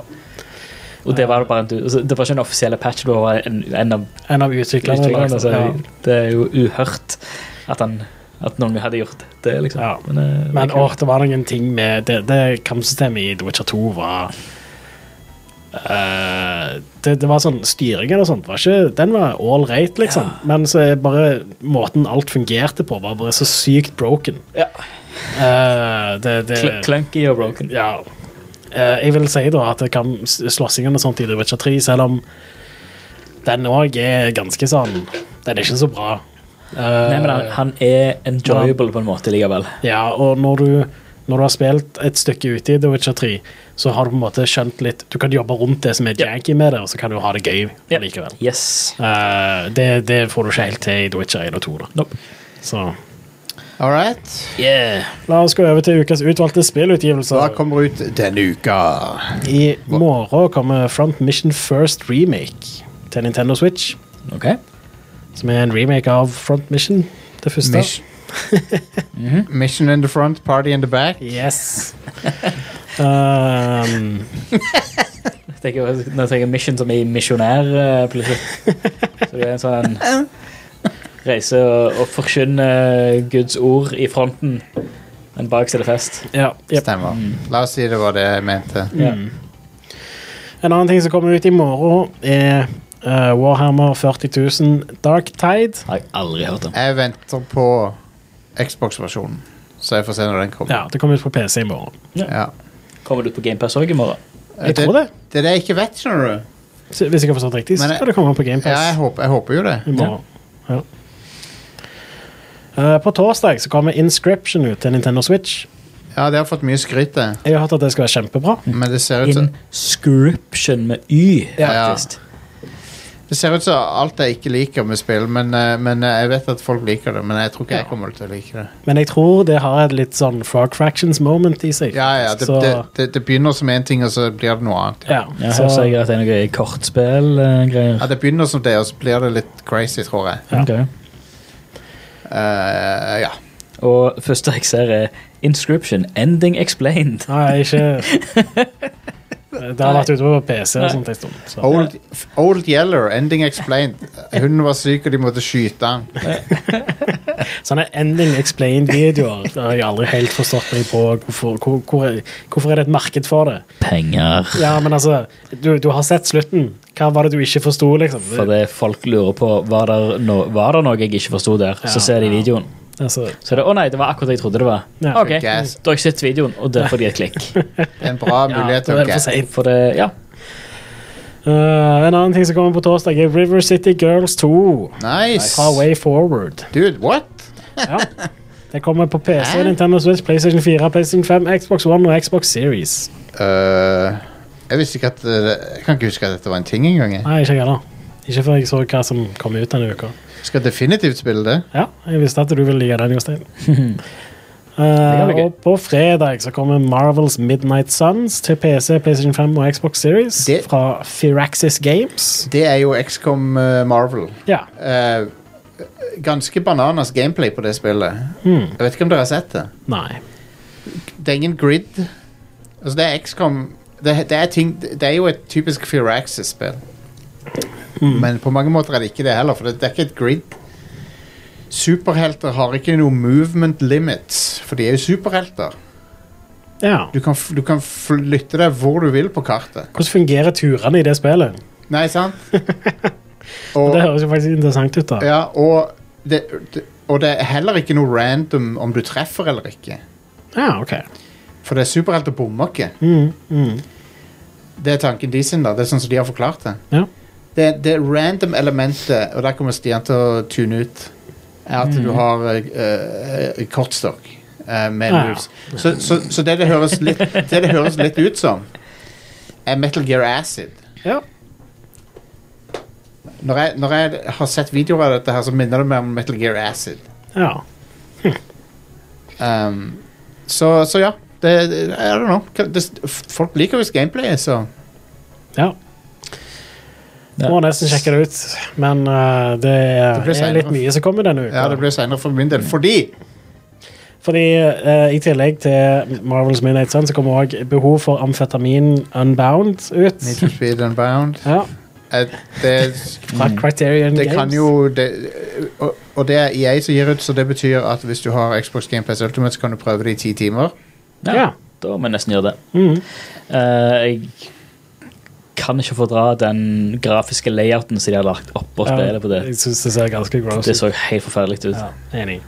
Og det var, bare en, du- altså, det var ikke en offisiell patch, det var bare en, en av En av utviklerne. utviklerne. lagde- Så ja. altså. Det er jo uhørt at, han, at noen hadde gjort det, liksom. Ja. Men, eh, det er Men kult. åh, det var noen ting med Det, det kampsystemet i The Witcher 2 var eh, det, det var sånn Styringen og sånt var ikke Den var all right, liksom. Men så er bare måten alt fungerte på, var bare så sykt broken. Ja. Eh, det, det, Cl clunky og broken. ja. Eh, jeg vil si da at det kan s- slåssingen og sånt i The Witcher 3, selv om den òg er ganske sånn Den er ikke så bra. Eh, Nei, men han, han er enjoyable på en måte likevel. Ja, og når du, når du har spilt et stykke ute i The Witcher 3, så har du på en måte skjønt litt Du kan jobbe rundt det som er Ja. janky med det, og så kan du ha det gøy Ja. likevel. Yes. Eh, det, det får du ikke helt til i The Witcher 1 og 2, da. Nope. Så All right. Yeah. La oss gå over til ukas utvalgte Hva spillutgivelser. kommer ut denne uka? I morgen kommer Front Mission First Remake til Nintendo Switch. Ok. Som er en remake av Front Mission, det første. Mission, Mhm. Mission in the front, party in the back. Yes. um, Jeg tenker, nå tenker jeg Mission som i misjonær, eh, plutselig. Så det er en sånn reise og, og forkynne Guds ord i fronten, men bak så er det fest. ja, jep. Stemmer. La oss si det var det jeg mente. Ja. En annen ting som kommer ut i morgen, er eh, Warhammer 40 000 Dark Tide. Har jeg aldri hørt om. Jeg venter på Xbox-versjonen, så jeg får se når den kommer. Ja, det kommer ut på PC i morgen. Ja. Kommer du på GamePass òg i morgen? Jeg tror det. Det er det jeg ikke vet, skjønner du. Så Hvis jeg har forstått riktig, så Men jeg- skal det komme på Ja, jeg GamePass håper, jeg håper jo det. i morgen. Ja. Eh, på torsdag så kommer Inscription ut til Nintendo Switch. Ja, det har fått mye skryt, det. Jeg har hørt at det skal være kjempebra. Men det ser ut som Inscription med Y, Ja. faktisk. Det ser ut som alt jeg ikke liker med spill, men, eh, men eh, jeg vet at folk liker det. Men jeg tror ikke jeg kommer til å like det. Men jeg tror det har et litt sånn Frog Fractions moment i seg. Ja, ja, det, så, det, det, det begynner som én ting, og så blir det noe annet. ja, Jeg så, hører sikkert at det er noe kortspill-greier. Ja, Det begynner som det, og så blir det litt crazy, tror jeg. Ja. Eh, ja. Og første jeg ser, er Inscription Ending Explained. Nei, ikke Det har vært ute på PC og sånt en stund. Så. Old, old Yeller, ending explained. Hunden var syk, og de måtte skyte han. Sånne ending explained-videoer Det har jeg aldri helt forstått meg på. Hvorfor, hvor, hvor, hvorfor er det et marked for det? Penger. Ja, men altså, du, du har sett slutten. Hva var det du ikke forsto, liksom? For det folk lurer på, var der, no, var der noe jeg ikke forsto der? Ja, Så ser de ja. videoen. Altså, Så er det, å nei, det var akkurat det jeg trodde det var. Ja. ok, da Gas. har jeg sett videoen, og det får de et klikk. Det er En bra ja, mulighet da til å er det for gasse. sent. For det, ja. Uh, en annen ting som kommer på torsdag, er River City Girls 2. Nice! Fra Way Forward. Dude, what? Ja. Det kommer på PC, Hæ? Nintendo Switch, PlayStation 4, PlayStation 5, Xbox One og Xbox Series. Øh, jeg visste ikke at øh, Jeg kan ikke huske at dette var en ting engang. jeg. Nei, ikke jeg heller. Ikke før jeg så hva som kom ut denne uka. Skal definitivt spille det. Ja, jeg visste at du ville like den, Jostein. kan bli Uh, gøy. og på fredag så kommer Marvels Midnight Suns til PC, PlayStation 5 og Xbox Series Det- fra Firaxis Games. Det er jo XCOM øh, Marvel. Ja, Eh, ganske bananas gameplay på det spillet. Hmm. Jeg vet ikke om dere har sett det. nei. Det er ingen grid. Altså, det er XCOM det, det, er ting, det er jo et typisk Firaxis-spill. Men på mange måter er det ikke det heller, for det, det er ikke et grid. Superhelter har ikke noe movement limits, for de er jo superhelter. Ja. Du kan, f- du kan flytte deg hvor du vil på kartet. Hvordan fungerer turene i det spillet? Nei, sant? Og, Det høres jo faktisk interessant ut, da. ja, og, det, det, og det er heller ikke noe random om du treffer eller ikke. Ja, ok. Mm, For det er superhelter bommer ikke. Det er tanken de sin, da. Det er sånn som de har forklart det. Ja. Det, det random elementet, og der kommer Stian til å tune ut, er at Mm. du har eh, eh, kortstokk eh, med Ah, ja. moves. Så, så, så det, det, høres litt, det det høres litt ut som, er Metal Gear Acid. ja. Når jeg, når jeg har sett videoer av dette her, så minner det meg om Metal Gear Acid. Ja. Um, så, så ja. Det, det, I don't know. Hva- Det, folk liker visst gameplayet, så ja. Ja. Må nesten sjekke det ut, men eh, det, Det blir er litt senere. mye som kommer denne uka. ja, det blir seinere for min del. Fordi Fordi eh, I tillegg til Marvels Midnight Sun så kommer også behov for amfetamin Unbound ut. Need for Speed Unbound Ja, eh, det, Fra Mm. Criterion det Games. kan jo det, øh, og, og det er EA som gir ut, så det betyr at hvis du har Xbox Game Pass Ultimate, så kan du prøve det i ti timer. Ja, Ja. Da må jeg nesten gjøre det. Mhm. Eh, jeg kan ikke fordra den grafiske layouten som de har lagt oppå Ja, spillet på det. Jeg synes det ser ganske gross Det ut. så helt forferdelig ut. Ja, enig.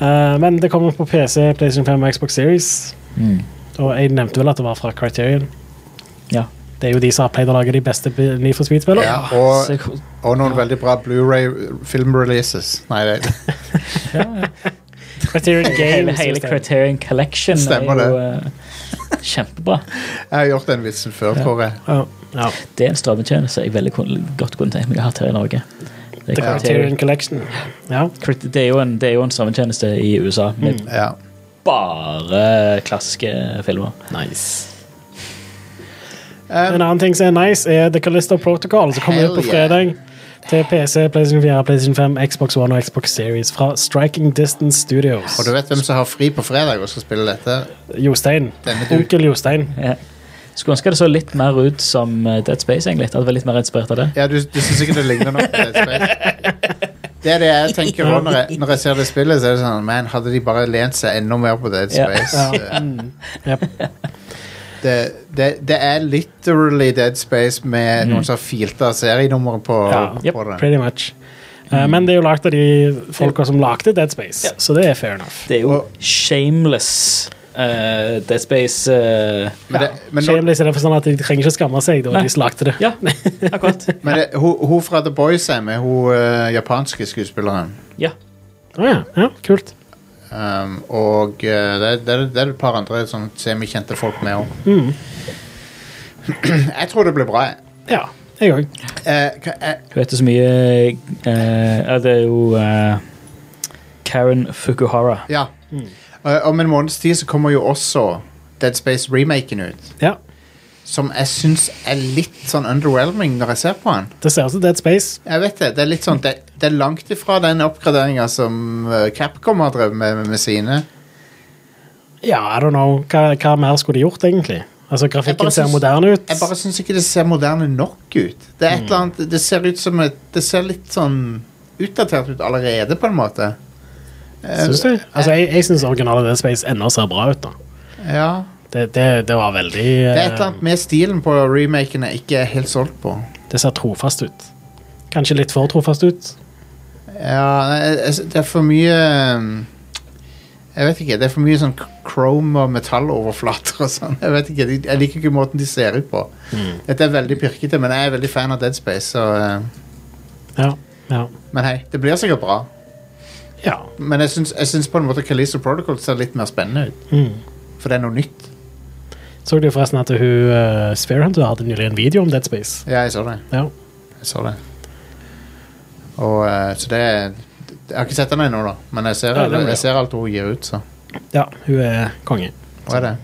Eh, men det kommer på PC, PlayStation 5 og Xbox Series. Mm. Og jeg nevnte vel at det var fra Criterion. Ja. Det er jo de som har pleid å lage de beste bi- Need for Speed-spillene. Ja, Så og, jeg- og noen veldig bra Blu-ray filmreleases. Nei, det, Criterion hele, Games. hele hvis det er- Criterion Collection Stemmer er jo eh, kjempebra. jeg har gjort den vitsen før, tror jeg. Ja, ja. Det er en strømmetjeneste jeg veldig kun- godt kunne tenkt meg å ha her i Norge. The Det er, Criterion Criterion. Collection. Ja. Crit- det er jo en, det er jo en strømmetjeneste i USA med Ja. bare klassiske filmer. Nice. Eh, En annen ting som er nice, er The Callisto Protocol, som kommer ut på Hell yeah. fredag. Til PC, PlayStation 4, PlayStation 5, Xbox One og Xbox Series fra Striking Distance Studios. og du vet hvem som har fri på fredag og skal spille dette? Jostein. Denne du- Onkel Jostein. Ja. Skulle ønske det så litt mer ut som eh, Dead Space, egentlig. At det var litt mer inspirert av det. Ja, du, du syns ikke det ligner noe på Dead Space? Det er det jeg tenker også når, jeg- når jeg ser det spillet. Så er det sånn, man, Hadde de bare lent seg enda mer på Dead Ja. Space eh, Yep. Det, det, det er literally Dead Space med noen som har filta serienummeret på, Mm. Ja, yep, på det. Pretty much. Eh, Mm. Men det er jo lagd av de folka som lagde Dead Space, Ja. så det er fair enough. Det er jo Og- shameless eh, Dead Space eh, Men, det, men, når, Shameless i den forstand at de trenger ikke skamme seg da Nei. de slagte det. Ja, akkurat. men det, hun, hun fra The Boys er med, hun eh, japanske skuespilleren. Ja. Å ja. ja, kult. Um, og eh, det, det, det er et par andre sånn semikjente folk med òg. Mm. Jeg tror det blir bra. jeg. Ja, jeg òg. Eh, hva- jeg- Hun heter så mye eh, Ja, det er jo eh, Karen Fukuhara. Ja. Mm. Eh, om en måneds tid så kommer jo også Dead Space-remaken ut. Ja. Som jeg syns er litt sånn underwhelming når jeg ser på den. Det ser ut som Dead Space. Jeg vet Det det er litt sånn, det, det er langt ifra den oppgraderinga som eh, Capcom har drevet med, med sine. Ja, I don't know. Hva, hva mer skulle de gjort, egentlig? Altså, Jeg bare Grafikken ser syns- moderne ut. Jeg bare syns ikke det ser moderne nok ut. Det er et eller annet, det ser ut som et, Det ser litt sånn utdatert ut allerede, på en måte. Eh, Syns du? Altså, jeg, jeg syns originale Dead Space ennå ser bra ut, da. Ja. Det, det, det var veldig eh, Det er et eller annet med stilen på remaken jeg ikke er helt solgt på. Det ser trofast ut. Kanskje litt for trofast ut. Ja, nei, jeg- jeg- det er for mye um, Jeg vet ikke. Det er for mye sånn k- chrome og metalloverflater og sånn. Jeg vet ikke, de- jeg liker ikke måten de ser ut på. Dette er veldig pirkete, men jeg er veldig fan av Dead Space. Så, uh, Ja. Ja. men hei, det blir sikkert bra. ja. Men jeg syns, jeg syns på en måte Kalisto Protocol ser litt mer spennende ut. Mm. For det er noe nytt. Så du forresten at hun uh, Spearhunter hadde nylig en video om Dead Space? Ja, jeg så det. Ja. Jeg så det. Og, uh, så det er- Jeg har ikke sett den ennå, da. Men jeg ser, Ja, den må jeg jeg. ser alt hun gir ut, så. ja, hun er konge. Hva er det?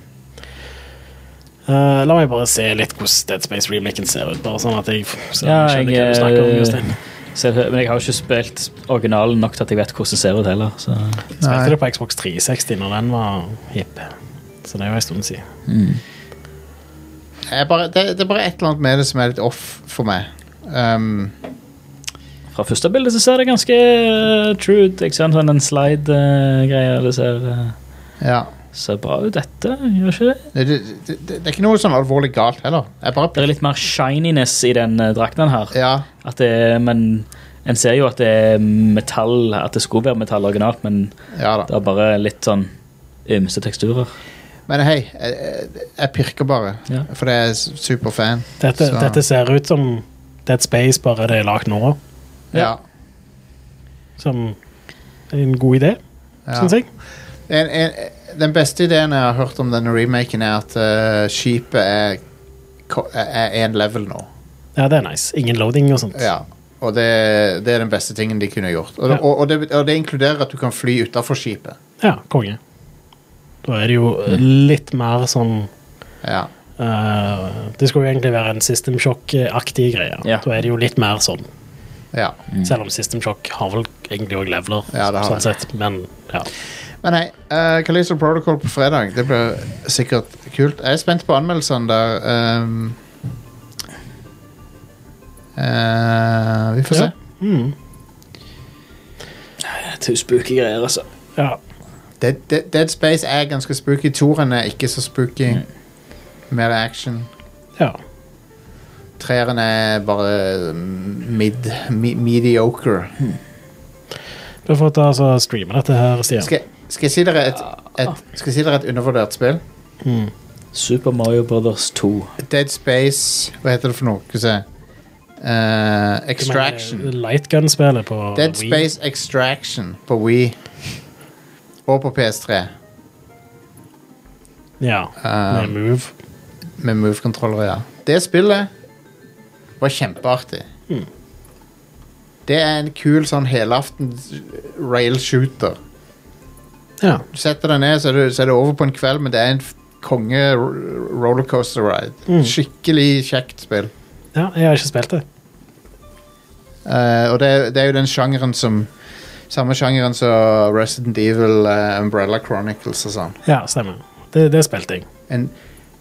Eh, la meg bare se litt hvordan Dead Space-remaken ser ut. Bare sånn at jeg f- ser Ja, skjønner jeg, hva du snakker om, eh, Jostein. Så, men jeg har jo ikke spilt originalen nok til at jeg vet hvordan det ser ut heller. Så. Nei. Spilte det på Xbox 360 når den var hipp. Så det er jo en stund siden. Jeg er bare, det, det er bare et eller annet med det som er litt off for meg. Um, Fra første bilde så ser det ganske eh, true ut. Ikke sant? Sånn en slide-greie. det ser, eh, ja. ser bra ut, dette. Gjør ikke det? det, det, det, det er ikke noe sånn alvorlig galt heller. Jeg bare, Det er litt mer shininess i den eh, drakten her. ja, At det, er- men en ser jo at det er metall, at det skulle være metall originalt, men ja det da. er bare litt sånn ymse teksturer. Men hei, jeg, jeg- jeg pirker bare, Ja. for jeg er s- superfan. Dette, Så- dette ser ut som Dead Space, bare det er lagd nå. ja. Som en god idé, Ja. syns jeg. En, en, den beste ideen jeg har hørt om denne remaken, er at eh, skipet er, ko- er én level nå. Ja, det er nice. Ingen loading og sånt. Ja, og det, det er den beste tingen de kunne gjort. Og, Ja. og, og, det, og det inkluderer at du kan fly utafor skipet. Ja, konge. Da er det jo litt mer sånn Ja. eh, Det skulle jo egentlig være en System Shock-aktig greie. Ja. Da er det jo litt mer sånn. ja. Selv om System Shock har vel egentlig òg leveler, Ja, det har sånn det. sett. Men ja. Men hei, uh, Callisto Protocol på fredag, det blir sikkert kult. Jeg er spent på anmeldelsene der. ehm. Eh, vi får Ja. se. Til spooky greier, altså. ja. Dead, Dead, Dead Space er ganske spooky. Toren er ikke så spooky. Mer action. ja. Treeren er bare mm, mid, mi, mediocre. Hmm. Du får ta altså streame dette her, Stian. Skal, skal, jeg si dere et, Ah. et, skal jeg si dere et undervurdert spill? Super Mario Brothers 2. Dead Space Hva heter det for noe? Skal vi se. Eh, Extraction. Men, eh, Lightgun-spillet på Dead Wii. Space Extraction på Wii. Og på PS3, Ja. Um. med Move. med move-kontrollere. ja. Det spillet var kjempeartig. Hmm. Det er en kul sånn helaftens rail shooter. Ja. Du setter deg ned, så er, det, så er det over på en kveld, men det er en f- konge r- rollercoaster ride. Skikkelig kjekt spill. ja. Jeg har ikke spilt det. Eh, og det, er- det er jo den sjangeren som Samme sjangeren som Resident Evil, eh, Umbrella Chronicles og sånn. Ja, stemmer. Det, det spilte jeg. En,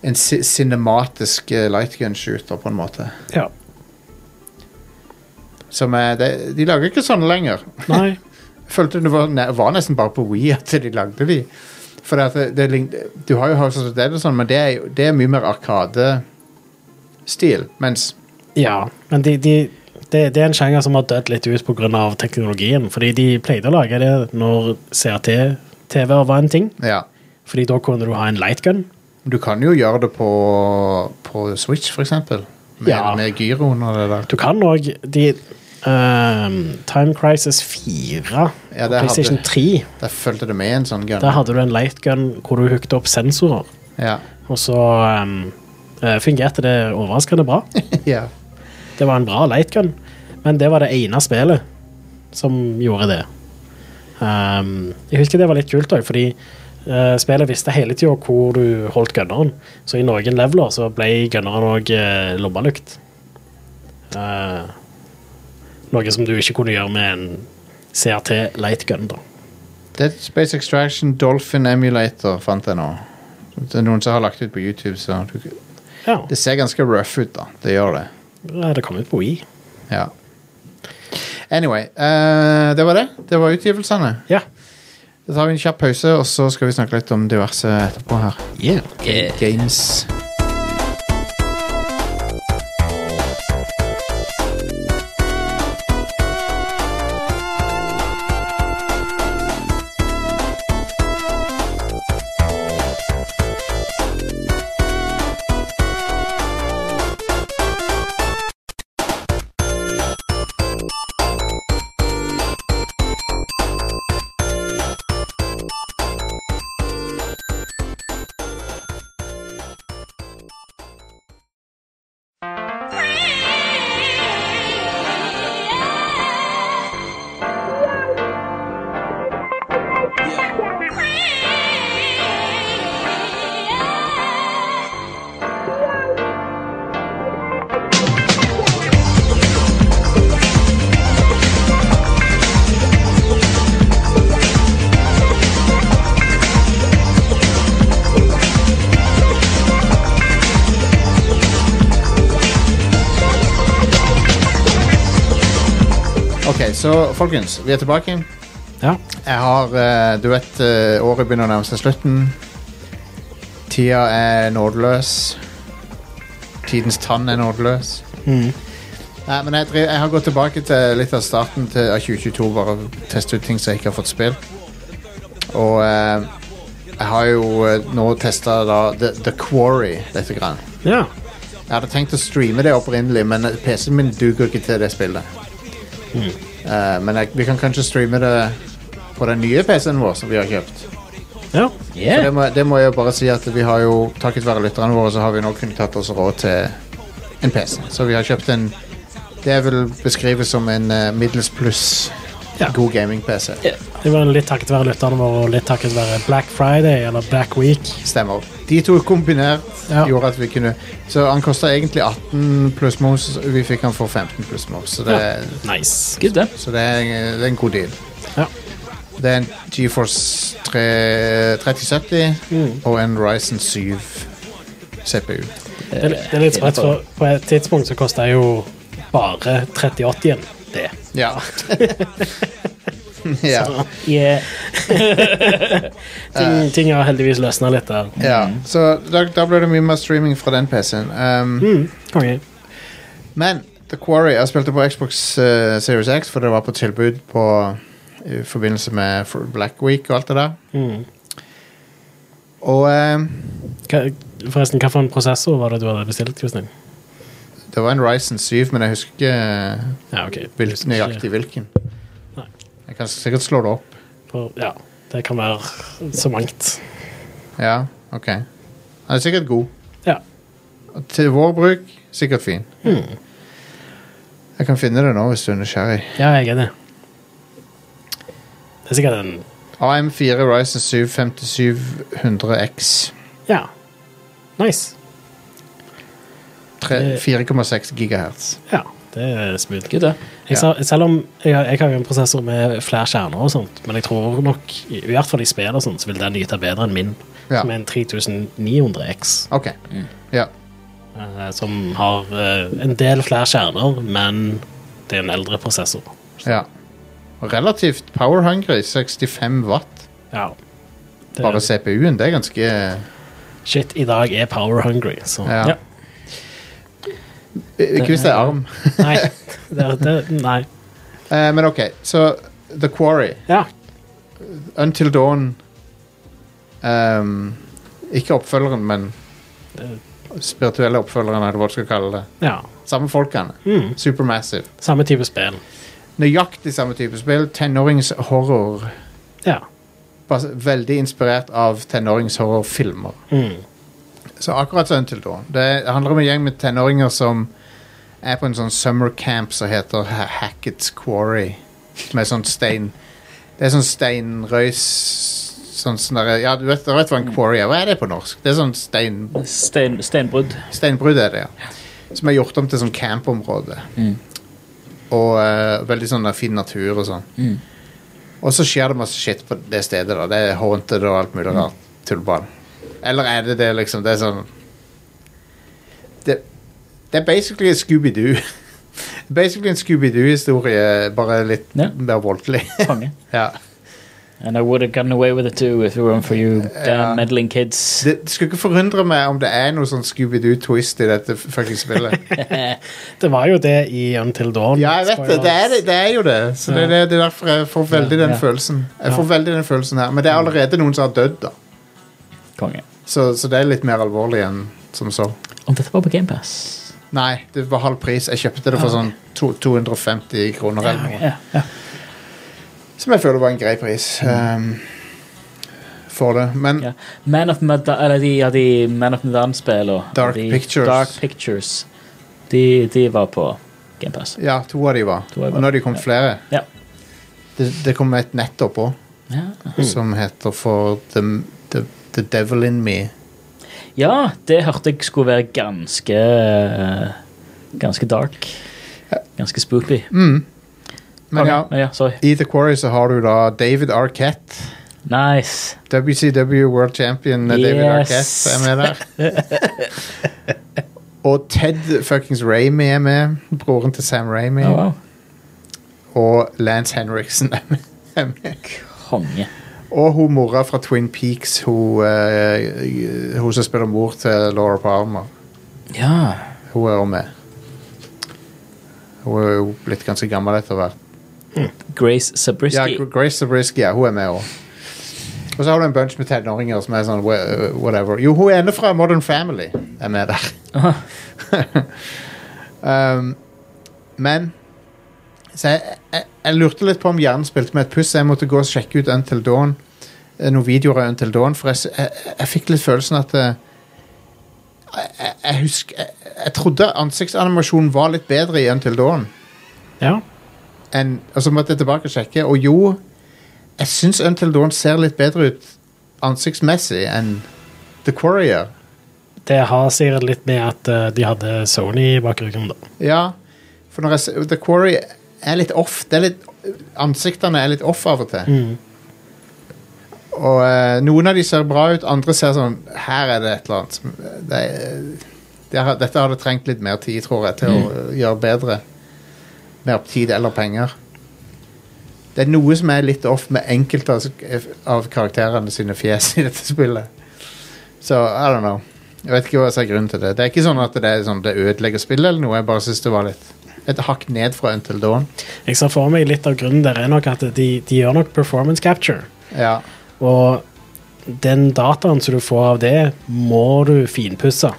en ci- cinematisk eh, light gun shooter, på en måte. Ja. Som er, det, de lager ikke sånne lenger. Nei. Jeg følte det var, ne, var nesten bare på Wii at de lagde de. For det, at det, det, lign- du har jo House of the Dead og sånn, men det er, jo- det er mye mer arkadestil. Mens Ja, men de, de, det, det er en sjanger som har dødd litt ut pga. teknologien. Fordi de pleide å lage det når CRT-TV var en ting. Ja. Fordi da kunne du ha en lightgun. Du kan jo gjøre det på, på Switch, for eksempel. Med, Ja. med gyroen og det der. Du kan òg de ehm, Time Crisis 4 Ja, og det PlayStation hadde- 3. Der fulgte det med en sånn gun. Der hadde du en lightgun hvor du hookte opp sensorer. Ja. Og så ehm, eh, fungerte det overraskende bra. ja. Det var en bra lightgun, men det var det ene spillet som gjorde det. Ehm, jeg husker det var litt kult òg, fordi eh, spillet visste hele tida hvor du holdt gunneren. Så i noen leveler så ble gunneren òg uh, lommelykt. Eh, noe som du ikke kunne gjøre med en CRT lightgun, da. Dead Space Extraction Dolphin Emulator fant jeg nå. Det er noen som har lagt ut på YouTube, så du, Ja, Det ser ganske rough ut, da. Det gjør det. det kom ut på Wii. Ja. Anyway, eh, det var det. Det var utgivelsene. Ja. Da tar vi en kjapp pause, og så skal vi snakke litt om diverse etterpå her. Games. Ok, så folkens, vi er tilbake. Ja. Jeg har eh, Du vet, eh, året begynner å nærme seg slutten. Tida er nådeløs. Tidens tann er nådeløs. Nei, men jeg, driver, jeg har gått tilbake til litt av starten til, av 2022, bare å teste ut ting som jeg ikke har fått spilt. Og eh, jeg har jo eh, nå testa The, The Quarry lite grann. ja. Jeg hadde tenkt å streame det opprinnelig, men PC-en min duger ikke til det spillet. Eh, men jeg, vi kan kanskje streame det på den nye PC-en vår som vi har kjøpt. Ja. Så det må, det må jeg jo bare si at vi har jo, takket være lytterne våre, så har vi nå kunnet tatt oss råd til en PC. Så vi har kjøpt en Det jeg vil beskrive som en eh, middels pluss Ja. god gaming-PC. Det var litt takket være lytterne våre og litt takket være Black Friday eller Black Week. Stemmer. De to kombinert Ja. gjorde at vi kunne Så han kosta egentlig 18 pluss moms, vi fikk han for 15 pluss moms. Så det, Eh, Nice. Good, det. så det, er, en- det er en god deal. Ja. Det er en GeForce 3, 3070 og en Ryzen 7 CPU. Eh, Det, er- det er litt sprøtt, for på et tidspunkt så kosta jo bare 3080 en det. Ja. ja. Yeah. Ting, ting har heldigvis løsna litt der. ja. Så da, da ble det mye mer streaming fra den PC-en. Um, Mm. Konge. Men The Quarry Jeg spilte på Xbox eh, Series X, for det var på tilbud på, i forbindelse med for- Black Week og alt det der. Og eh, Hva- Forresten, hva for en prosessor var det du hadde bestilt? Justin? det var en Ryzen 7, men jeg husker ikke eh, Ja, ok. hvil- nøyaktig hvilken. Nei. Jeg kan sikkert slå det opp. For, ja, det kan være så mangt. Ja, ok. Den er sikkert god. Ja. Og Til vår bruk, sikkert fin. Jeg kan finne det nå hvis du er nysgjerrig. ja, jeg er det. Det er sikkert en AM4 Ryzen 7 5700X. Ja. Nice. Tre- Det- 4,6 gigahertz. Ja, det er smooth. Good, det. Jeg, sa- selv om jeg, har- jeg har jo en prosessor med flere kjerner og sånt, men jeg tror nok, i i hvert fall i spill og sånt, så vil den nyte bedre enn min, Ja. som er en 3900X, Ok. Ja. eh, som har eh, en del flere kjerner, men det er en eldre prosessor. ja. Relativt power hungry. 65 watt. Ja. Det, Bare CPU-en. Det er ganske eh, Shit, i dag er power hungry, så Ja. Eh, Ja. Ikke hvis det er arm. Nei. Det, det, nei. Eh, men OK, så The Quarry. Ja. Until Dawn ehm, Ikke oppfølgeren, men spirituelle oppfølgeren, eller hva du skal kalle det. ja. Samme folkene. Supermassive. Samme type spill. Nøyaktig samme type spill. Tenåringshorror. Ja. bas- veldig inspirert av tenåringshorrorfilmer. Så akkurat sånn til da. Det handler om en gjeng med tenåringer som er på en sånn summer camp som heter Ha- Hackett's Quarry. Med sånn stein Det er sånn steinrøys Sånn sånn derre- Ja, du vet, du vet hva en quarry er. Hva er det på norsk? Det er sånn stein, Stein, steinbrudd. steinbrudd, er det, ja. Som er gjort om til sånn campområde. Og eh, veldig sånn fin natur og sånn. Og så skjer det masse shit på det stedet. da Det er haunted og alt mulig rart. Tullball. Eller er det det, liksom? Det er sånn Det, det er basically Scooby-Doo. basically en Scooby-Doo-historie, bare litt Ja. mer voldelig. Konge. ja. And I would have gotten away with it too if it weren't for you damn meddling kids. Det det skulle ikke forundre meg om det er noe sånn Scooby-Doo-twist i dette fuckings spillet. Det var jo det i Until Dawn. Ja, jeg vet det. Det er, det, det er jo det. Så det, det, det er derfor jeg får veldig den Ja. følelsen. Jeg får veldig den følelsen her. Men det er allerede noen som har dødd, da. Konge. Så, så det er litt mer alvorlig enn som så. Om dette var på GamePass? Nei, det var halv pris. Jeg kjøpte det for sånn to, 250 kroner eller noe. Ja, ja. Som jeg føler var en grei pris ehm, for det. Men ja. Man of Medan Eller de, ja, de Man of Medan-spillene. Dark de, Pictures. Dark Pictures. De, de var på GamePass. ja, to av de var. To av de Og var. nå har de kommet flere. Ja. Det, det kom et nettopp òg, Ja. som heter for the, the, the Devil In Me. ja, det hørte jeg skulle være ganske eh, Ganske dark. Ganske spooky. Mm, Men Ok, ja, men ja, sorry. i The Quarry så har du da David Arquette. Nice. WCW World Champion eh, David Yes. Arquette er med der. og Ted fuckings Raimi er med. Broren til Sam Raimi. Oh, wow. Og Lance Henriksen er med. er med. Konge. Og hun mora fra Twin Peaks, hun, eh, hun som spiller mor til Laura Palmer. Ja. Hun er også med. Hun er jo blitt ganske gammel etter hvert. Grace Zabriskie. Ja, Gr- Grace Zabriskie, ja, hun er med òg. Og så har du en bunch med tenåringer som er sånn wha- whatever. Jo, hun ene fra Modern Family er med der. um, men så jeg, jeg, jeg lurte litt på om hjernen spilte med et puss. så Jeg måtte gå og sjekke ut Until Dawn. eh, Noen videoer av Until Dawn, for jeg, s- jeg, jeg fikk litt følelsen at eh, jeg, jeg, jeg husker jeg, jeg trodde ansiktsanimasjonen var litt bedre i Until Dawn. Ja. enn- og så måtte jeg tilbake og sjekke, og jo, jeg syns Until Dawn ser litt bedre ut ansiktsmessig enn The Quarrier. Det har sikkert litt med at eh, de hadde Sony bak ryggen, da. Ja, for når jeg ser, The Quarry er litt off. Det er litt, ansiktene er litt off av og til. Og eh, noen av de ser bra ut, andre ser sånn Her er det et eller annet. som- Det, det har, dette hadde trengt litt mer tid, tror jeg, til å gjøre bedre. Mer tid eller penger. Det er noe som er litt off med enkelte av, av karakterene sine fjes i dette spillet. Så I don't know. Jeg vet ikke hva som er grunnen til det. Det er ikke sånn at det, er sånn, det ødelegger spillet eller noe. Jeg bare synes det var litt et hakk ned fra Until Dawn. Jeg ser for meg litt av grunnen der er nok at de, de gjør nok performance capture. Ja. Og den dataen som du får av det, må du finpusse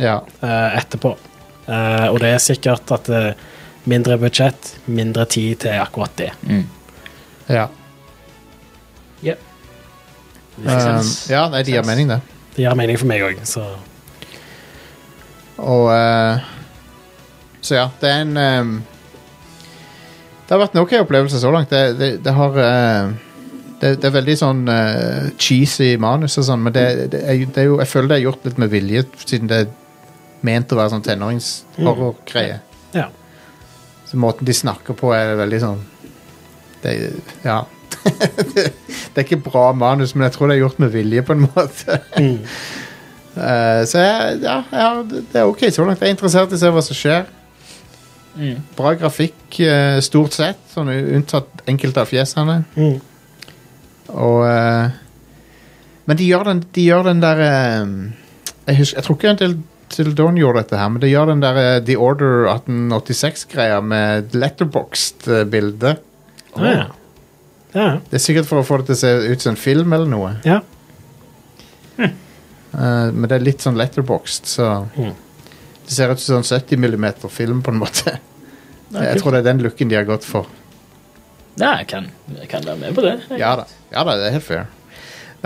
ja. eh, etterpå. Eh, og det er sikkert at eh, mindre budsjett, mindre tid til akkurat det. ja. Yep. Um, ja, nei, de gir mening, det. Det gir mening for meg òg, så Og eh, Så ja, det er en ehm, Det har vært en ok opplevelse så langt. Det, det, det har eh, det, det er veldig sånn eh, cheesy manus og sånn, men det, det, er, jo- det er jo Jeg føler det er gjort litt med vilje, siden det er ment å være sånn tenåringshorror-greie. ja. Så måten de snakker på er veldig sånn det, Ja. det er ikke bra manus, men jeg tror det er gjort med vilje, på en måte. Eh, så jeg, ja, ja, det det er ok så langt. Jeg er interessert i å se hva som skjer. Bra grafikk eh, stort sett, sånn unntatt enkelte av fjesene. Mm. Og eh, Men de gjør den, de gjør den der eh, jeg, husker, jeg tror ikke Until til Dawn gjorde dette her, men de gjør den der eh, The Order 1886-greia med letterboxed eh, bilde. Ja, ja. ja. Det er sikkert for å få det til å se ut som en film eller noe. ja. Eh, men det er litt sånn letterboxed, så Mm. Det ser ut som sånn 70 mm film, på en måte. jeg tror det er den looken de har gått for. Nei, jeg kan, jeg kan være med på det. Ja da, ja da det er helt fair.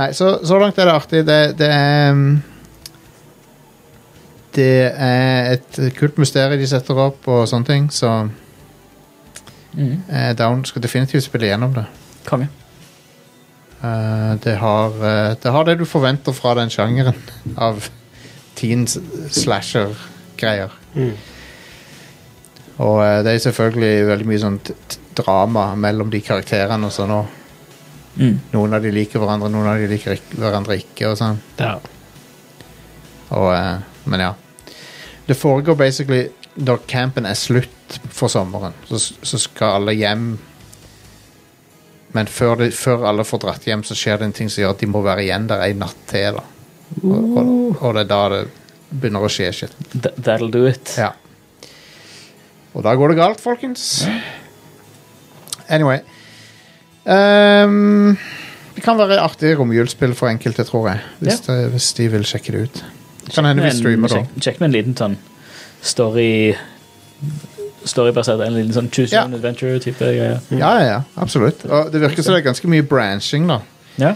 Nei, så, så langt er det artig. Det, det er um, Det er et kult mysterium de setter opp, og sånne ting, så Mm. eh, Down skal definitivt spille gjennom det. Konge. Eh, det, har, eh, det har det du forventer fra den sjangeren av teen s- slasher-greier. Mm. Og eh, det er selvfølgelig veldig mye sånn t- t- drama mellom de karakterene og sånn. Og Mm. noen av de liker hverandre, noen av de liker ikk- hverandre ikke. og sånn. ja. Og, eh, men ja. Det foregår basically når campen er slutt for sommeren. Så, så skal alle hjem. Men før, de, før alle får dratt hjem, så skjer det en ting som gjør at de må være igjen der ei natt til. da. Og, og, og det er da det begynner å skje shit. Th- That'll do it. Ja. Og da går det galt, folkens. Anyway. Ehm, det kan være artig romjulsspill for enkelte, tror jeg. Hvis, det, hvis de vil sjekke det ut. Kan hende vi Men streamer, da. Sjekk, sjekk med en liten sånn story Storybasert. En liten sånn choose Ja. your own adventure-type greier. Ja, ja, ja, absolutt. Og det virker som det er ganske mye branching, da. Ja.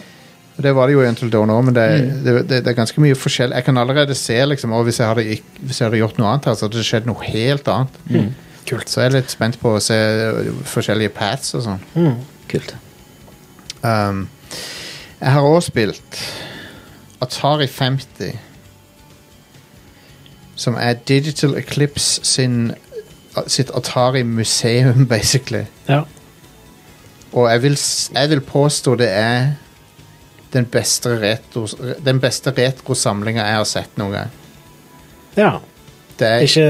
Og Det var det jo i Until Dawn òg, men det, det, det, det er ganske mye forskjell. Jeg kan allerede se, liksom, og hvis jeg hadde, ikk- hvis jeg hadde gjort noe annet her, så hadde det skjedd noe helt annet. Kult. Så jeg er litt spent på å se øh, forskjellige paths og sånn. Kult. Um, jeg har også spilt Atari 50, som er Digital Eclipse sin, sitt Atari-museum, basically. Ja. Og jeg vil, s- jeg vil påstå det er den beste, retro, den beste retrosamlinga jeg har sett noen gang. ja. Det er Ikke,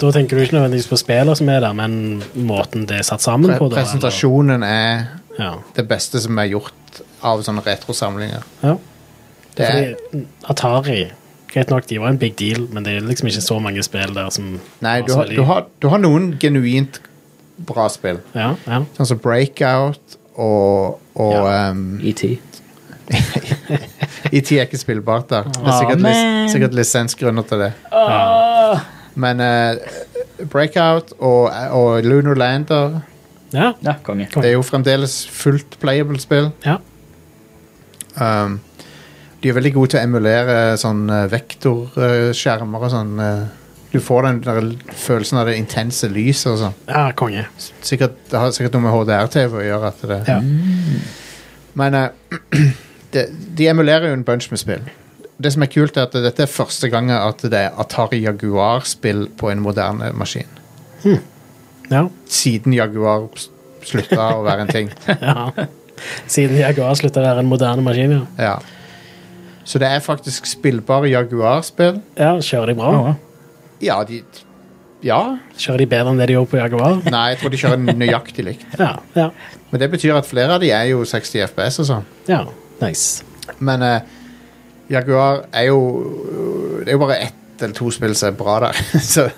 da tenker du ikke nødvendigvis på spillene som er der, men måten det er satt sammen pre på. Da, presentasjonen er eller- Ja. det beste som er gjort av sånne retrosamlinger. ja. Det er, Fordi Atari Greit nok, de var en big deal, men det er liksom ikke så mange spill der som nei, var du så har, veldig- du, har, du har noen genuint bra spill. Ja, ja. Sånn som Breakout og, og Ja. ehm, ET. ET E er ikke spillbart der. Det er sikkert, man. lis, sikkert lisensgrunner til det. Men eh, Breakout og, og Lunar Lander ja. Ja, konge. Konge. Det er jo fremdeles fullt playable spill. ja. Um, de er veldig gode til å emulere sånn eh, vektorskjermer og sånn. eh, Du får den der følelsen av det intense lyset og sånn. Ja, konge. Sikkert, det har sikkert noe med HDR-TV å gjøre. At det, Ja. Men eh, det, de emulerer jo en bunch med spill. Det som er kult, er at dette er første gang at det er Atari Jaguar-spill på en moderne maskin. ja. Siden Jaguar s- slutta å være en ting. ja. Siden Jaguar slutta å være en moderne maskin, ja. Ja. Så det er faktisk spillbare Jaguar-spill. ja kjører de bra? Ja, de Ja. Kjører de bedre enn det de gjorde på Jaguar? Nei, jeg tror de kjører nøyaktig likt. Ja. ja. Men det betyr at flere av de er jo 60 FPS og sånn. ja. Nice. Men eh, Jaguar er jo Det er jo bare ett eller to spill som er bra der. så,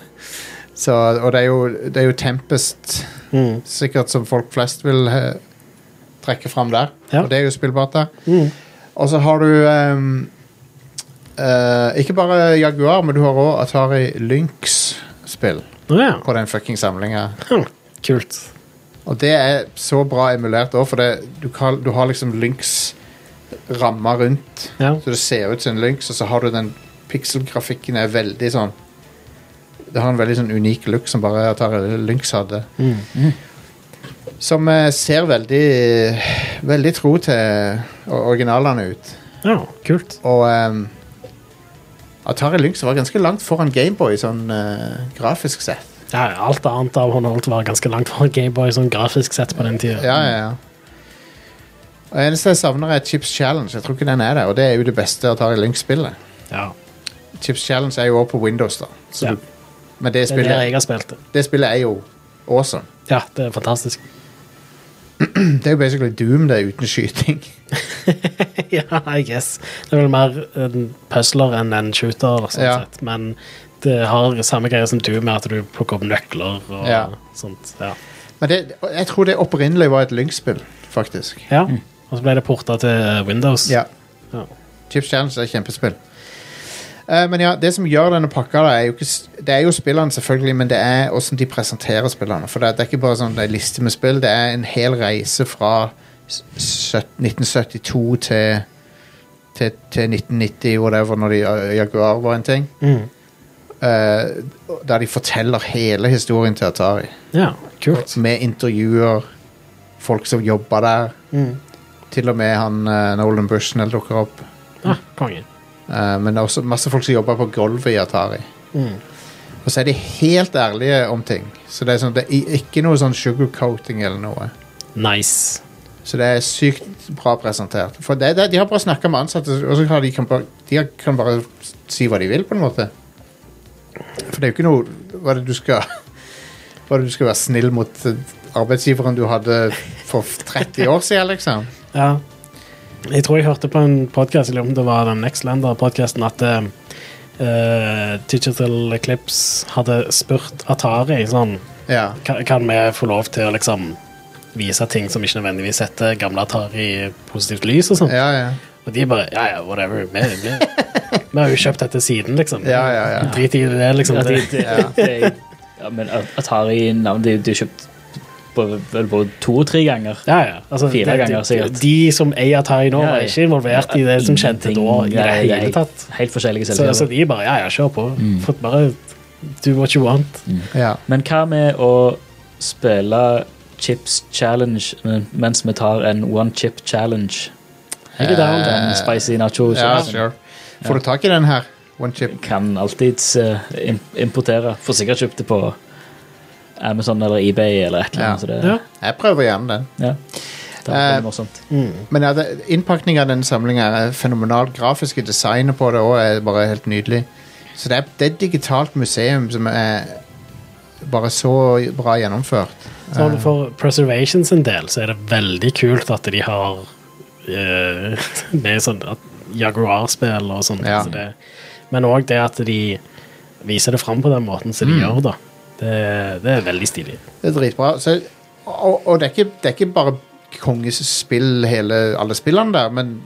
så, og det er, jo, det er jo Tempest Mm. sikkert som folk flest vil eh, trekke fram der. Ja. Mm. Og det er jo spillbart der. Og så har du ehm, eh, ikke bare Jaguar, men du har òg Atari Lynx-spill Å ja. på den fucking samlinga. Hm. Kult. Og det er så bra emulert òg, for det, du, kan, du har liksom Lynx ramma rundt, Ja. så det ser ut som en Lynx, og så har du den pikselgrafikken er veldig sånn Det har en veldig sånn unik look som bare Atari Lynx hadde. Mm. Som eh, ser veldig Veldig tro til o- originalene ut. ja. Kult. Og ehm, Atari Lynx var ganske langt foran Gameboy sånn eh, grafisk sett. Ja, alt annet av håndholdt var ganske langt fra Gameboy sånn grafisk sett på den tida. Ja, ja, ja. Og eneste jeg savner, er Chips Challenge. Jeg tror ikke den er der, og det er jo det beste Atari Lynx-spillet. Ja. Chips Challenge er jo også på Windows, da. Så Ja. du, men det Det er der spillet, jeg har spilt det. det spillet er jo awesome. Ja, det er fantastisk. Det er jo basically Doom, det, uten skyting. ja, I guess. Det er vel mer en puzzler enn en shooter, sånn Ja. sett. men det har samme greie som du, med at du plukker opp nøkler og Ja. sånt. Ja. Men det, jeg tror det opprinnelig var et Lynx-spill, faktisk. ja. Og så ble det porta til eh, Windows. Ja. Ja. Chips Challenge er et kjempespill. Eh, men ja, det som gjør denne pakka, da, er jo ikke s- Det er jo spillene, selvfølgelig, men det er hvordan de presenterer spillene. For det, det er ikke bare sånn en liste med spill, det er en hel reise fra s- søt- 1972 til til, til 1990, whatever, når de, eh, Jaguar var en ting. Mm. Eh, der de forteller hele historien til Atari. ja, kult. Med intervjuer, folk som jobber der. Mm. Til og med han eh, Nolan Bushnell dukker opp. Ah, konge. Eh, men det er også masse folk som jobber på gulvet i Atari. Mm. Og så er de helt ærlige om ting. Så det er, sånn, det er ikke noe sånn sugarcoating eller noe. Nice. Så det er sykt bra presentert. For det, det, De har bare snakka med ansatte, og så har de, kan bare, de har- kan bare si hva de vil, på en måte. For det er jo ikke noe Hva er det du skal Hva er det du skal være snill mot eh, arbeidsgiveren du hadde for 30 år siden, liksom? Ja. Jeg tror jeg hørte på en podkast, eller om det var den Nextlander-podkasten, at eh, Digital Eclipse hadde spurt Atari sånn Ja. Kan, kan vi få lov til å liksom vise ting som ikke nødvendigvis setter gamle Atari i positivt lys og sånn? Ja, ja. Og de bare Ja, ja, whatever. Vi, vi, vi har jo kjøpt dette siden, liksom. Ja, ja, ja. Drit i det, liksom. Ja, de, Det, de, de, ja, men Atari-navnet Det er jo- det er jo kjøpt på- vel på to-tre ganger. ja, ja. Altså, Fire det- ganger, sikkert. De, de som eier Atari nå, Ja, ja. er ikke involvert i det som skjedde da i det Nei, Mm. hele helt- tatt. Helt forskjellige Så, altså, så selskaper. de bare Ja, ja, kjør på. For bare Do what you want. ja. Men hva med å spille Chips Challenge men- mens vi tar en One Chip Challenge? Jeg er down. Den spicy nachos. Eh, ja og sånn. sure. Får du tak i den her? One chip. Kan alltids eh, im- importere. Får sikkert kjøpt det på Amazon eller eBay eller et eller annet. Ja. Så det, Ja. Jeg prøver gjerne den. ja. Det er Eh, veldig morsomt. Men ja, det- innpakningen av denne samlingen er fenomenal. Grafiske designet på det også er bare helt nydelig. Så det er, det er et digitalt museum som er bare så bra gjennomført. Sånn for Preservation sin del så er det veldig kult at de har eh, med sånn at Jaguar-spill og sånn. Ja. Så det, men òg det at de viser det fram på den måten som de gjør, da. Det, det er veldig stilig. Det er dritbra. Så, og og det, er ikke, det er ikke bare konges spill, hele, alle spillene der, men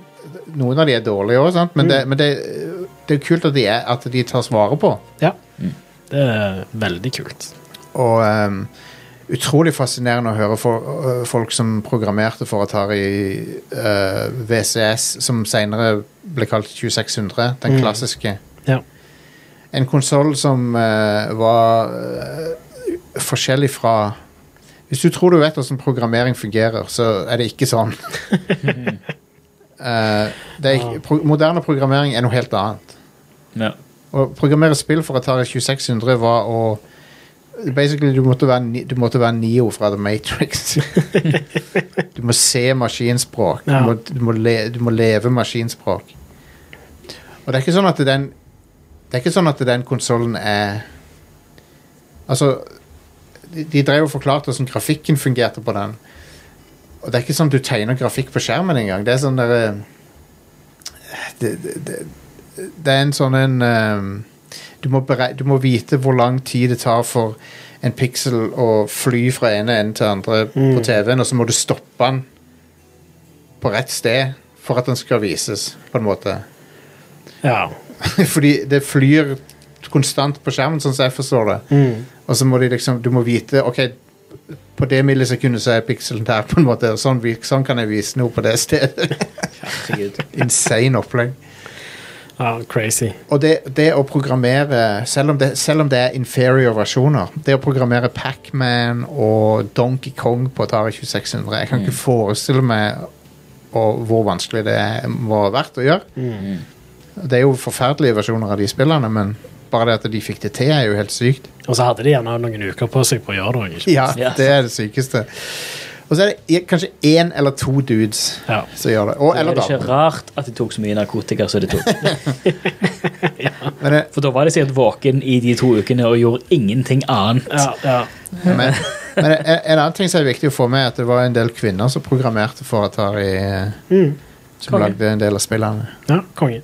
noen av de er dårlige også, sant? Men, det, men det, det er kult at de, er, at de tas vare på. Ja. Det er veldig kult. Og ehm, utrolig fascinerende å høre for, øh, folk som programmerte for Atari øh, VCS, som senere ble kalt 2600, den klassiske. Ja. en konsoll som eh, var eh, forskjellig fra Hvis du tror du vet hvordan programmering fungerer, så er det ikke sånn. Eh, det er ikke, pro moderne programmering er noe helt annet. Ja. Å programmere spill for Atari 2600 var å Basically, du måtte være, Ni- du måtte være Neo fra The Matrix. du må se maskinspråk. Ja. Du, må, du, må le, du må leve maskinspråk. Og det er ikke sånn at den Det er ikke sånn at den konsollen er Altså De, de drev og forklarte hvordan grafikken fungerte på den. Og det er ikke sånn du tegner grafikk på skjermen engang. Det er sånn derre det, det, det, det er en sånn en ehm, du, må berei- du må vite hvor lang tid det tar for en pixel å fly fra ene enden til andre på TV-en, og så må du stoppe den på rett sted for at den skal vises, på en måte. Ja. Fordi det flyr konstant på skjermen, sånn som jeg forstår det. Og så må de liksom, du må vite OK, på det millisekundet så er pikselen der, på en måte. og Sånn, vi- sånn kan jeg vise noe på det stedet. Herregud. Insane opplegg. ja crazy. Og det, det å programmere, selv om det, selv om det er inferior versjoner Det å programmere Pac-Man og Donkey Kong på Atari 2600 Jeg kan ikke forestille meg og hvor vanskelig det må ha vært å gjøre. Det er jo forferdelige versjoner av de spillene, men bare det at de fikk det til, er jo helt sykt. Og så hadde de gjerne noen uker på seg på å gjøre det. Ikke? Ja, Ja. Det er det sykeste. Og så er det i- kanskje én eller to dudes Ja. som gjør det. Og, Er eller det ikke damer. rart at de tok så mye narkotika som de tok? Men, det- For da var de sikkert våken i de to ukene og gjorde ingenting annet. Ja, ja. Men, men en, en annen ting som er viktig å få med, er at det var en del kvinner som programmerte for Atari. eh, Som Konge. lagde en del av spillene. ja konge.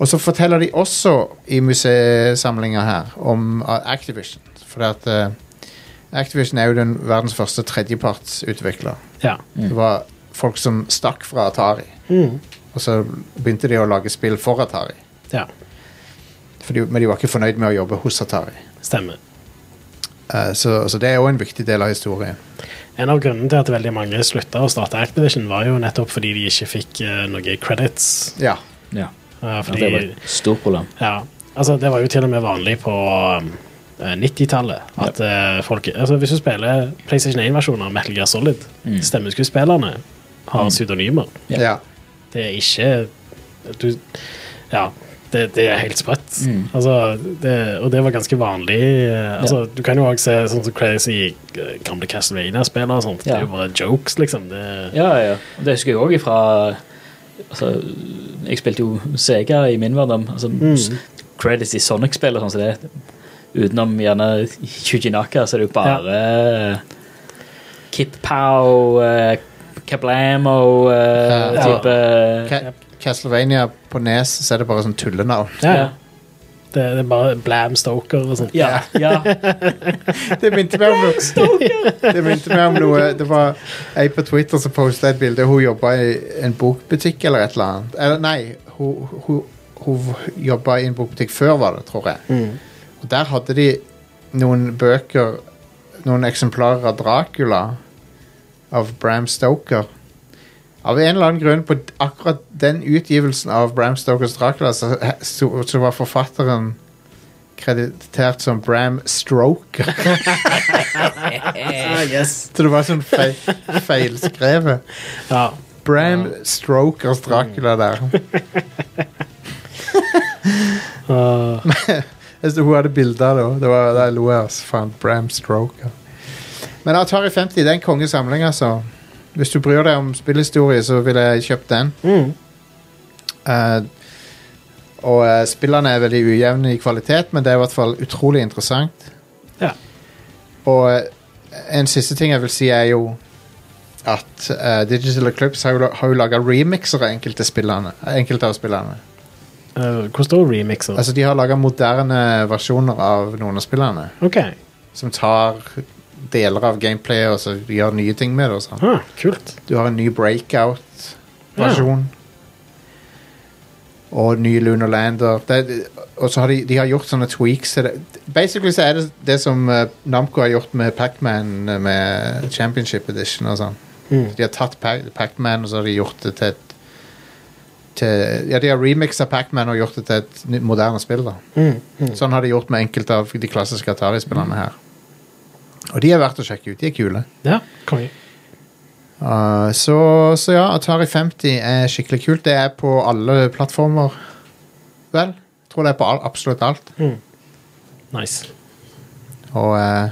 Og så forteller de også i museumsamlinga her om eh, Activision. For at eh, Activision er jo den verdens første tredjepartsutvikler. Ja. Det var folk som stakk fra Atari. Og så begynte de å lage spill for Atari. ja. For de, men de var ikke fornøyd med å jobbe hos Atari. Stemmer. Eh, så, så det er òg en viktig del av historien. En av grunnene til at veldig mange slutta å starte Activision, var jo nettopp fordi de ikke fikk eh, noe credits. Ja. Ja. Eh, Ja, Det var fordi et stort problem. Ja, altså det var jo til og med vanlig på um, eh, 90-tallet at eh, folk Altså hvis du spiller PlayStation 1-versjonen av Metal Gear Solid, Mm. stemmeskuespillerne har pseudonymer. Ja. ja. Det er ikke Du Ja. Det, det er helt sprøtt. Mm. Altså, det, og det var ganske vanlig. eh, Altså, Du kan jo òg se sånn som crazy eh, gamle Castlevania-spillere og sånt. Det Ja. er jo bare jokes, liksom. Det, Ja, ja. Og Det husker jeg òg ifra altså, Jeg spilte jo Sega i min verden. Altså, s- Mm. Credits i Sonic-spill og sånn som det. Utenom gjerne Shujinaka, så er det jo bare Kip Pow, eh, Kablamo eh, Ja. type Ca Castlevania på Nes så er det bare sånn tullenavn. ja, ja. Det, det er bare Blam Stoker og sånt. Ja, ja. Det minte meg om noe Det minte meg om noe Det var ei på Twitter som posta et bilde. Hun jobba i en bokbutikk eller et eller annet. Eller nei, hun, hun, hun jobba i en bokbutikk før, var det, tror jeg. Og der hadde de noen bøker Noen eksemplarer av Dracula av Bram Stoker. Av en eller annen grunn, på d- akkurat den utgivelsen av Bram Stokers Dracula, så, så, så var forfatteren kreditert som Bram Stroker. Ah, yes. Så det var sånn feil, feilskrevet. ja. Mm. Bram Strokers Dracula der. Ah, Jeg så hun hadde bilder av det også. Det var der lo jeg altså. Faen, Bram Stroker. Men Atari 50 det er en kongesamling, altså. Hvis du bryr deg om spillhistorie, så ville jeg kjøpt den. Mm. Eh, og eh, spillene er veldig ujevne i kvalitet, men det er i hvert fall utrolig interessant. ja. Og eh, en siste ting jeg vil si, er jo at eh, Digital Eclipse har jo, la- har jo laga remixer av enkelte, spillene, enkelte av spillene. Eh, Hvor står remixer? Altså, de har laga moderne versjoner av noen av spillene. ok. Som tar deler av gameplayet og så gjør nye ting med det. Og sånn. Ah, kult. du har en ny breakout-versjon. Og ny Lunar Lander. Det, og så har de, de har gjort sånne tweaks. Så det, basically så er det det som eh, Namco har gjort med Pacman eh, med Championship Edition og sånn. Mm. De har tatt Pa- Pac-Man og så har de gjort det til et til Ja, de har remixa Pac-Man og gjort det til et nytt, moderne spill, da. Sånn har de gjort med enkelte av de klassiske Atari-spillerne her. Og de er verdt å sjekke ut. De er kule. Ja, konge. Uh, så, så ja, Atari 50 er skikkelig kult. Det er på alle plattformer. Vel? Jeg tror det er på all, absolutt alt. Nice. Og eh,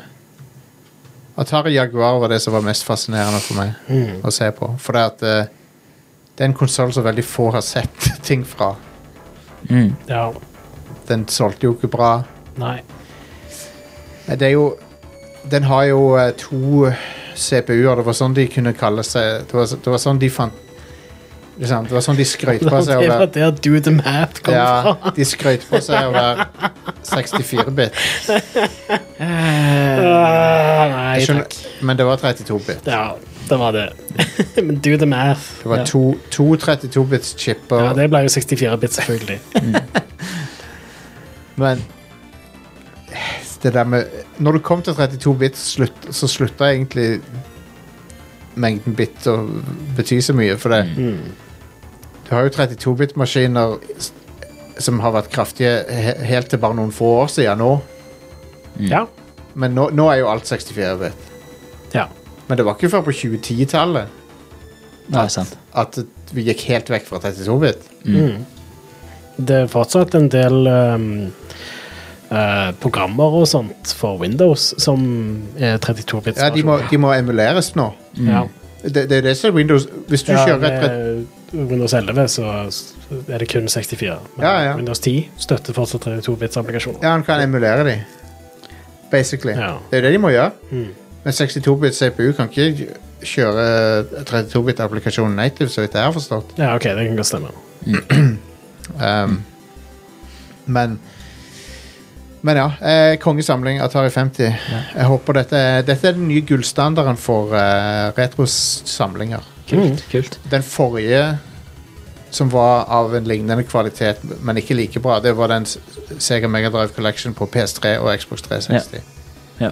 Atari Jaguar var det som var mest fascinerende for meg Mm. å se på. For det, at, eh, det er en konsoll som veldig få har sett ting fra. Ja. Den solgte jo ikke bra. Nei. Eh, Det er jo Den har jo eh, to CPU-er. Det var sånn de kunne kalle seg Det var, det var sånn de fant liksom, Det var sånn de skrøt Det på seg. å være- var der Do the Math kom fra. Ja, de skrøt på seg å være 64-bit. Ah, nei, Eh, Jeg skjønner- takk. Men det var 32-bit. Ja, det var det. Men do the math. Det var ja. to, to 32-bits-chipper. ja, det ble jo 64-bit, selvfølgelig. Men det der med Når du kom til 32 bit, slutt, så slutta egentlig mengden bit å bety så mye. For det Mm. Du har jo 32-bit-maskiner s- som har vært kraftige he helt til bare noen få år siden nå. Mm. Ja. Men nå, nå er jo alt 64-bit. ja. Men det var ikke før på 2010-tallet Nei, sant. at vi gikk helt vekk fra 32-bit. Det er fortsatt en del ehm, eh, programmer og sånt for Windows som er 32-bits. Ja, de må, Mm. de må emuleres nå. ja. Det, det er det som er Windows Hvis du ja, kjører et med Windows 11 så er det kun 64. Men Ja, ja. Windows 10 støtter fortsatt 32-bits-applikasjoner. Ja, han kan emulere de. Basically. Ja. Mm. Det er jo det de må gjøre. Men 62-bit CPU kan ikke kjøre 32-bit-applikasjonen native, så vidt jeg har forstått. Ja, OK, det kan godt stemme. Um, Men Men ja. Eh, kongesamling Atari 50. Jeg håper dette, dette er den nye gullstandarden for eh, retrosamlinger. Mm. Kult. kult. Den forrige som var av en lignende kvalitet, men ikke like bra, det var den S- Sega Megadrive Collection på PS3 og Xbox 360. Ja.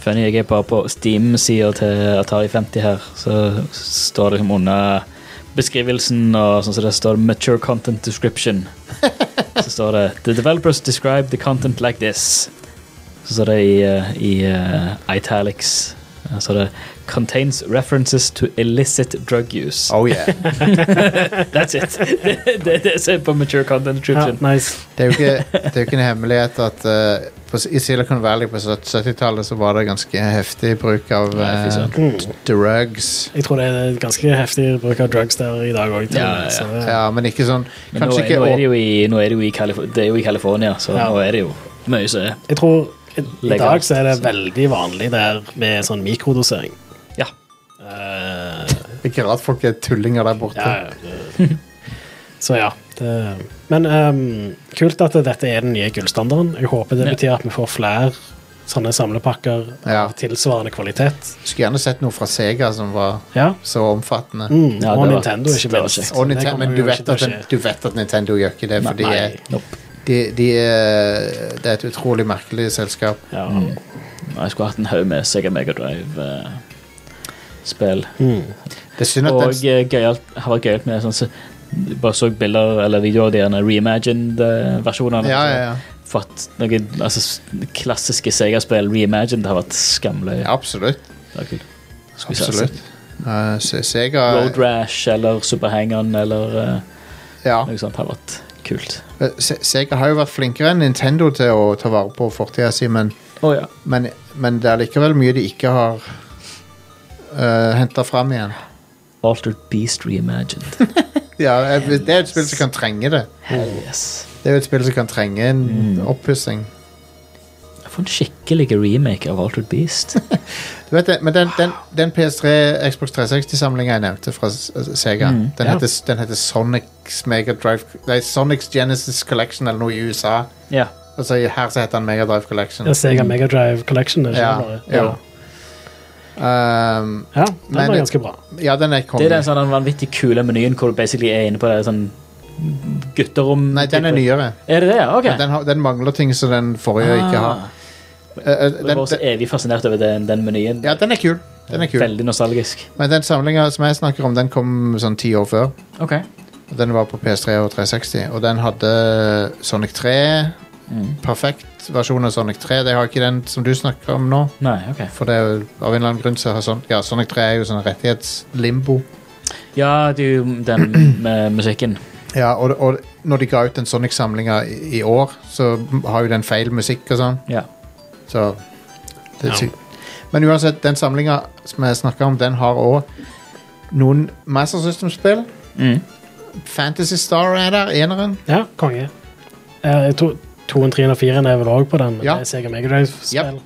Funny, jeg er bare på Steam-sida til Atari 50 her, så står det liksom under beskrivelsen og sånn som det står Mature Content Description. Så står det The developers describe the content like this. Så står det i, eh, i eh, italics Så står det Contains references to illicit drug use. Oh yeah. That's it. det er det, det som er på Mature Content Ja, Description. nice. Det er jo ikke, det er jo ikke en hemmelighet at eh, på, i Silicon Valley på 70-tallet så var det ganske heftig bruk av Nei, fy eh, søren. d- drugs. Mm. Jeg tror det er et ganske heftig bruk av drugs der i dag òg. Ja, ja. Ja, men ikke sånn Men nå, Kanskje er- ikke nå å- er det jo i, nå er det jo i, Kalif- det er jo i California, så Ja. nå er det jo mye som er Jeg tror i i Legger dag alt, så er det så. veldig vanlig der med sånn mikrodosering. Ja. Eh, Ikke rart folk er tullinger der borte. ja, ja, det- så ja. Det, men ehm, kult at dette er den nye gullstandarden. Jeg håper det Ja. betyr at vi får flere sånne samlepakker Ja. av tilsvarende kvalitet. Skulle gjerne sett noe fra Sega som var Ja. så omfattende. Mm, Ja, og det var- Nintendo, ikke det var minst. kjekt. Og Det Nintendo, kommer men jo du vet, ikke til å at, den- skje. du vet at Nintendo gjør ikke det, for de Nei. er, Nope. de, de er Det er et utrolig merkelig selskap. Ja. Mm. Jeg skulle hatt en haug med Sega Megadrive-spill. Det er synd at Og den eh, gøyalt, har vært gøyalt med sånn så, Bare så bilder eller videoer av de gjerne eh, reimagined-versjonene. Ja, ja, ja. Fått noen altså, s- klassiske Sega-spill reimagined har vært skamløy. Absolutt. Det var kult. Skulle se- sånn Absolutt. Eh, Se- Sega Road Rash eller Super Hang-On eller eh, Ja. noe sånt har vært kult. Eh, Se- Sega har jo vært flinkere enn Nintendo til å ta vare på fortida si, men, Å ja. men, men det er likevel mye de ikke har uh, henta fram igjen. Altered Beast reimagined. Ja, eh, Det er et spill som kan trenge det. Hell yes. Det er jo et spill som kan trenge en Mm. oppussing. Jeg får en skikkelig remake av Altered Beast. Du vet det, Men den, den, den PS3 Xbox 360-samlinga jeg nevnte fra S- S- Sega, den, ja. heter, den heter Sonics Mega Drive Nei, Sonics Genesis Collection eller noe i USA. ja. Altså Her så heter den Mega Drive Collection. Ja, Sega Megadrive Collection. er ikke Ja, det bare? jo. Um, ja, den Men- var ganske bra. ja, den er Det er konge. den sånn den vanvittig kule menyen hvor du basically er inne på det sånn gutterom Nei, den er nyere. Er det det? ja? Ah. Ok. Men Den, har, den mangler ting som den forrige ikke har. Eh, eh, Jeg den, var også den, evig fascinert over den, den menyen. ja, den er kul. Den er kul. Veldig nostalgisk. Men den samlinga som jeg snakker om, den kom sånn ti år før. Ok. Den var på PS3 og 360, og den hadde Sonic 3. Perfekt versjon av Sonic 3. De har ikke den som du snakker om nå. Nei, ok. For det er jo av en eller annen grunn så har Sonic, ja, Sonic 3 er jo sånn rettighetslimbo. Ja, det er jo den med musikken. Ja, og, og når de ga ut den Sonic-samlinga i, i år, så har jo den feil musikk og sånn. Ja. Så det Ja. er sykt. Men uansett, den samlinga som jeg snakka om, den har òg noen Master System-spill. Mm. Fantasy Star er der, eneren. Ja, konge. Eh, to, toen, treen og firen er vel òg på den. men Ja. Det er Sega Mega Drive-spill.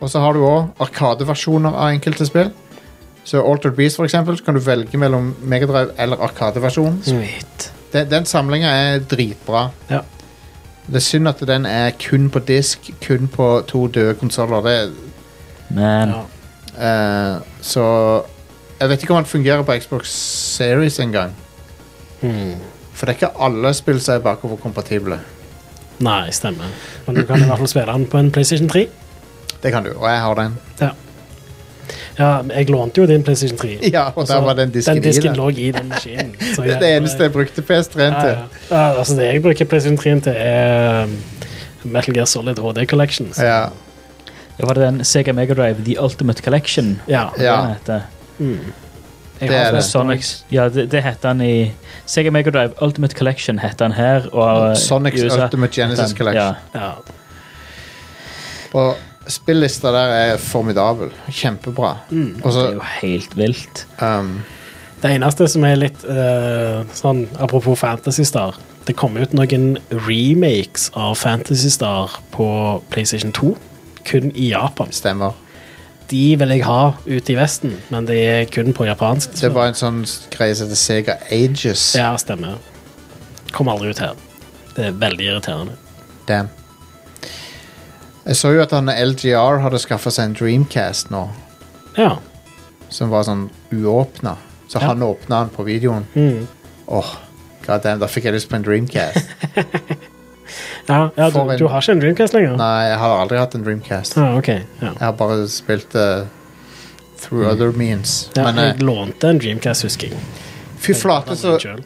Og så har du òg arkadeversjoner av enkelte spill. Så Altered Beast, for eksempel, så kan du velge mellom Megadrive eller arkadeversjonen. Mm. Sweet. Den, den samlinga er dritbra. Ja. Det er synd at den er kun på disk, kun på to døde konsoller. Det, Men Ja. eh, så Jeg vet ikke om den fungerer på Xbox Series engang. Hmm. For det er ikke alle spill som er bakoverkompatible. Nei, stemmer. Men du kan i hvert fall spille den på en PlayStation 3. Det kan du, og jeg har den. Ja. ja, jeg lånte jo din PlayStation 3. Ja, og der Så var den disken, altså, den disken i den. lå i den maskinen. Så Det er det eneste jeg brukte PS3-en ja, til. ja. ja, altså Det jeg bruker PlayStation 3 til, er um, Metal Gear Solid HD Collection. så- Ja. det var det den Sega Megadrive The Ultimate Collection. ja. Ja. Den heter. Mm. Jeg Det har er sånn det. Sonic, ja, det, det heter han i Sega Megadrive Ultimate Collection heter han her. Og eh, Sonic's i USA. Ultimate Genesis Den, Collection. Ja. ja. Og spillista der er formidabel. Kjempebra. Mm. Og så Det er jo helt vilt. um, Det eneste som er litt eh, sånn Apropos Fantasy Star. Det kom ut noen remakes av Fantasy Star på PlayStation 2. Kun i Japan. Stemmer. De vil jeg ha ute i Vesten, men de er kun på japansk. Det var en sånn greie som heter Sega Ages. Ja, stemmer. Kom aldri ut her. Det er veldig irriterende. Damn. Jeg så jo at han LGR hadde skaffa seg en Dreamcast nå, Ja. som var sånn uåpna. Så Ja. Mm. han åpna den på videoen. Åh, god damn, da fikk jeg lyst på en Dreamcast. ja, ja du, For en- du har ikke en Dreamcast lenger? Nei, jeg har aldri hatt en Dreamcast. Ah, ok. Ja. Jeg har bare spilt det through other means. Mm. Ja, Men jeg eh, lånte en Dreamcast, husker jeg. fy flate, så Selv.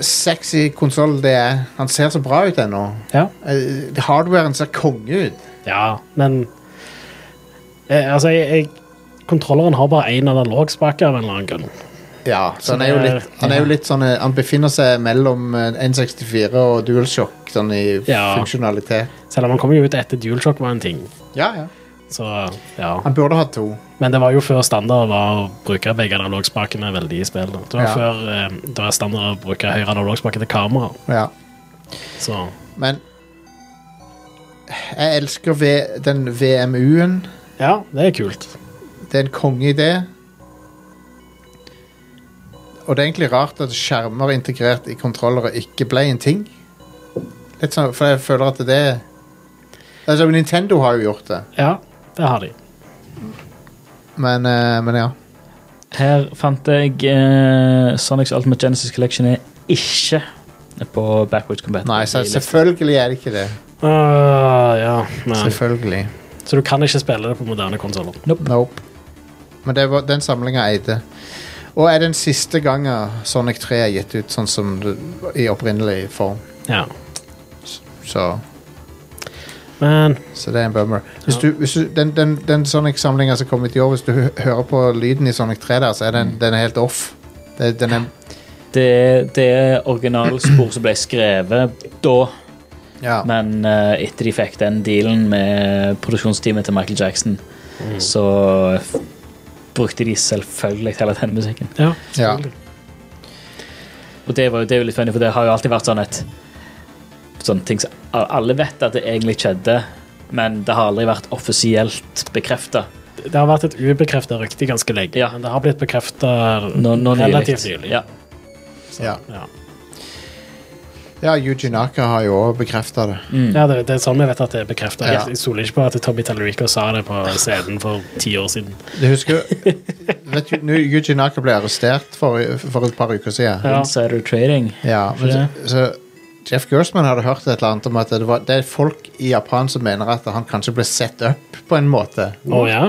sexy konsoll det er. Han ser så bra ut ennå. Ja. Eh, Hardwaren ser konge ut. Ja, men eh, Altså, jeg, jeg Kontrolleren har bare én analogspake av en eller annen grunn. Ja, så han det er jo er- litt, han er jo litt sånn eh, Han befinner seg mellom eh, N64 og DualShock sånn i Ja. funksjonalitet. Selv om han kom jo ut etter DualShock var en ting. Ja, ja. Så ja. Han burde hatt to. Men det var jo før standard var å bruke begge analogspakene veldig i spill. da. Det var Ja. før eh, det var standard å bruke høyre analogspake til kamera. Ja. Så Men jeg elsker v den VMU-en. ja, det er kult. Det er en kongeidé. Og det er egentlig rart at skjermer integrert i kontrollere ikke ble en ting. Litt sånn, For jeg føler at det Altså, Nintendo har jo gjort det, Ja, det har de. men, eh, men ja. Her fant jeg eh, Sonics Ultimate Genesis Collection er ikke på Backwards Combat. Nei, så selvfølgelig er det ikke det. Ah, ja, nei. Selvfølgelig. Så du kan ikke spille det på moderne konsoller. Nope. Men det var den samlinga eide. Og er den siste gangen Sonic 3 er gitt ut sånn som det, i opprinnelig form. Ja. Så, Men så det er en bummer. Hvis du, hvis du, den den, den Sonic-samlinga som kom ut i år, hvis du hø- hører på lyden i Sonic 3 der, så er Mm. den, den er helt off. Det, den er, Det, er- det er originalspor som ble skrevet da, ja. men eh, etter de fikk den dealen med produksjonsteamet til Michael Jackson, Mm. så f- brukte de selvfølgelig hele denne musikken. ja. ja. Og det var jo det er jo litt funny, for det har jo alltid vært sånn et sånn ting som al- Alle vet at det egentlig skjedde, men det har aldri vært offisielt bekrefta. Det har vært et ubekrefta rykte ganske lenge, Ja. men det har blitt bekrefta Nå, nå nylig. relativt nylig. Ja. Ja. Ja. ja, Yuji Naka har jo òg bekrefta det. Mm. Ja, det, det er sånn vi vet at det er bekrefta. Ja. Jeg stoler ikke på at Tommy Tallarico sa det på scenen for ti år siden. Du husker vet du, nå, Yuji Naka ble arrestert for, for et par uker siden. Ja. Insider trading. Ja, men det? så, så Jeff Gerstmann hadde hørt et eller annet om at det, var, det er folk i Japan som mener at han kanskje ble set up på en måte. Å ja?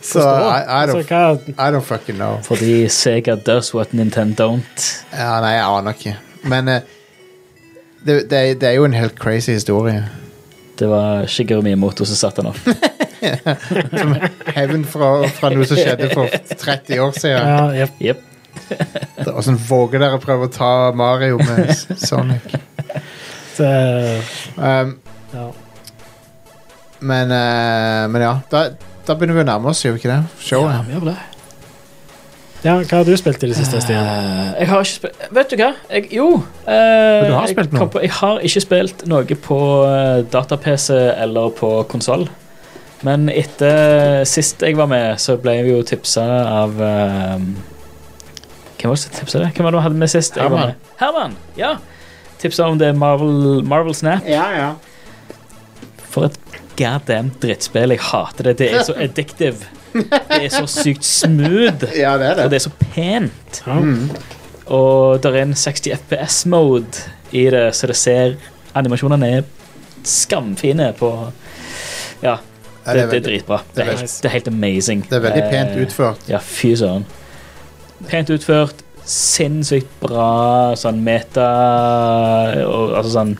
Så I, I, Altså, don't, hva, I don't fucking know. Fordi Sega does what Nintendo don't. Ja, nei, jeg aner ikke. Men eh, det, det, er- det er jo en helt crazy historie. Det var Shigeru Miyamoto som satte den opp. Hevn fra, fra noe som skjedde for 30 år siden. ja, jep. Jep. Åssen våger dere å prøve å ta Mario med S- Sonic? det, Um, eh, ja. men, eh, men ja, da, da begynner vi å nærme oss, gjør vi ikke det? Showet. gjør det. ja, hva har du spilt i det siste, Stian? Eh. jeg har ikke spilt Vet du hva? Jeg, jo. eh, Men du har spilt jeg, kom noe. på, jeg har ikke spilt noe på eh, data-PC eller på konsoll. Men etter sist jeg var med, så ble vi jo tipsa av eh, Hvem var det som tipsa det? Hvem var det vi hadde med sist? jeg var Herman. med? Herman! Ja. Tipsa om det Marvel, Marvel Snap. Ja, ja. For et goddamn drittspill. Jeg hater det. Det er så addictive. Det er så sykt smooth, Ja, det og er det det. er så pent. Ja. Og det er en 60 FPS-mode i det, så det ser Animasjonene er skamfine på Ja, Ja, det, det er veldig, dritbra. det Det er er, helt, det er helt amazing. det er veldig pent Eh, utført. Ja, fy søren. Pent utført, sinnssykt bra sånn meta og, Altså sånn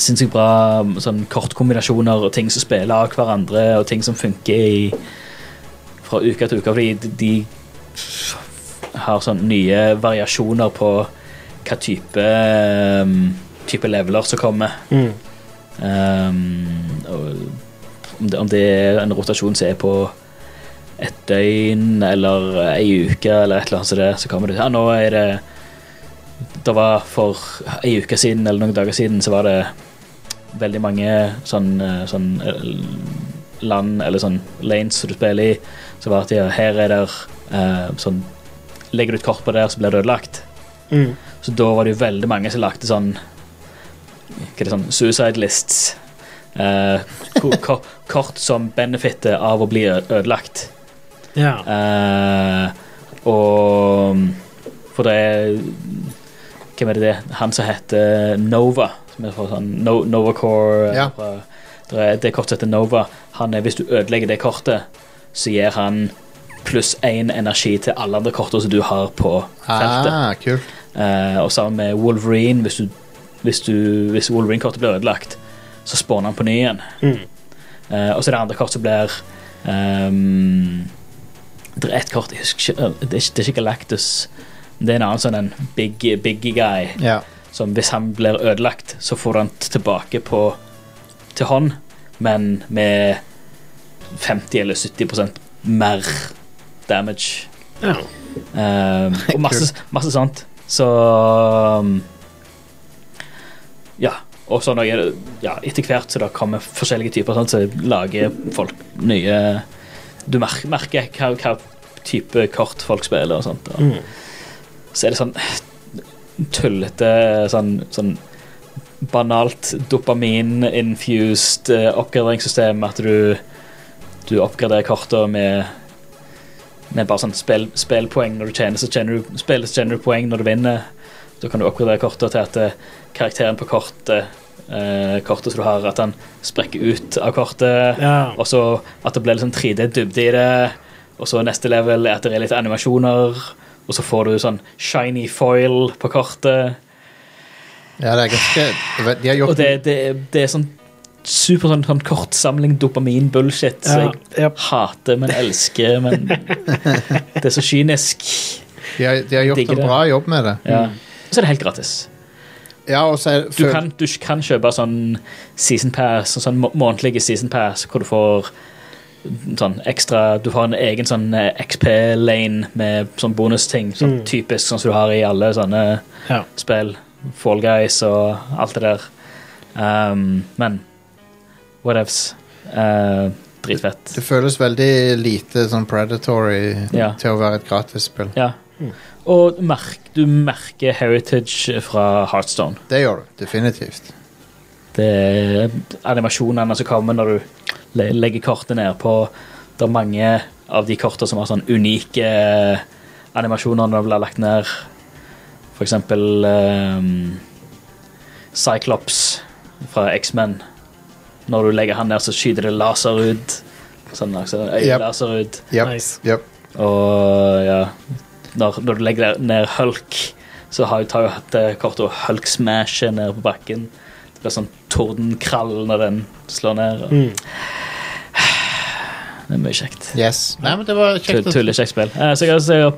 Sinnssykt bra sånn kortkombinasjoner og ting som spiller av hverandre, og ting som funker i, fra uke til uke, fordi de, de har sånn nye variasjoner på hva type, um, type leveler som kommer. Mm. Um, og om, det, om det er en rotasjon som er på et døgn eller ei uke eller et eller annet som det, så kommer det Ja, nå er det Det var for ei uke siden eller noen dager siden, så var det veldig mange sånn, eh, sånn eh, land eller sånn lanes som du spiller i, så var det at ja, her er det eh, sånn Legger du et kort på der, så blir det ødelagt. Mm. Så da var det jo veldig mange som lagde sånn Hva er det sånn Suicide lists. Eh, ko- ko- kort som benefitter av å bli ø- ødelagt. ja. Eh, og For det er Hvem er det det? Han som heter Nova. Som er fra sånn no, Nova Core. eh, Ja. fra- det, er, det kortet heter Nova. Han er, hvis du ødelegger det kortet, så gir han pluss én energi til alle andre korter som du har på feltet. Ah, kult. Eh, og sammen med Wolverine, hvis, du, hvis, du, hvis Wolverine-kortet blir ødelagt, så spawner han på ny igjen. Mm. Eh, og så er det andre kort som blir ehm, Det er ett kort jeg husker ikke, eh, det er, ikke- det er ikke Galactus. Det er en annen sånn en big, big guy Ja. som hvis han blir ødelagt, så får han t- tilbake på til hånd, men med 50 eller 70 mer damage. ja. Ehm, og masse, masse sånt. Så um, Ja. Og så når jeg, ja, etter hvert så det kommer forskjellige typer, sånn, så lager folk nye Du mer merker hva, hva type kort folk spiller og sånt. Og Mm. så er det sånn tullete sånn, sånn banalt dopamin-infused eh, oppgraderingssystem at du, du oppgraderer kortet med med bare sånn spill, spillpoeng når du tjener, så tjener du, spiller, så tjener du poeng når du vinner. Da kan du oppgradere kortet til at eh, karakteren på kortet, eh, kortet som du har, at han sprekker ut av kortet. ja. Og så at det blir liksom 3D-dybde i det. Og så neste level er at det er litt animasjoner. Og så får du sånn shiny foil på kortet. ja, det er ganske De har Og gjort det, det, det er sånn super sånn, sånn kortsamling dopamin-bullshit. Så Ja, jeg jep. hater, men elsker, men Det er så kynisk. De har, de har gjort Digger en det. bra jobb med det. Ja. Og så er det helt gratis. Ja, og så er- Du kan, du kan kjøpe sånn season pass, sånn må- månedlige season pass, hvor du får sånn ekstra Du har en egen sånn XP-lane med sånn bonusting. Sånn Mm. typisk sånn som du har i alle sånne Ja. spill. Fall Guys og alt det der. Um, men whatevs. Uh, dritfett. Det føles veldig lite sånn predatory Ja. til å være et gratisspill. Ja. Og merk, du merker heritage fra Heartstone. Det gjør du definitivt. Det er animasjonene som kommer når du le- legger kortet ned på Det er mange av de kortene som har sånn unike eh, animasjoner når de blir lagt ned. For eksempel ehm, Cyclops fra X-Men. Når du legger han ned, så skyter det laser ut. Sånn altså, Yep. Øyelaser ut. Yep, Nice. yep. Og ja Når, når du legger ned Hulk, så har tar jo det kortet og Hulk smasher ned på bakken. Det blir sånn tordenkrall når den slår ned. Og... Mm. Det er mye kjekt. Yes. Nei, men det var kjekt. Tull- å- Tullekjekt spill. Eh, Så jeg har så jeg har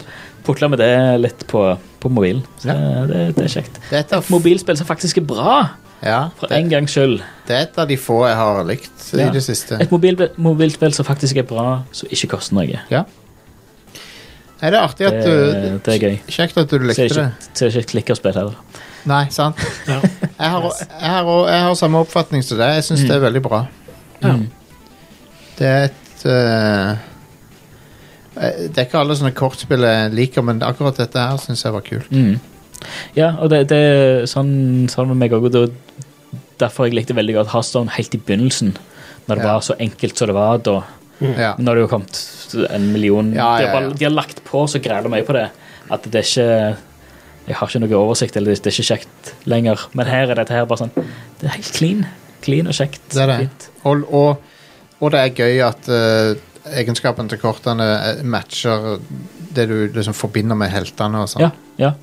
putla med det litt på, på mobilen. Så Ja. det, det er kjekt. Det er et av, Mobilspill som faktisk er bra, ja, for en det, gangs skyld. det er et av de få jeg har likt i Ja. det siste. Et mobil, mobilspill som faktisk er bra, som ikke koster noe. Ja. Nei, det er artig at Det- du det er gøy. Kjekt at du Så likte er det det. ikke, så er det ikke et klikkerspill heller. Nei, sant? Ja. Jeg har, jeg har, jeg har samme oppfatning som deg. Jeg syns det er Mm. veldig bra. Ja. Mm. Det er et eh, eh, Det er ikke alle sånne kortspill jeg liker, men akkurat dette her syns jeg var kult. Mm. Ja, og det, det er sånn, sånn med meg òg. Derfor jeg likte veldig godt Hearthstone helt i begynnelsen. Når det Ja. var så enkelt som det var da. Ja. Nå har det jo kommet en million Ja, ja, De, har bare, ja. de har lagt på så græla mye på det at det er ikke Jeg har ikke noe oversikt, eller det er ikke kjekt lenger. Men her er dette her bare sånn Det er helt clean. Clean og kjekt. Det er det. Fint. Og, og, og det er gøy at eh, egenskapene til kortene eh, matcher det du liksom forbinder med heltene og sånn. Ja, ja.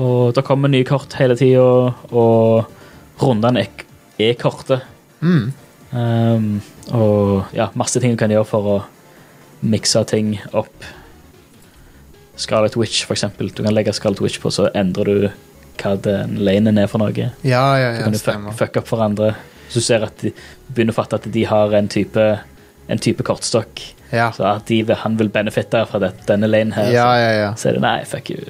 Og det kommer nye kort hele tida, og rundene er, er korte. Mm. Um, og ja, masse ting du kan gjøre for å mikse ting opp. Scarlet Witch, for eksempel. Du kan legge Scarlet Witch på, så endrer du hva den lanen er for noe. ja, ja, Så ja kan du fuck- stemmer. fucke opp for andre. Så du ser at de begynner å fatte at de har en type, en type kortstokk. Ja. Så at de, vil- han vil benefitte fra det, sånn. denne lanen her. Ja, ja, ja. Så er det nei, fuck you.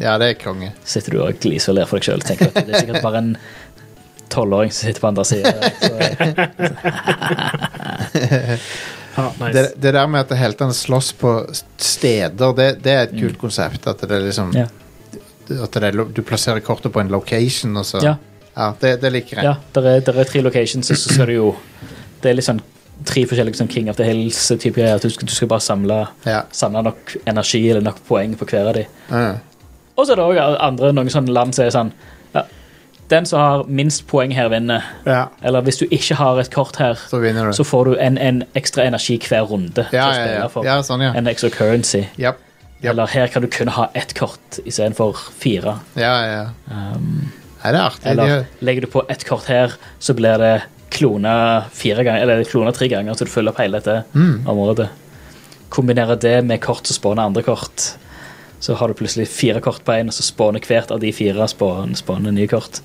ja, det er konge. Sitter du og gliser og ler for deg sjøl. Tenker at det er sikkert bare en tolvåring som sitter på andre sida. Ja, nice. Det, det der med at heltene slåss på steder, det, det er et kult konsept. At det er liksom Mm. Ja. at det er, lo- du plasserer kortet på en location, og så Ja. Ja, det, det liker jeg. Ja, der er, der er tre locations, og så skal du jo Det er litt sånn tre forskjellige sånn King of the Hills-type greier. at Du skal, du skal bare samle, Ja. samle nok energi eller nok poeng på hver av de. Ja. Og så er det òg andre noen sånne land som er sånn ja, Den som har minst poeng her, vinner. Ja. Eller hvis du ikke har et kort her, Så vinner du. så får du en, en ekstra energi hver runde. til ja, å ja, spille ja. for. ja, sånn, ja. En ekstra currency. Japp. Japp. Eller her kan du kun ha ett kort istedenfor fire. Um, Ja, ja. Nei, det er artig. Eller De- legger du på ett kort her, så blir det klona fire ganger, eller klona tre ganger, så du følger opp hele dette Mm. området. Kombinerer det med kort som spawner andre kort. Så har du plutselig fire kort på én, og så spawner hvert av de fire spawner, spawner nye kort.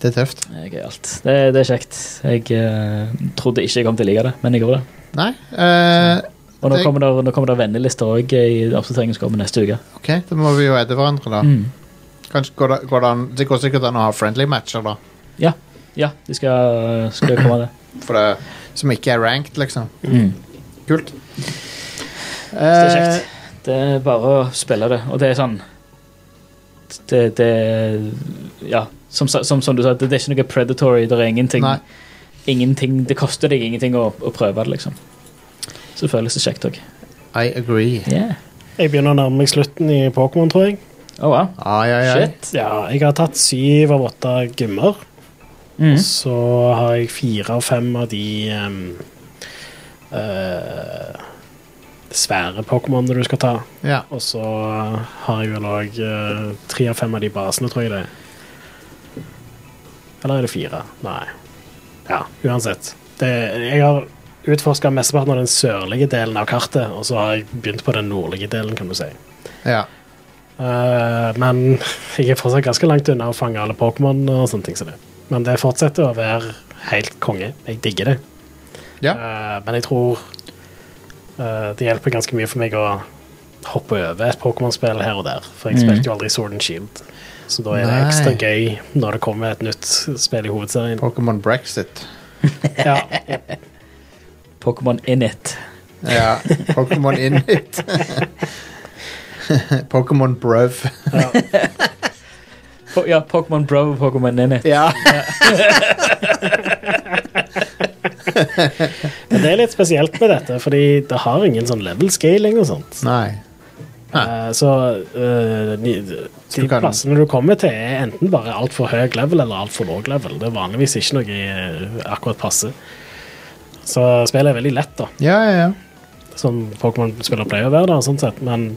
Det er tøft. Det er gøyalt. Det, det er kjekt. Jeg eh, trodde ikke jeg kom til å like det, men jeg gjorde det. Nei eh, Og nå Det- kommer det, nå kommer det vennelister òg i oppdateringen som kommer neste uke. OK, da må vi jo edde hverandre, Mm. da. Kanskje går det, går det, an, det går sikkert an å ha friendly matcher, da. Ja, ja de skal, skal komme Mm. det. For det, som ikke er ranked, liksom. Kult. Eh, Så det er kjekt. Eh, Det er bare å spille det, og det er sånn Det, det Ja, som, sa- som, som du sa, det, det er ikke noe predatory. Det er ingenting, Nei. ingenting Det koster deg ingenting å, å prøve det, liksom. Så det føles det kjekt òg. I agree. Yeah. Jeg begynner å nærme meg slutten i Pokémon, tror jeg. Oh, wow. Ai, ai, ai. Shit. Ja, jeg har tatt syv av åtte gymmer. Mm. Så har jeg fire av fem av de ehm, eh, svære Pokémonene du skal ta. Ja. Og så har jeg vel òg eh, tre av fem av de basene, tror jeg det er. Eller er det fire? Nei. Ja, uansett. Det, jeg har utforska mesteparten av den sørlige delen av kartet, og så har jeg begynt på den nordlige delen, kan du si. ja. Eh, men jeg er fortsatt ganske langt unna å fange alle Pokémon og sånne ting som det. Men det fortsetter å være helt konge. Jeg digger det. ja. Eh, men jeg tror eh, det hjelper ganske mye for meg å hoppe over et Pokémon-spill her og der. For jeg spilte jo aldri Sword and Shield. Så da er det Nei. ekstra gøy når det kommer et nytt spill i hovedserien. Pokémon Brexit. Ja, Pokémon Init. Ja. Pokémon Init. Pokémon Brøv. Po ja, Pokémon Bro og Pokémon Init. Ja. men Det er litt spesielt med dette, fordi det har ingen sånn level scaling og sånt. Nei. Eh, så eh, de, Så de du kan- plassene du kommer til, er enten bare altfor høy level eller altfor lav level. Det er vanligvis ikke noe eh, akkurat passe. Så spillet er veldig lett, da. Ja, ja, ja. som Pokémon-spillere pleier å være, da, sånn sett, men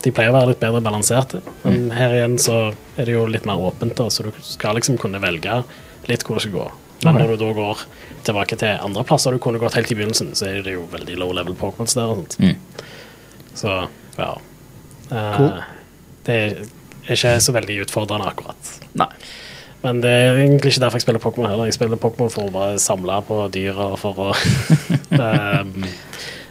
de pleier å være litt bedre balanserte. Men her igjen så er det jo litt mer åpent, da, så du skal liksom kunne velge litt hvor det skal gå. Men når du da går tilbake til andre plasser du kunne gått helt i begynnelsen, så er det jo veldig low level Pokémons der. og sånt. Så ja. Eh, Cool. Det er ikke så veldig utfordrende, akkurat. Nei. Men det er egentlig ikke derfor jeg spiller Pokémon heller. Jeg spiller Pokémon for å bare samle på dyra for å ehm,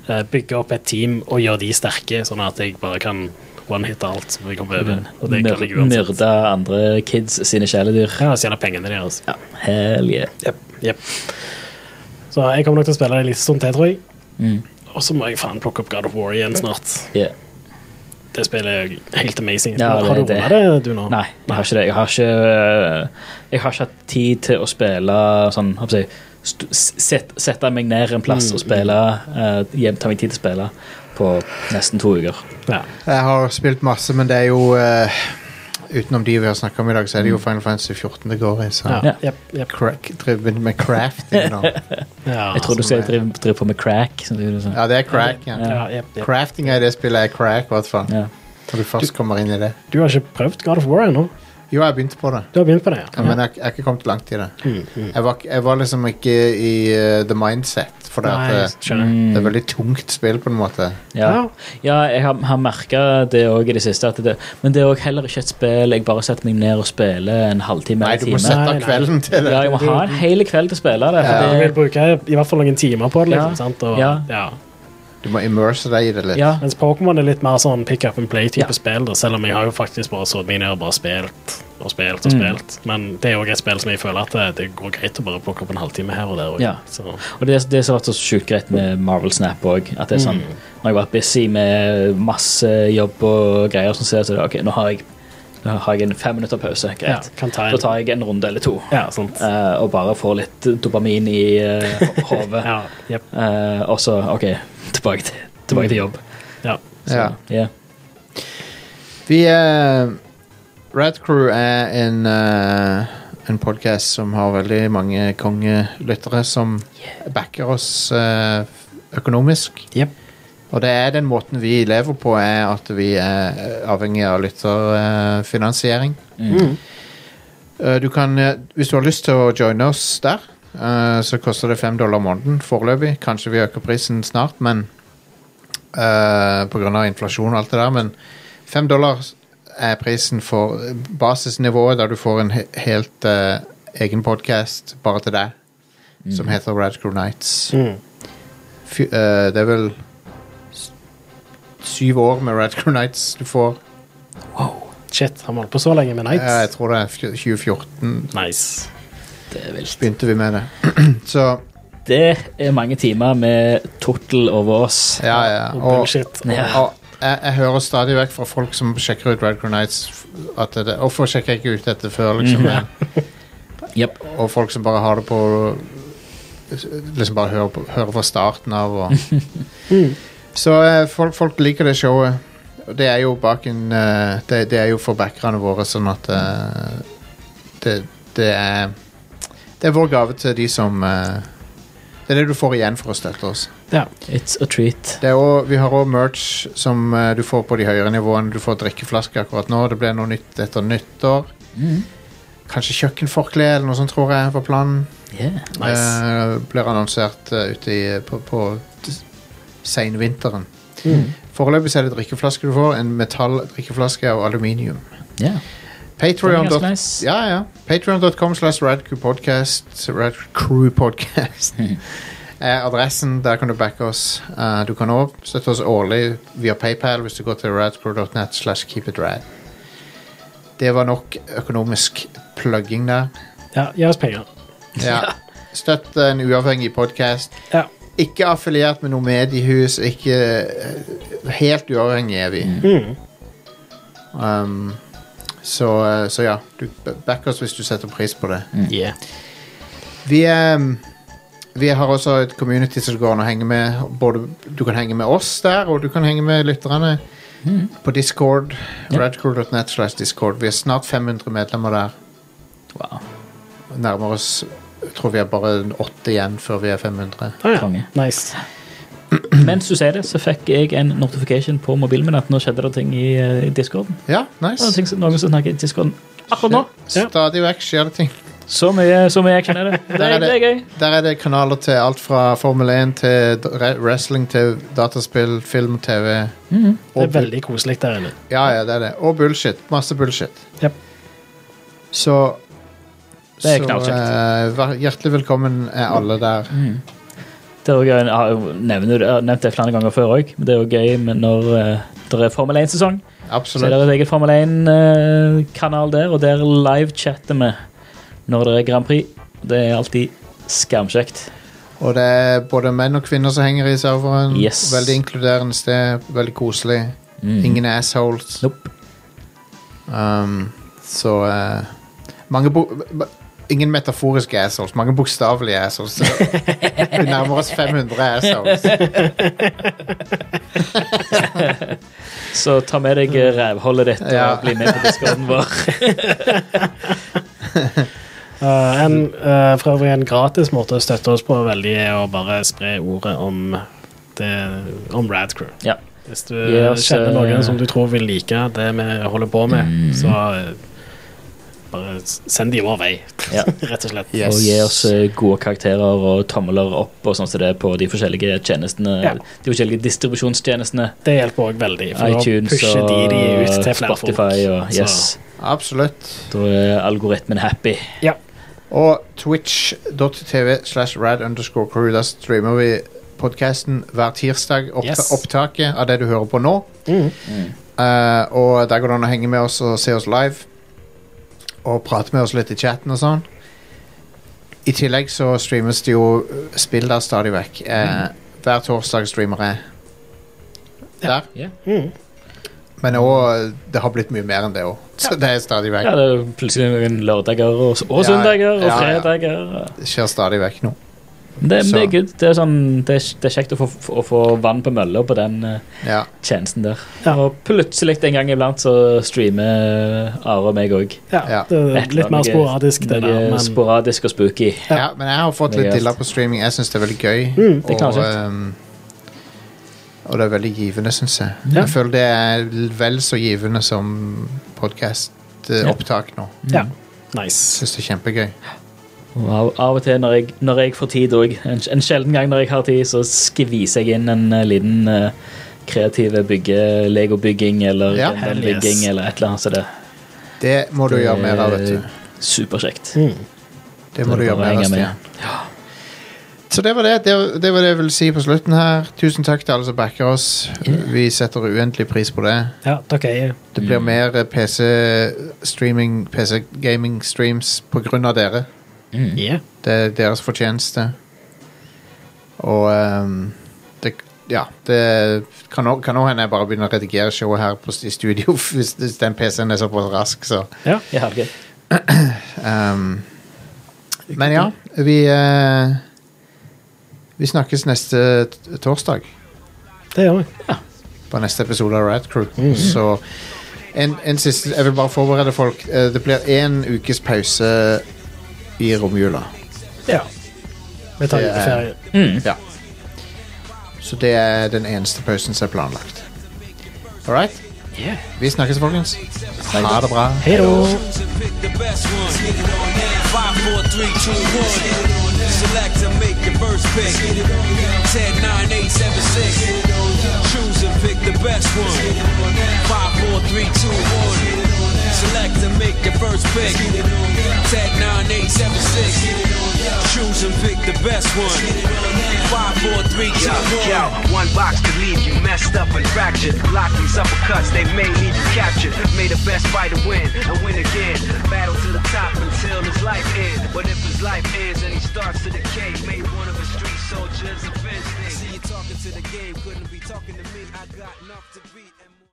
eh, bygge opp et team og gjøre de sterke, sånn at jeg bare kan one-hitte alt som jeg kommer over. Og det kan jeg uansett. Myrde andre kids sine kjæledyr. Ja, Stjele pengene deres. Ja, hell yeah. Jep. Så jeg kommer nok til å spille det litt sånn til, tror jeg. Mm. Og så må jeg faen plukke opp God of War igjen snart. yeah. Det spillet er helt amazing. Ja, det- har du det- runda det, du nå? Nei, jeg har ikke det. Jeg har ikke, øh, jeg har ikke hatt tid til å spille sånn hva skal jeg si, st- set, Sette meg ned en plass Mm. og spille. øh, hjem- ta meg tid til å spille på nesten to uker. Ja. Jeg har spilt masse, men det er jo eh, Utenom de vi har snakka om i dag, så er det jo Final Fantasy 14 det går i. Så Ja. Ja. Jep, jep. crack, driver med crafting nå. Ja, altså. Jeg tror som du skal er- drive, drive på med crack. Sånn, det er jo sånn. Ja, det er crack. Ja. ja, jep, jep. Crafting er det spillet er crack, i hvert fall. Ja. Når du først kommer inn i det. Du har ikke prøvd God of War ennå? Jo, jeg begynte på det, Du har begynt på det, ja? men jeg jeg har ikke kommet langt i det. Jeg var, jeg var liksom ikke i eh, the mindset, for det, Nei, at eh, det, skjønner. det er veldig tungt spill, på en måte. Ja. Ja. ja, jeg har, har merka det òg i det siste. At det, men det er òg heller ikke et spill jeg bare setter meg ned og spiller en halvtime. Nei, eller du time. må sette Nei, av nei. kvelden til det. Ja, jeg må ha en hel kveld til å spille det. Du For vil bruke i hvert fall noen timer på det. liksom, Ja. sant? Og, ja. Ja. Du må immerse deg i det litt. det, ja, Mens Pokémon er litt mer sånn pick up and play-type Ja. spill, da, selv om jeg har jo faktisk bare satt meg ned og bare spilt og spilt og spilt. Men det er òg et spill som jeg føler at det, det går greit å bare plukke opp en halvtime her og der. og- Ja. Så, Og det, det som har vært så sjukt greit med Marvel Snap òg, at det er sånn Mm. Når jeg har vært busy med masse jobb og greier, sånn, så er det ok, nå har jeg, nå har jeg en fem minutter pause. ja, Greit. kan ta en, Da tar jeg en runde eller to ja, sant. eh, og bare får litt dopamin i uh, hodet. Ja, jep, Eh, og så, OK, tilbake til, tilbake til jobb. ja. Så, Ja. ja. Vi eh, Rad Crew er en eh, En podcast som har veldig mange kongelyttere som backer oss eh, økonomisk. Jep. Og det er den måten vi lever på, er at vi er eh, avhengig av lytterfinansiering. Eh, Du kan, eh, hvis du har lyst til å joine oss der, eh, så koster det fem dollar måneden foreløpig. Kanskje vi øker prisen snart, men eh, på grunn av inflasjon og alt det der. Men fem dollar er prisen for eh, basisnivået, der du får en he helt eh, egen podkast bare til deg, som heter Radcrew Nights. Mm. Fy, eh, det er vel s- syv år med Radcrew Nights du får. Shit, har vi holdt på så lenge med Eh, jeg Nights? tror det er fj- 2014 Nice. Det er vilt. begynte vi med det. så Det er mange timer med tortel over oss. ja, ja. Og Og, bullshit. Ja. og jeg, jeg hører stadig vekk fra folk som sjekker ut Radcrew Nights f- at det, Hvorfor sjekker jeg ikke ut dette før, liksom? Men- Mhm. Jep. Og folk som bare har det på Liksom bare hører, på, hører fra starten av og Mm. Så eh, folk, folk liker det showet. Og Det er jo bak en eh, det, det er jo for backerne våre, sånn at eh, det, det er Det er vår gave til de som eh, Det er det du får igjen for å støtte oss. Ja. It's a treat. Det er også, vi har òg merch som eh, du får på de høyere nivåene. Du får drikkeflaske akkurat nå. Det blir noe nytt etter nyttår. Kanskje kjøkkenforkle eller noe sånt, tror jeg, var planen. Yeah. Nice. Eh, blir annonsert eh, ute i, på, på t- seinvinteren. Foreløpig så er det drikkeflaske du får. En metalldrikkeflaske av aluminium. Yeah. Patreon Det er ganske nice. ja, ja. Patreon.com slash radcrewpodcast Radcrewpodcast er adressen. Der kan du backe oss. Eh, du kan òg støtte oss årlig via PayPal hvis du går til radcrew.net slash keepitrad. Det var nok økonomisk plugging der. Ja, gi oss penger. Ja. Støtt en uavhengig podkast. Ja. Ikke affiliert med noe mediehus. Ikke eh, Helt uavhengig er vi. Um, så, eh, så ja, du back oss hvis du setter pris på det. Yeah. Vi, um, vi har også et community som det går an å henge med. Både, du kan henge med oss der, og du kan henge med lytterne på Discord. Radcrew.net slash Discord. Vi er snart 500 medlemmer der. Wow. Nærmer oss jeg tror vi har bare en åtte igjen før vi er 500. Ah, ja. Konge. Nice. Mens du sier det, så fikk jeg en notification på mobilen min at nå skjedde det ting i eh, discorden. Ja, Det er nice. ting som- Noen som snakker i discorden akkurat nå. Ja. Stadig vekk skjer det ting. Så mye, så mye action er det. Det Der er er, det er gøy. Der er det kanaler til alt fra Formel 1 til d- re- wrestling til dataspill, film, TV. Det Og er veldig koselig der inne. Ja, ja, det er det. Og bullshit. Masse bullshit. Yep. Så Det er så, knallkjekt. Mm. eh, vær- hjertelig velkommen er alle der. Det er også, gøy- jeg har jo nevner- jeg har nevnt det flere ganger før òg, men det er jo gøy med når eh, det er Formel 1-sesong. Så er Absolutt. det et eget Formel 1-kanal der, og der livechatter vi når det er Grand Prix. Det er alltid skamkjekt. Og det er både menn og kvinner som henger i serveren. Yes. Mm. Veldig inkluderende sted. Veldig koselig. Ingen assholes. Nope. Um, så eh, mange bo b- Ingen metaforiske assholes, mange bokstavelige assholes. Så Vi nærmer oss 500 assholes. Så ta med deg eh, rævholdet ditt og Ja. bli med på discorden vår. Eh, en, eh, for øvrig en gratis måte å støtte oss på veldig er å bare spre ordet om, det, om Radcrew. Ja. Hvis du Yes, kjenner eh, Mm. noen som du tror vil like det vi holder på med, så eh, bare s- send de vår vei, Ja. rett og slett. Yes. Og gi oss eh, gode karakterer og tommeler opp og sånn som det er på de forskjellige tjenestene. Ja. De forskjellige distribusjonstjenestene. Det hjelper òg veldig, for iTunes da pusher og de de ut til flere Spotify. Og, Så- yes. Absolutt. Da er algoritmen happy. Ja. Og twitch.tv slash rad underscore crew. Der streamer vi podkasten hver tirsdag. Oppta Yes. Opptaket av det du hører på nå. Mm. Mhm. Eh, og der går det an å henge med oss og se oss live. Og prate med oss litt i chatten og sånn. I tillegg så streames det jo eh, spill der stadig vekk. Eh, Hver torsdag streamer jeg der. Mm. Ja. Mhm. Men òg Det har blitt mye mer enn det òg. Så det er stadig vekk. Ja, det er plutselig noen lørdager og, og Ja, søndager og ja, ja. fredager. Det skjer stadig vekk nå. Men Det, men det er Så- good. Det er, sånn, det er, det er kjekt å få, å få vann på mølla på den eh, Ja. tjenesten der. Ja. Og plutselig en gang iblant så streamer Are og meg òg. Ja, Ja. Det er Et eller litt mer annet sporadisk, det der. Men Sporadisk og spooky. Ja. men jeg har fått litt Det er dilla på streaming. Jeg syns det er veldig gøy. det er klart og, sagt. ehm, og det er veldig givende, syns jeg. Jeg føler det er vel så givende som podkastopptak nå. ja. nice. Syns det er kjempegøy. Og av, av og til når jeg, når jeg får tid òg, en, en sjelden gang når jeg har tid, så skviser jeg inn en eh, liten eh, kreativ bygge, legobygging eller Ja. bygging Hell yes. eller et eller annet. Så det Det må du Det gjøre mer av, vet du. er Superkjekt. Mm. Mm. Det må det du er gjøre bare å mer av, henge med. Stian. Så det var det. det. Det var det jeg ville si på slutten her. Tusen takk til alle som backer oss. Vi setter uendelig pris på det. Ja, dere er Det Mm. blir mer PC-streaming, PC-gaming-streams på grunn av dere. Mm. yeah. Det er deres fortjeneste. Og ehm, det, ja, det kan også kan også hende jeg bare begynner å redigere showet her på, i studio hvis, hvis den PC-en er såpass rask, så Ja. Ja, okay. ehm, Men ja, vi eh, Vi snakkes neste t- torsdag Det gjør vi. på neste episode av Rad Crew. Så en, en siste Jeg vil bare forberede folk. Eh, det blir én ukes pause i romjula. Ja. Vi tar Det er- juleferie. Ja. Så det er den eneste pausen som er planlagt. All right? Vi snakkes, folkens. Ha det bra. Hei da. Choose and pick the best one. Five, four, three, two, one. Select and make the first pick. Ten, nine, eight, seven, six. Choose and pick the best one. Five, four, three, two, one. Select and make the first pick. Ten, nine, eight, seven, six. Choose and pick the best one. Five, four, three, two, one. Yo, one box could leave you messed up and fractured. Lock these uppercuts, they may need you captured. May the best fighter win and win again. Battle to the top until his life ends. But if his life ends and he starts to decay, may one of his street soldiers offend I me. see you talking to the game, couldn't be talking to me. I got enough to beat. and-